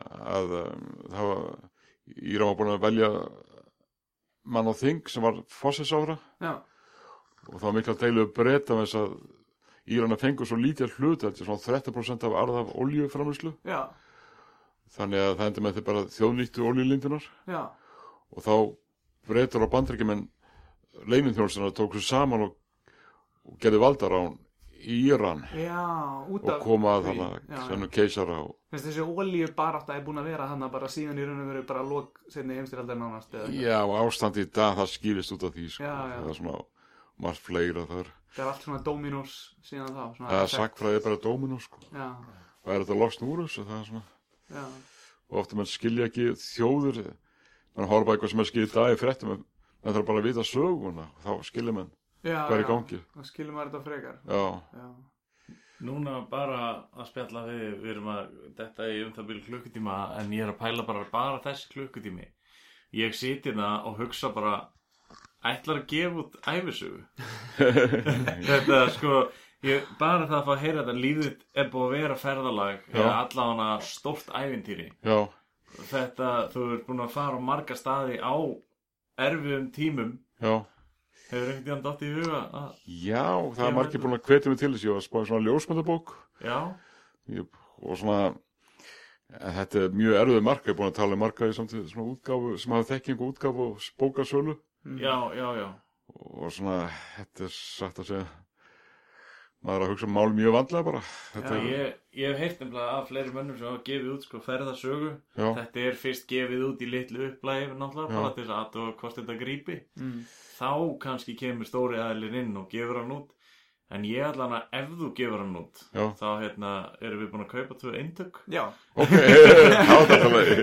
að um, það var, Íran var búin að velja mann á þing sem var fósisára já, og það var mikla deilu breyta með þess að Írana fengur svo lítið hlut þetta er svona 30% af arð af oljuframlýslu já, þannig að það endur með þetta bara þjóðnýttu oljulindunar já, og þá breytur á bandryggjumenn leininþjóðsina tók svo saman og, og gerði valdarán í Íran já, út og af... koma að því. þarna Já, já. sennu keisara og Þessi, þessi olíu barátta er búin að vera hann bara síðan í raun og veru bara lók seinni heimstyraldar nánast eða já og ástandi í dag það skýrist út af því sko. Já, já. það er svona margt fleira þar það er allt svona dominós síðan þá svona það er sakfræði bara dóminu sko. já, og er þetta losn úr þessu það er svona já, og ofta menn skilja ekki þjóður mann horfa á eitthvað sem er skýrt dag í fréttum en það þarf bara að vita söguna þá skilja menn já, Hvað er í já, gangi? þá skilum maður þetta frekar já, já, Núna bara að spjalla við, við erum að, þetta er um það byrja klukkutíma en ég er að pæla bara, bara þessi klukkutími. Ég siti það og hugsa bara, ætlar að gefa út æfisugu? þetta sko, ég, bara það að fá að heyra þetta, lífið er búið að vera ferðalag, Já. eða allavega stórt ævintýri. já, Þetta, þú ert búin að fara á marga staði á erfiðum tímum, já hefur einhvern tíðan dótt í huga að, já, það Já, er margir menn- búin að hvetja mig til þess ég var að spáði svona ljósmyndabók já, ég, og svona en þetta er mjög erfið marka, ég er búin að tala um marka í samtíð, svona útgáfu, sem hafa þekkingu útgáfu og bókasölu já, já, já. og svona, þetta er satt að segja maður er að hugsa um mál mjög vandlega bara þetta, Já, ég, ég hef heyrt nefnilega af fleiri mönnum sem hafa gefið út sko ferðasögu já, Þetta er fyrst gefið út í litlu upplægi náttúrulega, Já. bara til þess að athuga hvort þetta grípi Mm. Þá kannski kemur stóri aðilinn inn og gefur hann út En ég allan að ef þú gefur hann út já, Þá hérna, erum við búin að kaupa tvö eintök já. ok þá er þetta alveg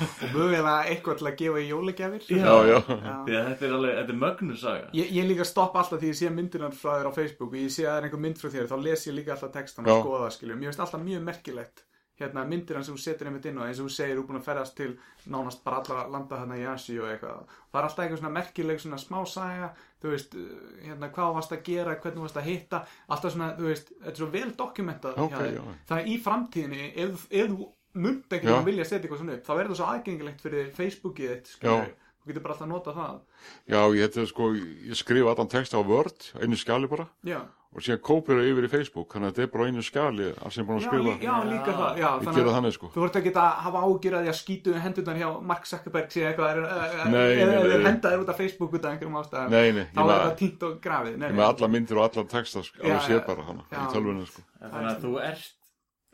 og mögulega eitthvað til að gefa í jólagjafir já, já, já. Því að þetta er alveg, þetta er mögnusaga Ég, ég líka stoppa alltaf því ég sé myndunar frá þér á Facebook og ég sé að það er einhver mynd frá þér þá les ég líka alltaf textan Já. og skoða skiljum mér finnst alltaf mjög merkilegt hérna myndunar sem þú setur einmitt inn og eins og þú segir þú er búin að ferðast til nánast bara allra landa þarna í Asi og eitthvað það er alltaf einhver svona merkileg svona smá saga þú veist, uh, hérna hvað þú varst að gera hvernig þú varst að hitta, alltaf svona þú veist, þetta er svo vel dokumentað Ok, hjá þér. já. þannig að í framtíðinni ef, ef þú munt Já. einhvern veginn vilja setja eitthvað svona upp þá verður það svo aðgengilegt fyrir Facebookið þitt, skilurðu. þú getur bara alltaf að nota það já, ég þetta er sko ég skrifa allan text á Word, einu skjali bara já og síðan kópir það yfir í Facebook þannig að þetta er bara á einu skjali allt sem ég er búin að já, skrifa lí- já, líka Já. það já, ég þannig, gera að þannig sko Þú voru ekki að hafa ágjur að því að skýtu hendurnar hjá Mark Zuckerberg sé eitthvað er, Nei, nei, eða nei. þeir henda þér út af Facebook út af einhverjum ástæðum nei, nei, þá ég er með, það tínt og grafið nei, nei. ég með alla myndir og allan texta sko, Já, alveg sér já, bara hana já. í tölvunni sko Þannig að þú ert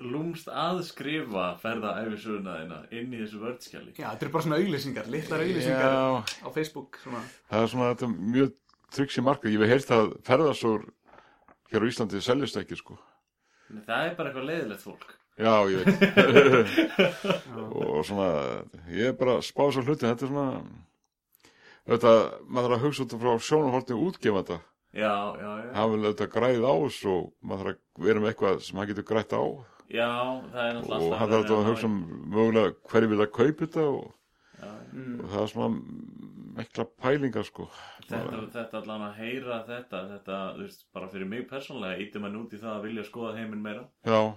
lúmst að skrifa ferðaæfisöguna þína inn í þessu vörðskjali Já, þetta eru bara svona auglýsingar, litlar auglýsingar já, á Facebook svona. það er svona þetta er mjög tryggs í marka ég hef heyrt að ferðasögur hér á Íslandi seljast ekki sko En Það er bara eitthvað leiðilegt fólk já ég veit og svona ég er bara að spá svo hluti þetta er svona þetta, maður þarf að hugsa þetta frá sjónarhortni útgefanda Já, já, já hann vil auðvitað græð á þessu og maður þarf að vera með eitthvað sem hann getur grætt á Já, það er náttúrulega og alltaf hann þarf verið að hugsa um mögulega hverju vil að kaupa þetta og, Mm. og það er svona mikla pælingar sko Þetta, þetta allan að heyra þetta, þetta, þú veist, bara fyrir mig persónlega ítum hann út í það að vilja skoða heiminn meira já,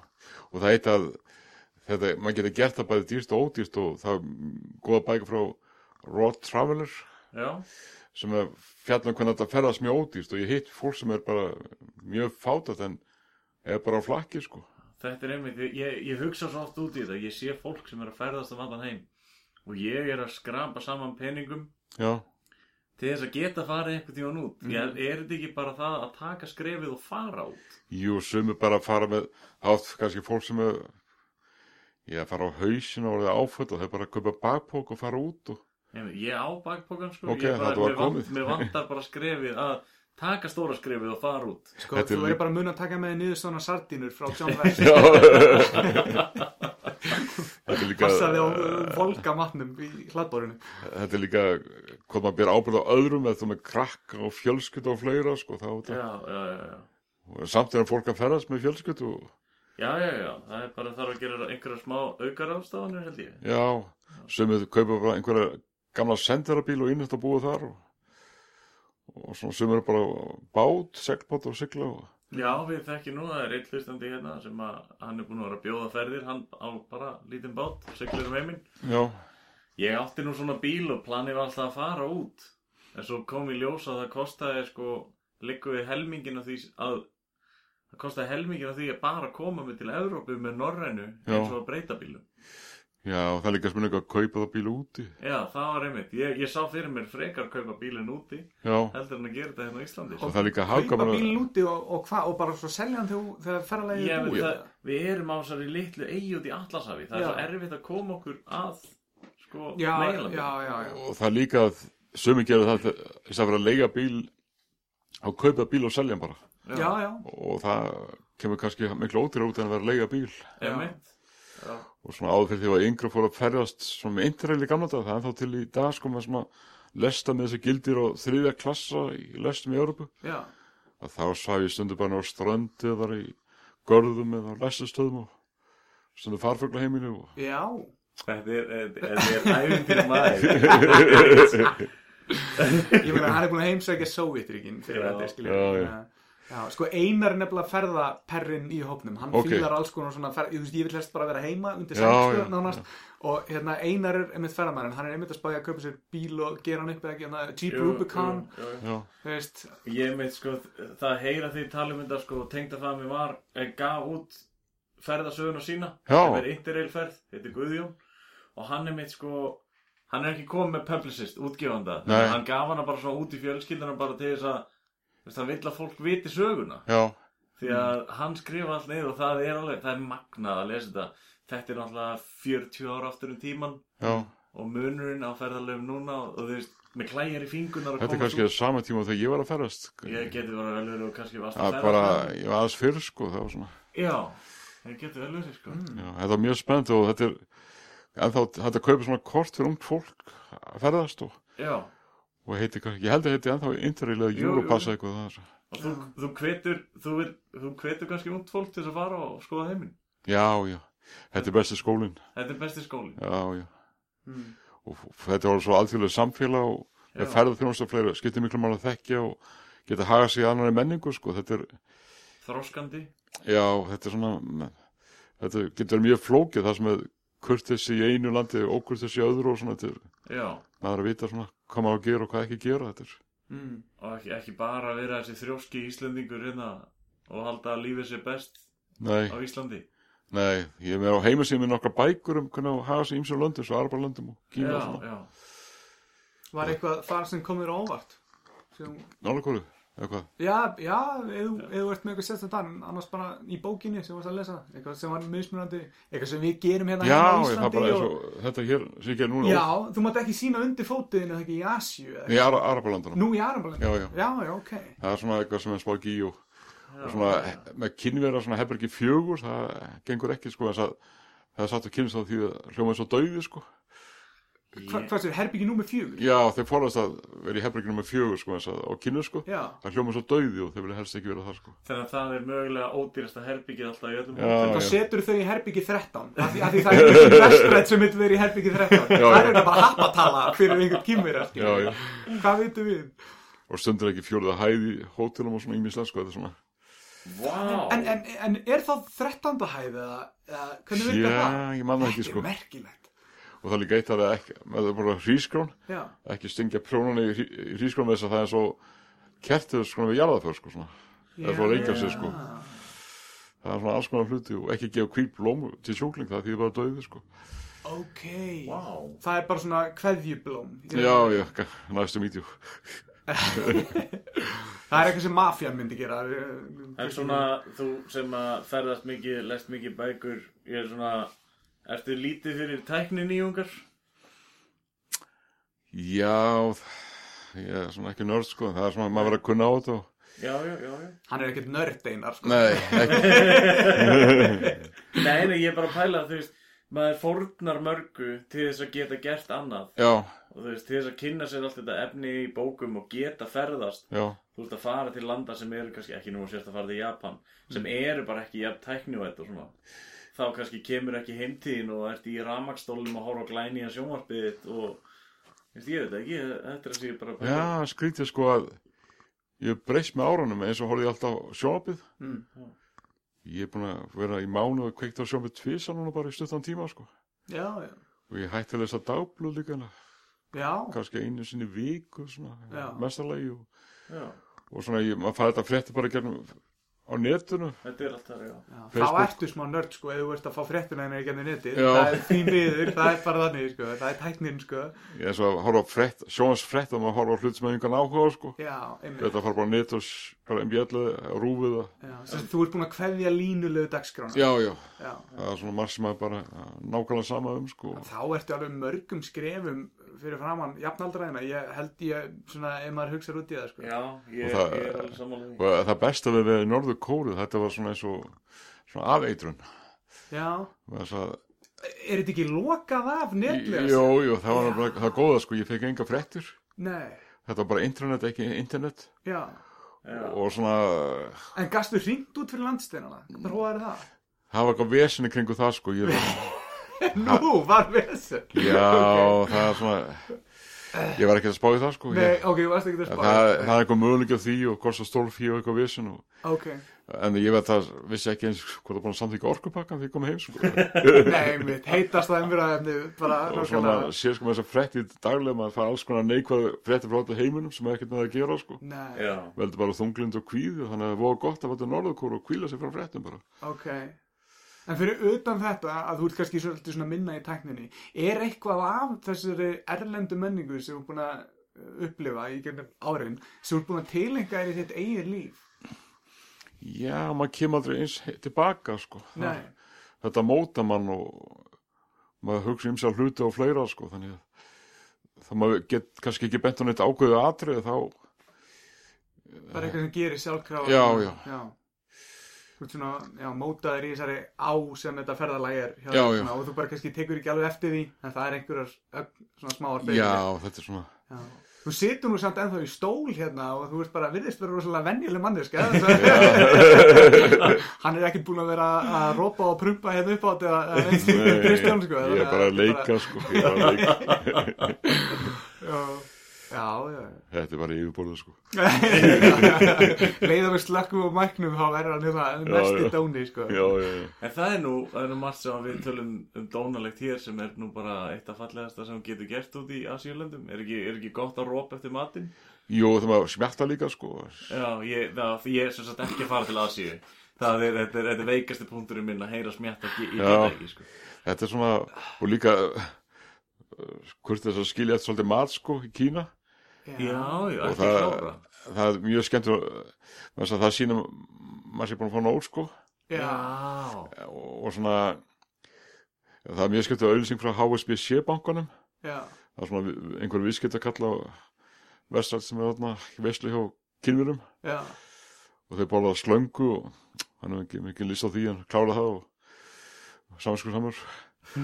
og það heit að þetta, maður getur gert það bæði dýrst og ódýrst og það er góða bæka frá Rod Traveler Já, sem er fjallan hvernig þetta ferðast mjög ódýrst og ég hitt fólk sem er bara mjög fátat en er bara á flakki sko þetta er einmitt, ég, ég hugsa svo oft út í þetta, ég sé fólk sem er að ferðast um allan heim og ég er að skrapa saman peningum já, til þess að geta farið einhvern tíðan út ég, Er þetta ekki bara það að taka skrefið og fara út? jú, sumir bara fara með átt kannski fólk sem er ég fara á hausinu og orðið áföll og þeir bara kaupa bakpók og fara út og Einmitt, Ég á bakpokan sko, Ok, ég bara, þetta var mér vant- komið. mér vantar bara skrefið að taka stóra skrefið og fara út Sko, Þetta er þú lí- verður bara að muna að taka með þér niður svona sardínur frá John West Já Þetta er líka passaði á uh, volga matnum í hladborinu Þetta er líka hvað maður bera ábyrð á öðrum eða þú með krakka og fjölskyld og fleira sko, þá, Já, ja. já, já, já samt er að fólk að ferðast með fjölskyld og, Já, já, já, það er bara þarf að gera einhverja smá aukar ástafanir held ég. já, sumið kaupa bara einhverja gamla senderabíl og innast að búa þar og, og svona sumið er bara á bát, seglbát og sigla og, Já, við þekkjum nú, það er einn hlustandi hérna sem að hann er búin að vera að bjóða ferðir, hann á bara lítinn bát, seglir um heiminn. já, Ég átti nú svona bíl og planið var alltaf að fara út, en svo kom í ljós að það kostaði sko, liggur við helmingin af því að, það kostaði helmingin af því að bara koma mig til Evrópu með Norrænu Já. eins og að breyta bílum. já, og það er líka smunning að kaupa það bíl úti, Já, það var einmitt. Ég, ég sá fyrir mér frekar kaupa bílinn úti, já heldur en að gera þetta hérna á Íslandi. og það er líka kaupa hagkvæmara- bíl úti og, og hvað og bara svo selja hann þegar þegar ferðalegi Já, er við, búið það, við erum á þessari litlu eigi út í Atlasafi Það er Já. svo erfitt að koma okkur að sko, já, meginlandinu. já, já, já. og það er líka að sumið gera það til- í þess að vera að leiga bíl og kaupa bíl og selja hann bara já, já. og það kemur kannski miklu ódýra út en að vera að leiga bíl Einmitt. Já. og svona áður fyrir því að yngra fór að ferðast svona með interrail í gamla dag, það er þá til í dag sko með svona lesta með þessi gildir á þriðja klassa í lestum í Európu já, að þá sæði ég stundu bara á ströndi eða þar í görðum eða á lestastöðum og stundu farfugla heimilu og já Þetta er, þetta er- þetta er æfum fyrir maður. ég meina, hann er búin að heimsækja Sovjetríkin fyrir Já. þetta, skilja Já, já. já. já, sko Einar er nefnilega ferðaperrin í hópnum, hann Ok. okay. fílar alls konar svona ferð, ég, þú veist, ég vil helst bara vera heima undir Já, sæmstu já, nánast og hérna Einar er einmitt ferðamærin, hann er einmitt að spája að kaupa sér bíl og gera hann upp eða ekki, hérna, Jeep Jú, Rubicon jú, jú. já, þú veist, Ég meit sko, það heyra því talum þetta sko, tengda það að mér var, eh, gaf út ferðasögun og sína, Já. sem er interrailferð, þetta er Guðjón, og hann er meitt sko, hann er ekki komið með publicist, útgefanda, Nei. hann gaf hana bara svona út í fjölskyldana bara til þess að, þú veist, hann vill að fólk viti söguna, já, því að hann skrifa allt niður og það er alveg, það er magnað að lesa þetta, þetta er náttúrulega 40 ára aftur um tíman já og munurinn á ferðalöfum núna og, og þú veist, með klæjar í fingunar þetta er kannski að sama tíma þegar ég var að ferðast Ég geti verið vel verið og kannski varst að bara, ég var aðeins fyrr sko það var svona, Já, það getur vel verið sko já, þetta var mjög spennt og þetta er en þá, þetta kaupir svona kort fyrir ungt fólk að ferðast og, Já, og heiti, hvað- ég held að heiti ennþá interrail eða Jú, jú. Europass eða eitthvað það er, og þú, þú hvetur þú, vir, þú hvetur kannski ungt fólk til þess að fara og skoða heiminn já, já þetta er besti skólinn, Þetta er besti skólin já, já mm. og f- þetta var svo alþjóðlega samfélag og Já. með ferðarþjónust og fleira skiptir miklu máli að þekkja og geta haga sig í annari menningu sko, þetta er, Þróskandi já, þetta er svona þetta getur verið mjög flókið það sem er kurtesi í einu landi og ókurtesi í öðru og svona, þetta er Já, maður er að vita svona hvað maður á að gera og hvað ekki gera þetta er, Mm. og ekki, ekki bara vera þessi þrjóski Íslendingur hérna og halda að lífið sé best nei, á Íslandi nei ég er með á heimasíðum með nokkra bækur um hvernig á að haga sig ímsum löndum, svo arba löndum og kína Já, og svona, já var eitthvað þar sem kom þér á óvart sem, nálakóru eitthvað, já, já, eða þú- eða þú ert með eitthvað sérstætt þar, en annars bara í bókinni sem varst að lesa, eitthvað sem var mismunandi eitthvað sem við gerum hérna heima á já, ég, það er Íslandi bara eins og- og þetta hér sem ég ger núna, Já, þú mátt ekki sína undir fótiðin eða ekki í Asju eða í arba löndunum Nú í Arambalendi? Já, já. Já, já, ok. það er svona eitthvað sem er spáð í og og svona, með kynvera svona herbergi fjögur, það gengur ekki sko, þess að það er satt að kynast á því að hljóma eins og dauði sko. Hva, Hvað sér, herbyggi númer fjögur? Já, þeir forast að vera í herbergi nummer fjögur sko, þess að á kynna sko, Já. það hljóma eins og dauði og þeir vilja helst ekki vera það sko. Þannig að það er mögulega ódýrasta herbyggið alltaf í öllum Já, hóttum. Þá já. setur þau í herbyggi 13. Af því, af því það er ekki vestrætt sem mitt verið í herbyggi 13. Já, það er já. bara happatala fyrir einhvern kýmverja. Já, já. Hvað veitum við? Og stundur ekki fjórða hæði í hótelum og svona ímislega sko, þetta er svona. Vá En, en, en er þá 13. hæð eða, eða hvernig veitum Já, það? ég manna ekki Þetta sko. er merkilegt. Og það er líka eitt að það er ekki, með það er bara hrískrón, Já, ekki stingja prjónunni í hrískrón með þess að það er svo kertið sko með jarðaför sko svona. Það er svo að reykja sig sko. það er svona alls konar hluti og ekki gefa hvít blóm til sjúkling það því það er bara döðið sko ok. Vá Það er bara svona kveðjublóm. já, já, g- næstu mítjú Það er eitthvað sem mafjan myndi gera. En svona, þú sem að ferðast mikið, lest mikið bækur, ég er svona, ertu lítið fyrir tæknin í ungar? já, þ- ég er svona ekki nörd sko en það er svona, maður verður að kunna á þetta og... Já, já, já, já. Hann er ekkert nörd einar sko. nei, ekki, Nei, nei, ég er bara að pæla, þú veist, maður fórnar mörgu til þess að geta gert annað. já, Og þú veist, til þess að kynna sér allt þetta efni í bókum og geta ferðast. já Þú veist að fara til landa sem eru kannski ekki nú sérst að fara til Japan, sem eru bara ekki jafn tæknivætt og svona. Þá kannski kemur ekki heimtíðin og ert í ramakstólum að horfa á glæni að sjónvarpið þitt og... þú veist, Ég veit það ekki, þetta er að segja bara... já, skrítið sko að ég hef breyst með árunum eins og horfði ég alltaf á sjónapið Mm. ég er búin að vera í mánu og kveikt á sjónapið tvisa núna bara í stuttan tíma sko Já, já. og ég hætti að lesa dagblöð líka en Já, kannski einu sinni í viku svona, Já. mestarlegi og Já, og svona ég, maður fær þetta frétti bara gegnum á netinu þetta er alltaf, já. já. Facebook. þá ertu smá nörd sko ef þú ert að fá fréttina henni ekki ennir netið Já. það er þín viður, það er bara þannig sko það er tæknin sko ég er svo að horfa á frétt, sjónans frétt og maður horfa á hlut sem hefur engan áhuga á sko já, einmitt þetta fara bara á net og s- bara mbjallið rúfið og já, sem, þú ert búin að kveðja línulegu dagskrána já já, Já. það er svona marg sem maður bara uh, nákvæmlega sama um sko þá ertu alveg mörgum skrefum fyrir framann jafnaldraðina ég held ég svona ef maður hugsar út í það sko Já, ég, Og það- ég er alveg sammála því. og það besta við við Norður Kóru þetta var svona eins og svona afeitrun já, Vegna þess að er þetta ekki lokað af netlega? Jó, jú, það var bara það góða sko, ég fekk enga fréttir. Nei, Þetta var bara internet, ekki internet. já. Og svona, En gastu hringt út fyrir landsteinana? Hvað er það? það var eitthvað vesinni kringu það sko. Ég, Nú, var vesen. já, það er svona, ég var ekki að spá í það sko. Nei, Ég, ok, þú varst ekki að það, spá. það er eitthvað möguleik af því og hvort það stólfí og eitthvað vesin og Ok, En ég veit að vissi ekki eins hvort það búin að samþýkja orkupakkan því ég kom heim sko. nei, mitt, heitast það umræðafni, bara og svona nákvæmlega. maður sér sko með þess að frétti daglega maður fær alls konar neikvæð frétti frá þetta heiminum sem er ekkert með að gera sko. Nei, Já. Veldur bara þunglind og kvíði þannig að það voru gott að fara til norðurkóru og kvíla sig frá fréttum bara. ok. En fyrir utan þetta, að þú ert kannski svolítið svona minna í tækninni, er eitthvað af þessari erlendu menningu sem þú ert búin að uh, upplifa í gennum árin, sem þú ert búin að tilenga þér í þitt eigið líf? Já, maður kemur aldrei eins he- tilbaka sko. Nei, Þetta móta mann og maður hugsa um sér hluti og fleira sko. Þannig að það maður get kannski ekki bent á neitt ákveðu atrið þá bara eitthvað sem gerir sjálfkrafa. Já, já. Þú ert svona, já, mótaður í þessari á sem þetta ferðalag er. hjá þér, Já, já. Svona, og þú bara kannski tekur ekki alveg eftir því, en það er einhverjar ögn, svona smáar Já, breytingar. þetta er svona Já. Þú situr nú samt ennþá í stól hérna og þú ert bara virðist vera rosalega venjuleg manneska Hann er ekki búin að vera að rópa og prumpa hérna upp átt eða eða neitt slíkt með Kristján sko Ég er bara að leika sko Ég er bara að leika Já, já, já. Þetta er bara yfirbólið sko. Leiða með slökkum og mæknum þá verður hann hérna já. mest í dóni sko Já, já, já. En það er nú, það er nú margt sem að við tölum um dónalegt hér sem er nú bara eitt af fallegasta sem getur gert út í Asíulöndum. Er ekki, er ekki gott að rópa eftir matinn? Jú, það maður smjarta líka sko. Já, ég, það, ég er sem sagt ekki að fara til Asíu. Það er, þetta er, þetta er veikasti punkturinn minn að heyra smjatta ekki, ég Já. geta ekki, sko. Þetta er svona, og líka uh, hvort þess að skilja eftir svolítið mat sko í Kína. Já, já, Og ekki það- klára. Það er mjög skemmt og þess að það sína maður sé búin að fá nóg sko já, Já, og, og svona það er mjög skemmt og auðlýsing frá HSBC bankanum já, það er svona vi- einhver viðskiptakalla vestrætt sem er þarna veslu hjá kynverum já, og þeir borða slöngu og hann er ekki mikið lýst á því en klála það og samanskur samur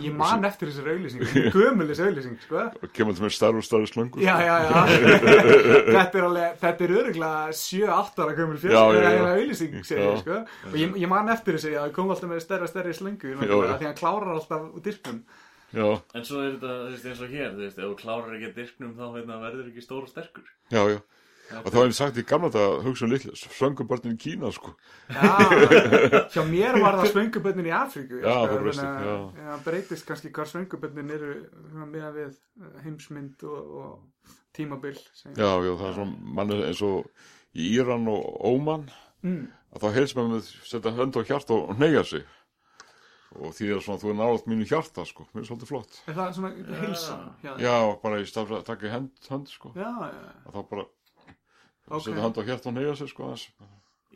ég man eftir þessari auðlýsing, gömulis auðlýsing sko og kemur til með starf og starf slöngu Já, já, já Þetta er alveg, þetta er öruglega 7-8 ára gömul fjöld Já, já, já. eða auðlýsing segir, Já. sko og ég, ég man eftir þessu, já, það kom alltaf með stærra stærri slöngu Já, já. náttúrulega, því hann klárar alltaf úr dyrkum já, en svo er þetta, þú veist, eins og hér, þú veist, ef þú klárar ekki að dyrknum þá hérna, verður ekki stór og sterkur. já, já. og það var einn sagt í gamla þetta hugsa um litla slöngubörnin í Kína sko Já, hjá mér var það svönguböndin í Afríku Já, sko, þú breytist, þannig að- já. já, breytist kannski hvar svönguböndin eru meðan við eh, heimsmynd og, og tímabil sem- já, já, það er svona manni eins og í Íran og Óman mm, að þá heils með með setja hönd á hjart og neyja sig og því er svona þú er náðast mínu hjarta sko, mér er svolítið flott Er það svona hilsa? Já, já, já, bara í stað fyrir að taka í hönd, hönd sko, já, að þá bara Ok. setja hönd á hjart og neyja sig sko aðeins.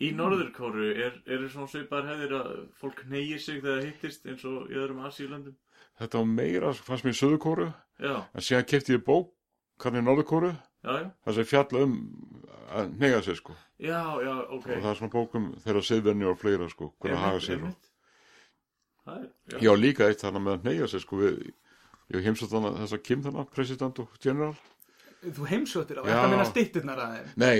Í Norðurkóru er, er svona svipar hefðir að fólk neyir sig þegar það hittist eins og í öðrum Asíulöndum. þetta var meira, sko, fannst mér í söðukóru Já, en síðan kefti ég bók, hvernig norðukóru já, já. það sem fjalla um að neyja sig sko Já, já, ok. og það er svona bókum þeirra siðvenni og fleira sko, hvernig að Einmitt, haga sér og... einmitt. Það er, já. já, líka eitt þarna með að neyja sig sko við, ég heimsótt þarna þess að Kim þarna, president og general Þú heimsóttir á, Já. þetta meina styttirnar aðeins nei,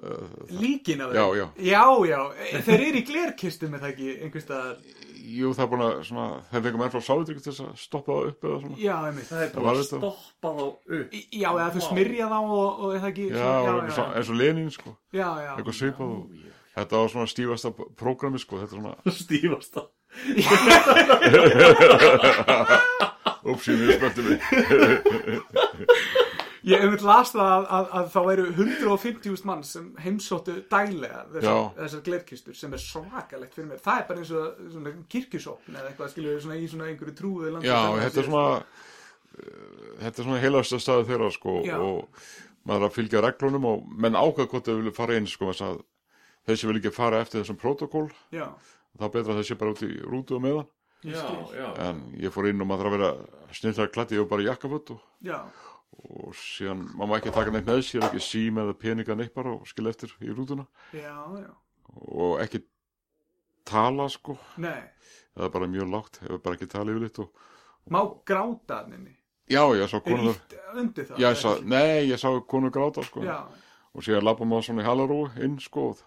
eh, Líkin af þeim? Já, já. Já, já, þeir eru í glerkistu með það ekki einhvers staðar Jú, það er búin að svona, þeir fengum enn frá sáðutrygg til þess að stoppa það upp eða svona. Já, einmitt Það er Það búin var að þetta. stoppa þá upp. Í- Já, eða þau smyrja þá og, og er það ekki Já, já, já, já. eins og Lenin, sko, já, já, já. eitthvað svipað og þetta var svona stífasta prógrami, sko, þetta er svona, Stífast það. ups, ég mjög spöntið mig. Ég hef las það að, að, að þá eru 150.000 mann sem heimsóttu daglega þessar, Já. þessar glerkistur sem er svakalegt fyrir mér. Það er bara eins og svona kirkjusopn eða eitthvað skilur svona í svona einhverju trúið landi. Já, þetta er svona, eh, þetta er svona heilasta staði þeirra, sko, sko. Já. og maður er að fylgja reglunum og menn ákvað hvort þau vilja fara inn, sko, þess að þeir sem vilja ekki fara eftir þessum protokól, Já, þá betra að þeir sé bara út í rútu og meðan. Já, já. En ég fór inn og maður þarf að vera snillar klætti og bara jakkafött og já, og síðan maður má ekki taka neitt með sér ekki sím eða peninga neitt bara og skilja eftir í rútuna já, já. og ekki tala sko Nei, það er bara mjög lágt, hefur bara ekki tala yfirleitt og má gráta hann inni já, ég sá Er konu ítt undir það já, ég sá, nei, ég sá konu gráta sko Já, og síðan lappa maður svona í halarú inn sko og,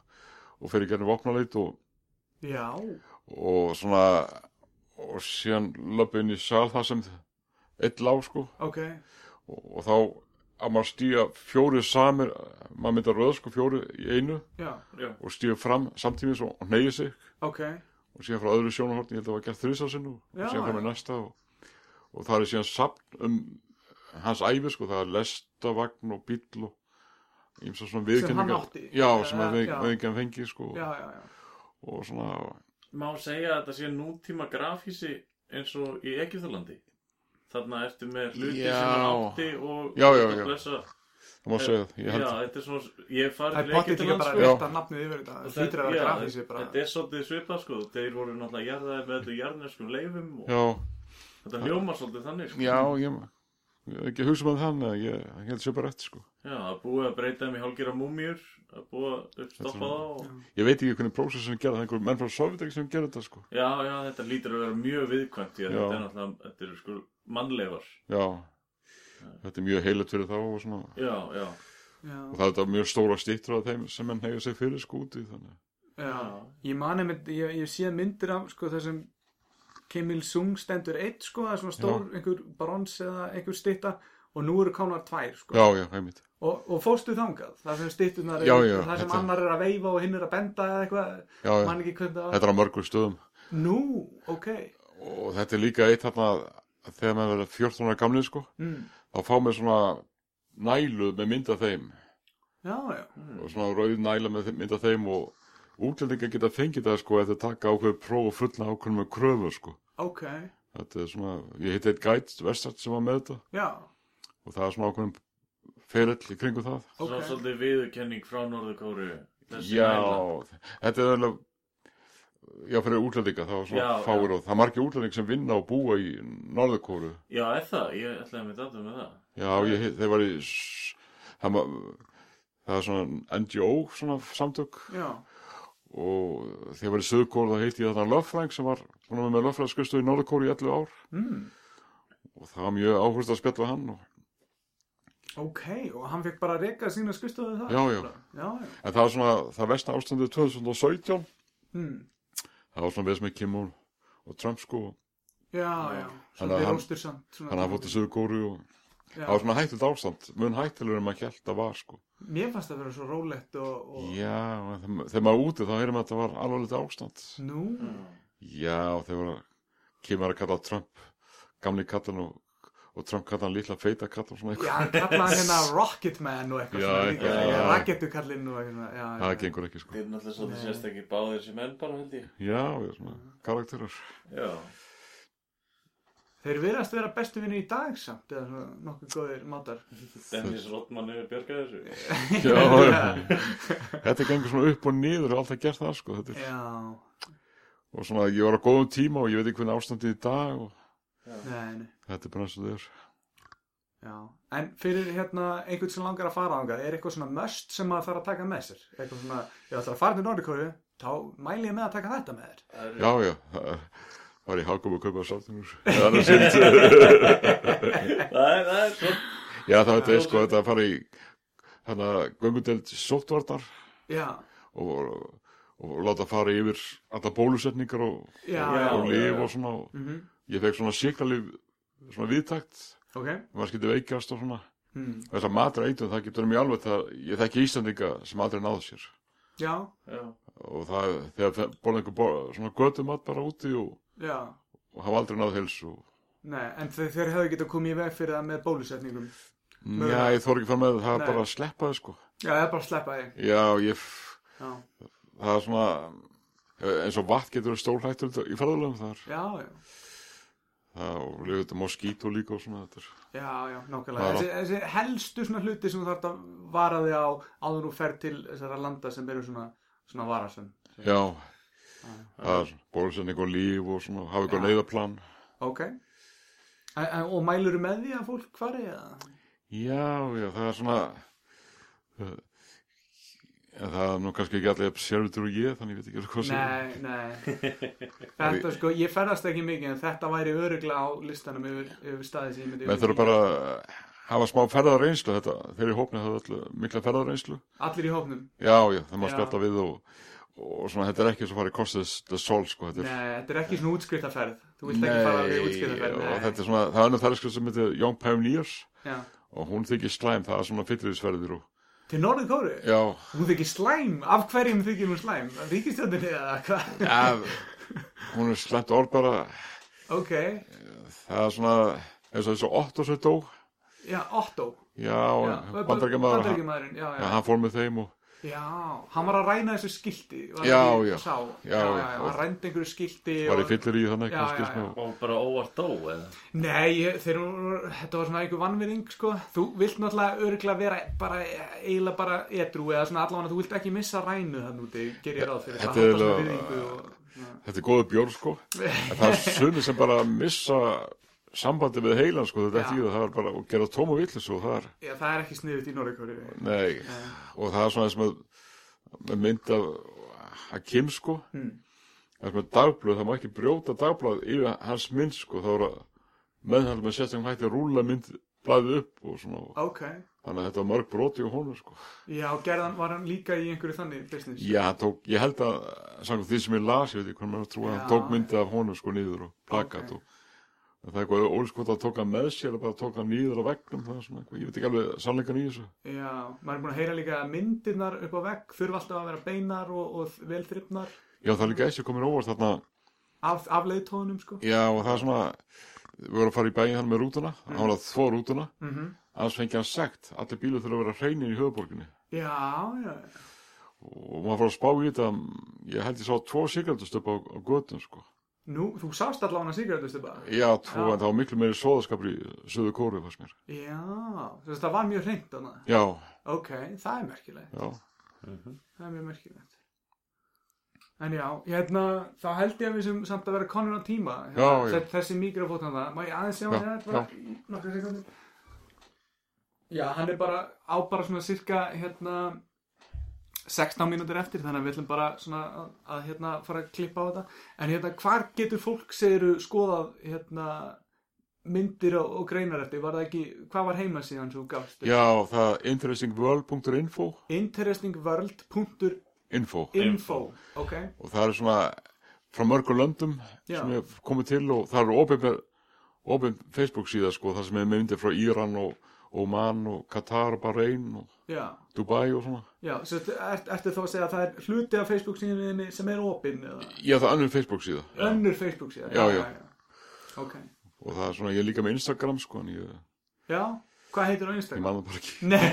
og fyrir gerðin vopnaleit og, já, og svona og síðan löpum inn í sal það sem eitt lág sko ok og, og þá að maður stýja fjóri samir maður mynda röð sko fjóri í einu Já, og stýja fram samtímis og neyja sig ok og síðan frá öðru sjónahortni, ég held að það var gert þrísásinn og, Já, og síðan fram í já. næsta og, og það er síðan sapn um hans æfi sko, það er lestavagn og bíll og ímsa svona viðkenningar átti. já, sem Já, að við, já. viðkenningar fengi sko, Já, já, já og svona Má segja að þetta sé nútíma grafísi eins og í Egyptalandi. Þarna ertu með hluti Já. sem hann átti og Já, já, og já. blessa. það má segja það, Já, ég held þetta er svona, ég Það farið er til potið Egyptaland líka bara sko. að Já. vita nafnið yfir þetta og Það hlýtur að já, vera grafísi þetta- bara Þetta er svolítið svipað sko, þeir voru náttúrulega jarðaði með þetta jarðneskum leifum og já, þetta hljóma svolítið þannig sko. já, ég ég hef ekki um hugsað með þann ég, ég held að sé bara rétt sko Já, að búið að breyta þeim í hálfgera múmjur, að búið að uppstoppa Þetta er- það og... ég veit ekki hvernig prósessin gerði, það er einhver menn frá Sovjetek sem gerði þetta sko, Já, já, þetta lítur að vera mjög viðkvæmt því að Já. þetta er náttúrulega, þetta eru sko mannleifar. já þetta er mjög heilat fyrir þá og svona Já, já, Já. og það er þetta mjög stóra stýttur af þeim sem menn hefur sig fyrir sko út í þannig Já, ég mani með, ég, ég sé myndir af sko þar sem Kim Il-sung stendur eitt sko, það er svona stór einhver brons eða einhver stytta og nú eru konar tvær sko já, já, einmitt og, og fórstu þangað, það sem styttunar Já, eru, já, það sem þetta- annar er að veifa og hinn er að benda eða eitthvað, já, já. man ekki hvernig það var þetta er á mörgum stöðum Nú, ok og þetta er líka eitt þarna að þegar maður verður 14 ára gamli sko mm. þá fá maður svona nælu með mynd af þeim Já, já, og svona rauð næla með mynd af þeim og útlendingar geta fengið það sko eftir að taka ákveð próf og fulla ákveð með kröfu sko ok þetta er svona, ég heiti eitt gæt vestart sem var með þetta Já, og það er svona ákveðum ferill í kringu það það ok var svolítið viðurkenning frá Norðurkóru. Já, þetta er alveg Já, fyrir útlendinga, það var svona Já, fáir og það er margir útlending sem vinna og búa í Norðurkóru. Já, er það? Ég ætlaði að mynda aftur með það. Já, ég, þeir var í s- það, ma- það er svona NGO svona samtök Já, og þeir var í Suðkóru það heiti ég þarna Löffræng sem var búin að vera með Löffrængskustu í Norðurkóru í 11 ár mm. og það var mjög áhverst að spjalla við hann og, ok Og hann fekk bara að reka sína skustuðu það Já, já. Já, já, en það er svona það vestna ástandið 2017 mm. það var svona við sem er Kim og, og Trump sko já, já Þannig að Svolítið hann- róstur samt þannig að það fótt í Suðkóru og Já. það var svona hættið ástand, mun hættilegur en maður held að var sko. Mér fannst það vera svo rólegt og, og... Já, en þeim- þegar maður er úti þá heyrum við að þetta var alveg litið ástand. Nú, Mm. Hmm. Mm. Já, þegar kemur að kalla Trump, gamli kallan og, og Trump kallan lilla feita kallan svona já, eitthvað. hann kallaði hann hérna Rocketman og eitthvað Já, svona líka, eitthvað, já, já. Racketukallinn og eitthvað, svona, já, Það já, gengur ekki sko. Þeir náttúrulega svolítið sérstakki báðir sem menn bara held ég. Já, við erum svona karakterar. Já. Þeir verðast vera bestu vinni í dag samt, eða svona nokkuð góðir mátar. Dennis Rodman hefur björgað þessu. Já, já. Þetta gengur svona upp og niður og alltaf gert það sko. Þetta er, Já, og svona ég var á góðum tíma og ég veit ekki hvernig ástandið er í dag og nei, nei, þetta er bara eins og þau er. já. En fyrir hérna einhvern sem langar að fara ángað, er eitthvað svona möst sem maður þarf að taka með sér? Eitthvað svona, ég ætla að fara til Norðurkóru, þá mæli ég með að taka þetta með þér. Já, já, það var í hagum að kaupa sáttinu. Það er, það er svo. Já, það þetta er sko þetta að fara í hana göngudeld sóttvarnar Já, og, og láta fara yfir alla bólusetningar og, já, Já. já, og líf og svona og mhm, ég fekk svona síklarlif svona viðtakt ok, maður skildi veikjast og svona mm. og þess að matra eitum það getur mjög alveg það ég þekki Íslandinga sem aldrei náðu sér já, Já, og það þegar borða einhver borða, svona götumat bara úti og, já. og hafa aldrei náðu helsu og Nei, en þeir, þeir hefðu getað komið í veg fyrir það með bólusetningum. Já, ég þór ekki fram með það, það Nei. er bara að sleppa það sko. Já, það er bara að sleppa því. Já, ég Já, það er svona eh, eins og vatn getur stórhættur í ferðalöfum þar já, já. það, og líka þetta moskító líka og svona þetta er, Já, já, nákvæmlega. Bara- Þessi, þessi helstu svona hluti sem þú þarf að vara þig á áður og ferð til þessara landa sem eru svona, svona varasum. já það er bólusending og líf og svona hafa ykkur Já. neyðaplan Ok. En, en, og mælur með því að fólk fari eða? já, já, það er svona eh, en það er nú kannski ekki allir sérvitur og ég, þannig ég veit ekki alveg hvað að segja. Nei, nei Þetta sko, ég ferðast ekki mikið en þetta væri öruglega á listanum yfir, yfir staði sem ég myndi Menn þurfa bara að hafa smá ferðarreynslu þetta, þeir í hópni hafa öllu mikla ferðarreynslu. Allir í hópnum Já, já, það má Já. spjalla við og, og svona, þetta er ekki eins og farið kostið the soul, sko, þetta Nei, er... þetta er ekki svona útskriftaferð Þú vilt ekki fara sko, við útskriftaferð og þetta er svona, það er önnur ferðarskjöld sem heitir Young Pioneers Já. og hún þykir slæm, það er svona fyrirlisferðir og, Til norðu kóru? já, Hún þykir slæm, af hverjum þykir hún slæm? Ríkistjóndinni eða hvað? hún er slæmt orð bara, Ok, það er svona, eins og þessu Otto sem dó, já, Otto já, já bandarækjamaður, hann, Bandaríkjamaðurinn, já, já, já, hann fór með þeim og já Hann var að ræna þessu skilti var Já, það ekki? já. sá. Já, já, já. já, Hann rændi einhverju skilti var í og- fyllir í þannig, Já, kannski, já, já. sko, Og bara óvart dó, eða? Nei, ég- þeir eru, þetta var svona einhver vannvinning, sko. Þú vilt náttúrulega örgla vera bara, eiginlega bara edru eða svona allavega, þú vilt ekki missa rænu þann úti, ger ég ráð fyrir Þetta halda er svona eiginlega- virðingu og... svona. þetta er góðu bjór, sko, en það er sumir sem bara missa sambandi við heilan, sko, þetta er Já. því að það er bara, og gera tóma villis og það er, Já, það er ekki sniðut í Norrikóri. Nei, og það er svona þess með, með mynd af að Kim sko Mm. það er með dagblöð, það má ekki brjóta dagblöð yfir hans mynd sko, þá er að meðhald með sérstaklega hætti að rúla mynd blaðið upp og svona, Ok. þannig að þetta var mörg broti á honum sko. Já, gerðan var hann líka í einhverju þannig business. Já, hann tók, ég held að samkvæmt því sem ég las, ég veit ekki hvernig maður trúið, Já. hann tók myndið af honum sko niður og plakat Ok. og en það er eitthvað ólskot að tóka hann með sér og bara tóka hann niður á vegnum, það er svona eitthvað, ég veit ekki alveg sannleikan í þessu. Já, maður er búin að heyra líka að myndirnar upp á vegg þurfa alltaf að vera beinar og, og velþryfnar Já, það er líka eins og komin óvart þarna af, af leiðtóðunum, sko. Já og það er svona við vorum að fara í bæin hann með rútuna hann var að þvó rútuna Mm annars fengi hann sekt allir bílu þurfa að vera hreinir í höfuborginni Já, já, og maður fór að spá í þetta ég held ég sá tvo sigrældustöp á, á götum sko. nú, þú sást allavega sigræðlustu bara. já tvo Já. en það var miklu meiri sóðaskapur í söðu kóru fannst mér Já, þú veist, það var mjög hreint þannig. já, Ok, það er merkilegt, já, það er mjög merkilegt. En já, hérna, þá held ég að við sem samt að vera konur á tíma. Hérna, Já, já. Sett þessi mikrofót hann það, má ég aðeins sjá hann Já, hérna bara í nokkra sekundir. Já, hann er bara, á bara svona cirka, hérna, 16 mínútur eftir, þannig að við ætlum bara svona að, að hérna fara að klippa á þetta. En hérna, hvar getur fólk segiru skoðað, hérna, myndir og, og greinar eftir? Var það ekki, hvað var heimasíðan svo gafstu? já það er interestingworld.info interestingworld.info info. ok, og það er svona frá mörgum löndum Já. sem er komið til og það eru opið með opið Facebook síða sko það sem er með myndir frá Íran og Oman og Katar og Bahrein og já Dubai og svona já, svo ert, ertu þá að segja að það er hluti af Facebook síðan sem er opinn eða Já, það er önnur Facebook síða önnur Facebook síðan Já, já. ok, og það er svona, ég er líka með Instagram sko en ég, já, hvað heitir á ég Instagram? man það bara ekki Nei,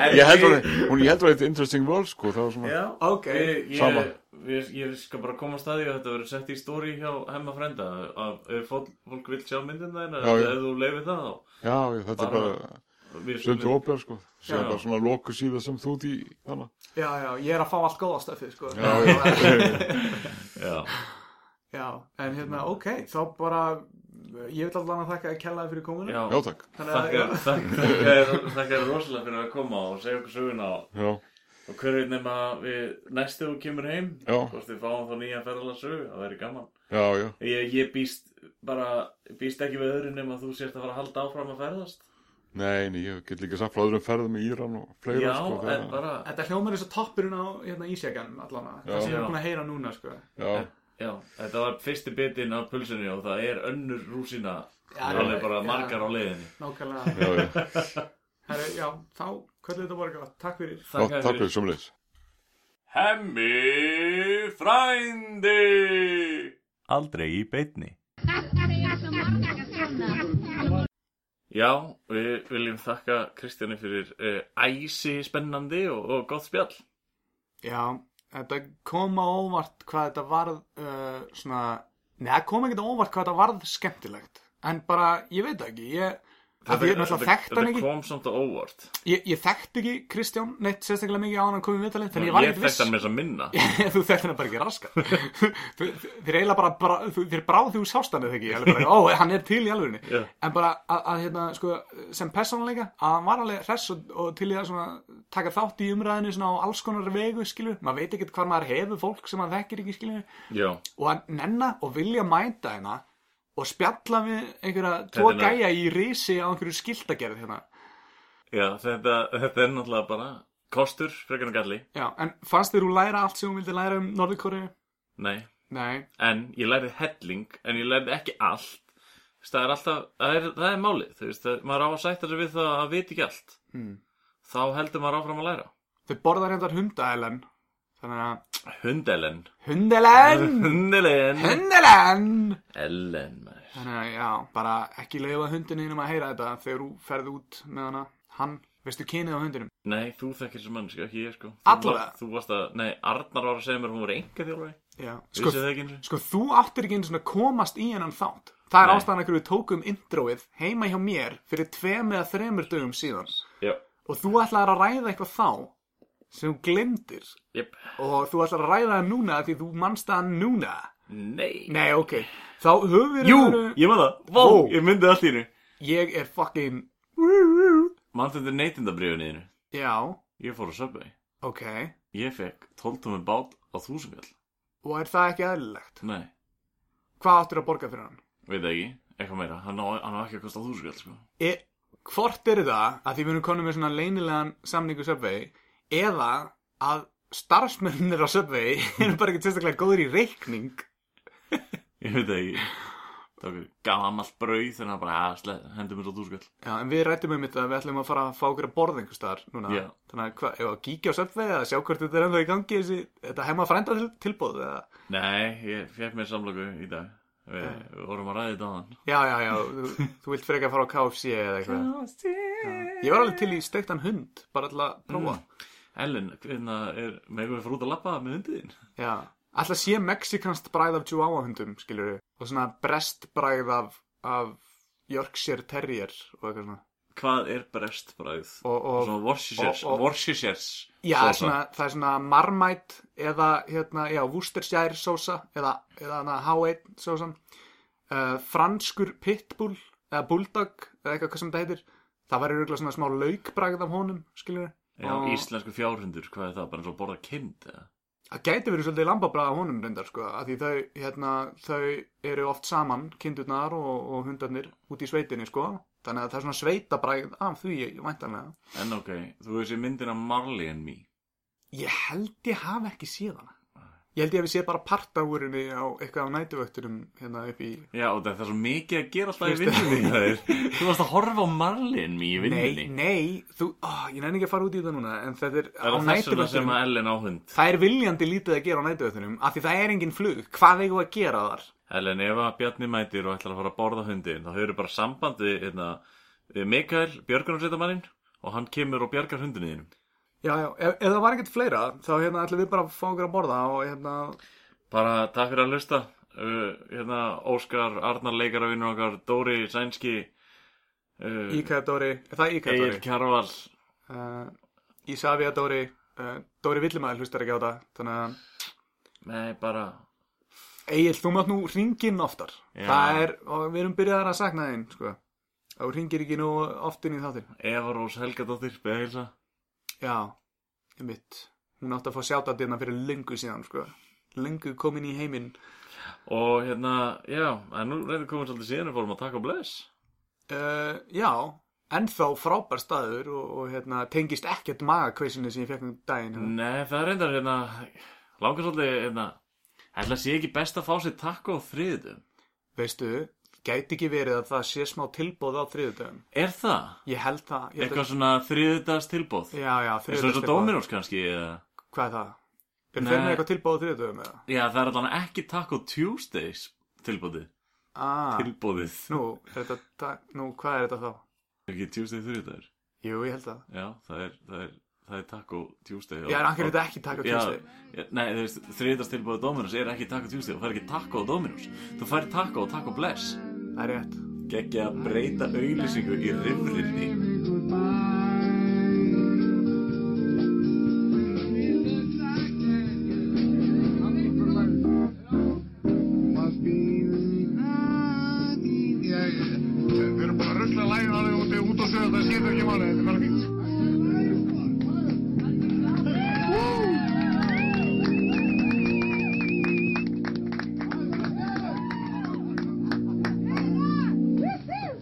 Ég held að hún, ég held að þetta er Interesting World sko það var svona, Já, ok Ég, Sama. ég, ég, ég skal bara koma að staði að þetta verður sett í stóri hjá hemma frenda að ef fólk, fólk vil sjá myndin það Já, ef já. ef þú leifir það þá já, já, þetta er Bara- bara við- stundu opið sko sem Já. bara svona loku síða sem þú því þannig já, já, ég er að fá allt góða stöfið sko. Já, já, Já, já, en hérna, ok þá bara, ég vil allan að þakka að kellaði fyrir komuna já, já, takk Þannig að- Þakka þér rosalega fyrir að koma og segja okkur söguna og, Já, og hverju nema við næstu þú kemur heim já, hvort við fáum þá nýja ferðalega sögu það verður gaman já, já, ég, ég býst bara, býst ekki við öðru nema þú sért að fara að halda áfram að ferðast nei, nei, ég get líka samt frá öðrum ferðum í Íran og fleira Já, sko en þegar- bara þetta hljómar eins og toppurinn á hérna, ísjakanum allan að Já. það sem við Já. erum búin að heyra núna sko. Já, Já, þetta var fyrsti bitin af pulsunni og það er önnur rúsina Já, alveg bara já. margar á leiðinni nákvæmlega já, já, Herra, já, þá, hvernig þetta voru gott, takk fyrir já, takk fyrir sumleis. Hemmi frændi Aldrei í beitni Já, við viljum þakka Kristjáni fyrir uh, æsi spennandi og, og gott spjall Já, þetta kom á óvart hvað þetta varð uh, svona, neða kom ekkert á óvart hvað þetta varð skemmtilegt en bara, ég veit það ekki ég, Af því ég náttúrulega þekkt hann ekki. Þetta kom samt á óvart. Ég, ég þekkt ekki Kristján neitt sérstaklega mikið á hann að koma í viðtalið þannig ég var ekkert Ég þekkt viss hann með þess að minna. þú þekkt hann bara ekki raskat Þú- þér eiginlega bara, bara þú- þér bráð því úr sástanið þegar ekki alveg bara, ó, hann er til í alvegni Já. en bara að, að hérna, sko, sem persónuleika að hann var alveg hress og, og til í að svona, taka þátt í umræðinu svona, á alls konar vegu, skilur, maður veit ekkert hvað maður hefur fólk sem maður þekkir ekki, skilur Já. og að nenna og vilja mæta hérna og spjalla við einhverja tvo Þetta er gæja í risi á einhverju skildagerð hérna Já, þetta, þetta er náttúrulega bara kostur, frekar en galli. Já, en fannst þér þú læra allt sem hún vildi læra um Norðurkóri? Nei. Nei, En ég lærði helling, en ég lærði ekki allt. Þú veist, Það er alltaf, það er, það er málið, þú veist, það- maður á að sætta sig við það að vita ekki allt. Mm. Þá heldur maður áfram að læra. þau borðar hendar hundaelen Þannig að Hundelen. Hundelen! Hundelen. Hundelen! Ellen, maður. Þannig að já, bara ekki leifa hundinum að heyra þetta þegar þú ferð út með hana Hann, veistu kynið á hundinum? Nei, þú þekkir þessu mannski, ekki ég sko. Þú Allavega. var- Þú varst að, nei, Arnar var að segja mér að hún var enga þjálfari. Já, Sko, sko, það ekki eins og? sko þú áttir ekki einu svona komast í hennan þátt Það Nei. er ástæðan að hverju við tókum introið heima hjá mér fyrir tveim eða þremur dögum síðan Já. og þú ætlaðir að ræða eitthvað þá sem þú glemdir Jep. og þú ætlaðir að ræða það núna því þú manst það núna Nei. Nei, ok, þá höfum við Jú, raunveru- ég maður það. Vá, Vó. ég myndi allt í hennu. ég er fucking Mann þetta neytindabriðun í hennu. Já, Ég fór á Subway. ok Ég fekk 12 tómið bát á þúsungall. og er það ekki aðlilegt? Nei, Hvað áttir að borga fyrir hann? veit það ekki. Eitthvað meira. Hann á, hann á ekki að kosta þúsungall, sko. E, hvort er það að því við erum konum með svona leynilegan samningu Subway eða að starfsmennir á Subway eru bara ekki sérstaklega góður í reikning Ég veit það ekki. Það var gamalt brauð, þannig að bara, að, sleð, hendum við á þúsungall. Já, en við rættum um þetta að við ætlum að fara að fá okkur að borða einhvers staðar núna. Já. Þannig að hvað, ef að kíkja á söpveiði eða sjá hvort þetta er ennþá í gangi þessi, þetta hefma frænda til, tilbúð eða, Nei, ég fekk mér samlöku í dag. Við, við vorum að ræða þetta á hann. já, já, já, þú, þú vilt frekar fara á KFC eða eitthvað. Já. Ég var alveg til í steiktan hund, bara alltaf að prófa. Mm. Ellen, hvernig er, megum við fara út að labba með hundiðinn? Já, alltaf sé mexikanst bræð af Chihuahua hundum, skilur við, og svona brest bræð af, af Yorkshire Terrier og eitthvað svona. Hvað er brestbræð? Og, og, Svona Worcestershires, og- og- Worcestershires Já, sósa. svona, það er svona marmætt eða hérna, já, Worcestershire sósa eða, eða hana H1 sósan uh, franskur pitbull eða bulldog eða eitthvað hvað sem það heitir það var auðvitað svona smá laukbragð af honum skiljur Já, og- íslensku fjárhundur, hvað er það? Bara eins og að borða kind eða? það gæti verið svolítið lambabræð af honum reyndar sko, af því þau, hérna, þau eru oft saman, kindurnar og, og hundarnir út í sveitinni sko þannig að það er svona sveitabræð af því væntanlega, En ok, þú veist ég myndina Marley and Me ég held ég hafi ekki séð hana Ég held ég að við sé bara partagúrinni á eitthvað á nætuvöktunum hérna upp í... Já, og það er svo mikið að gera alltaf í Veistu- vinnunni hjá þér. Þú varst að horfa á Marley and Me í vinnunni Nei, nei, þú, ó, ég nefn ekki að fara út í þetta núna, en þetta er Það er á þess vegna sem nætuvöktunum. að Ellen á hund Það er viljandi lítið að gera á nætuvöktunum, af því það er engin flug. Hvað eigum við að gera þar? Ellen, ef að Bjarni mætir og ætlar að fara að borða hundin þá höfðu bara samband við, hérna, við Mikael, björgunarsveitamanninn og hann kemur og bjargar hundinni þínum Já, já, ef, ef það var ekkert fleira, þá hérna ætlum við bara að fá okkur að borða og hérna... Bara takk fyrir að hlusta uh, hérna, Óskar, Arnar leikaravinnur okkar Dóri, Sænski uh, Íkæðadóri, er það Egil Íkæðadóri? Kjarval Uh, Ísafiadóri, uh, Dóri Villimæður hlustar ekki á það, þannig að... Nei, bara Egil, þú mátt nú ringin oftar. Já. Það er, og við erum byrjaðar að sakna þín, sko. Og ringir ekki nú oftin í þáttin. Eva Rós Helgadóttir, beða heilsa Já, ég mitt. Hún átti að fá sjáta dyrna fyrir löngu síðan, sko. Löngu komin í heiminn. Og hérna, já, en nú reyndum við komum svolítið síðan við fórum að taka og bless Uh, já, ennþá frábær staður og, og hérna, tengist ekkert magakveisinu sem ég fekk um daginn. Mm. Nei, það er reyndar hérna Langar svolítið, hérna Ætla sé ekki best að fá sér takk á þriðutum Veistu, gæti ekki verið að það sé smá tilbóð á þriðudöfum. Er það? Ég held það. Ég held Eitthvað svona þriðutas tilbóð? Já, já, Er svo eins og þriðjudagstilboð. Dominos kannski? Eða? Hvað er það? Er Nei. þeir með eitthvað tilbóð á þriðudöfum eða? Já, það er allan ekki takk á Tuesdays tilbóðið Ah, Tilbóðið nú, er þetta, ta- nú, hvað er þetta þá? Er Ekki Tuesday þriðutar Jú, ég held það. Já, það er, það er, það er takk á Tuesday Já, en hann getur þetta ekki taka kjústi. Já, nei, þú veist, þriðutas tilbóðið Dominos er ekki takk á Tuesday Þú fær ekki takk á Dominos Þú fær takk á takk á Bless Það er rétt. geggja að breyta auðlýsingu í rifrildi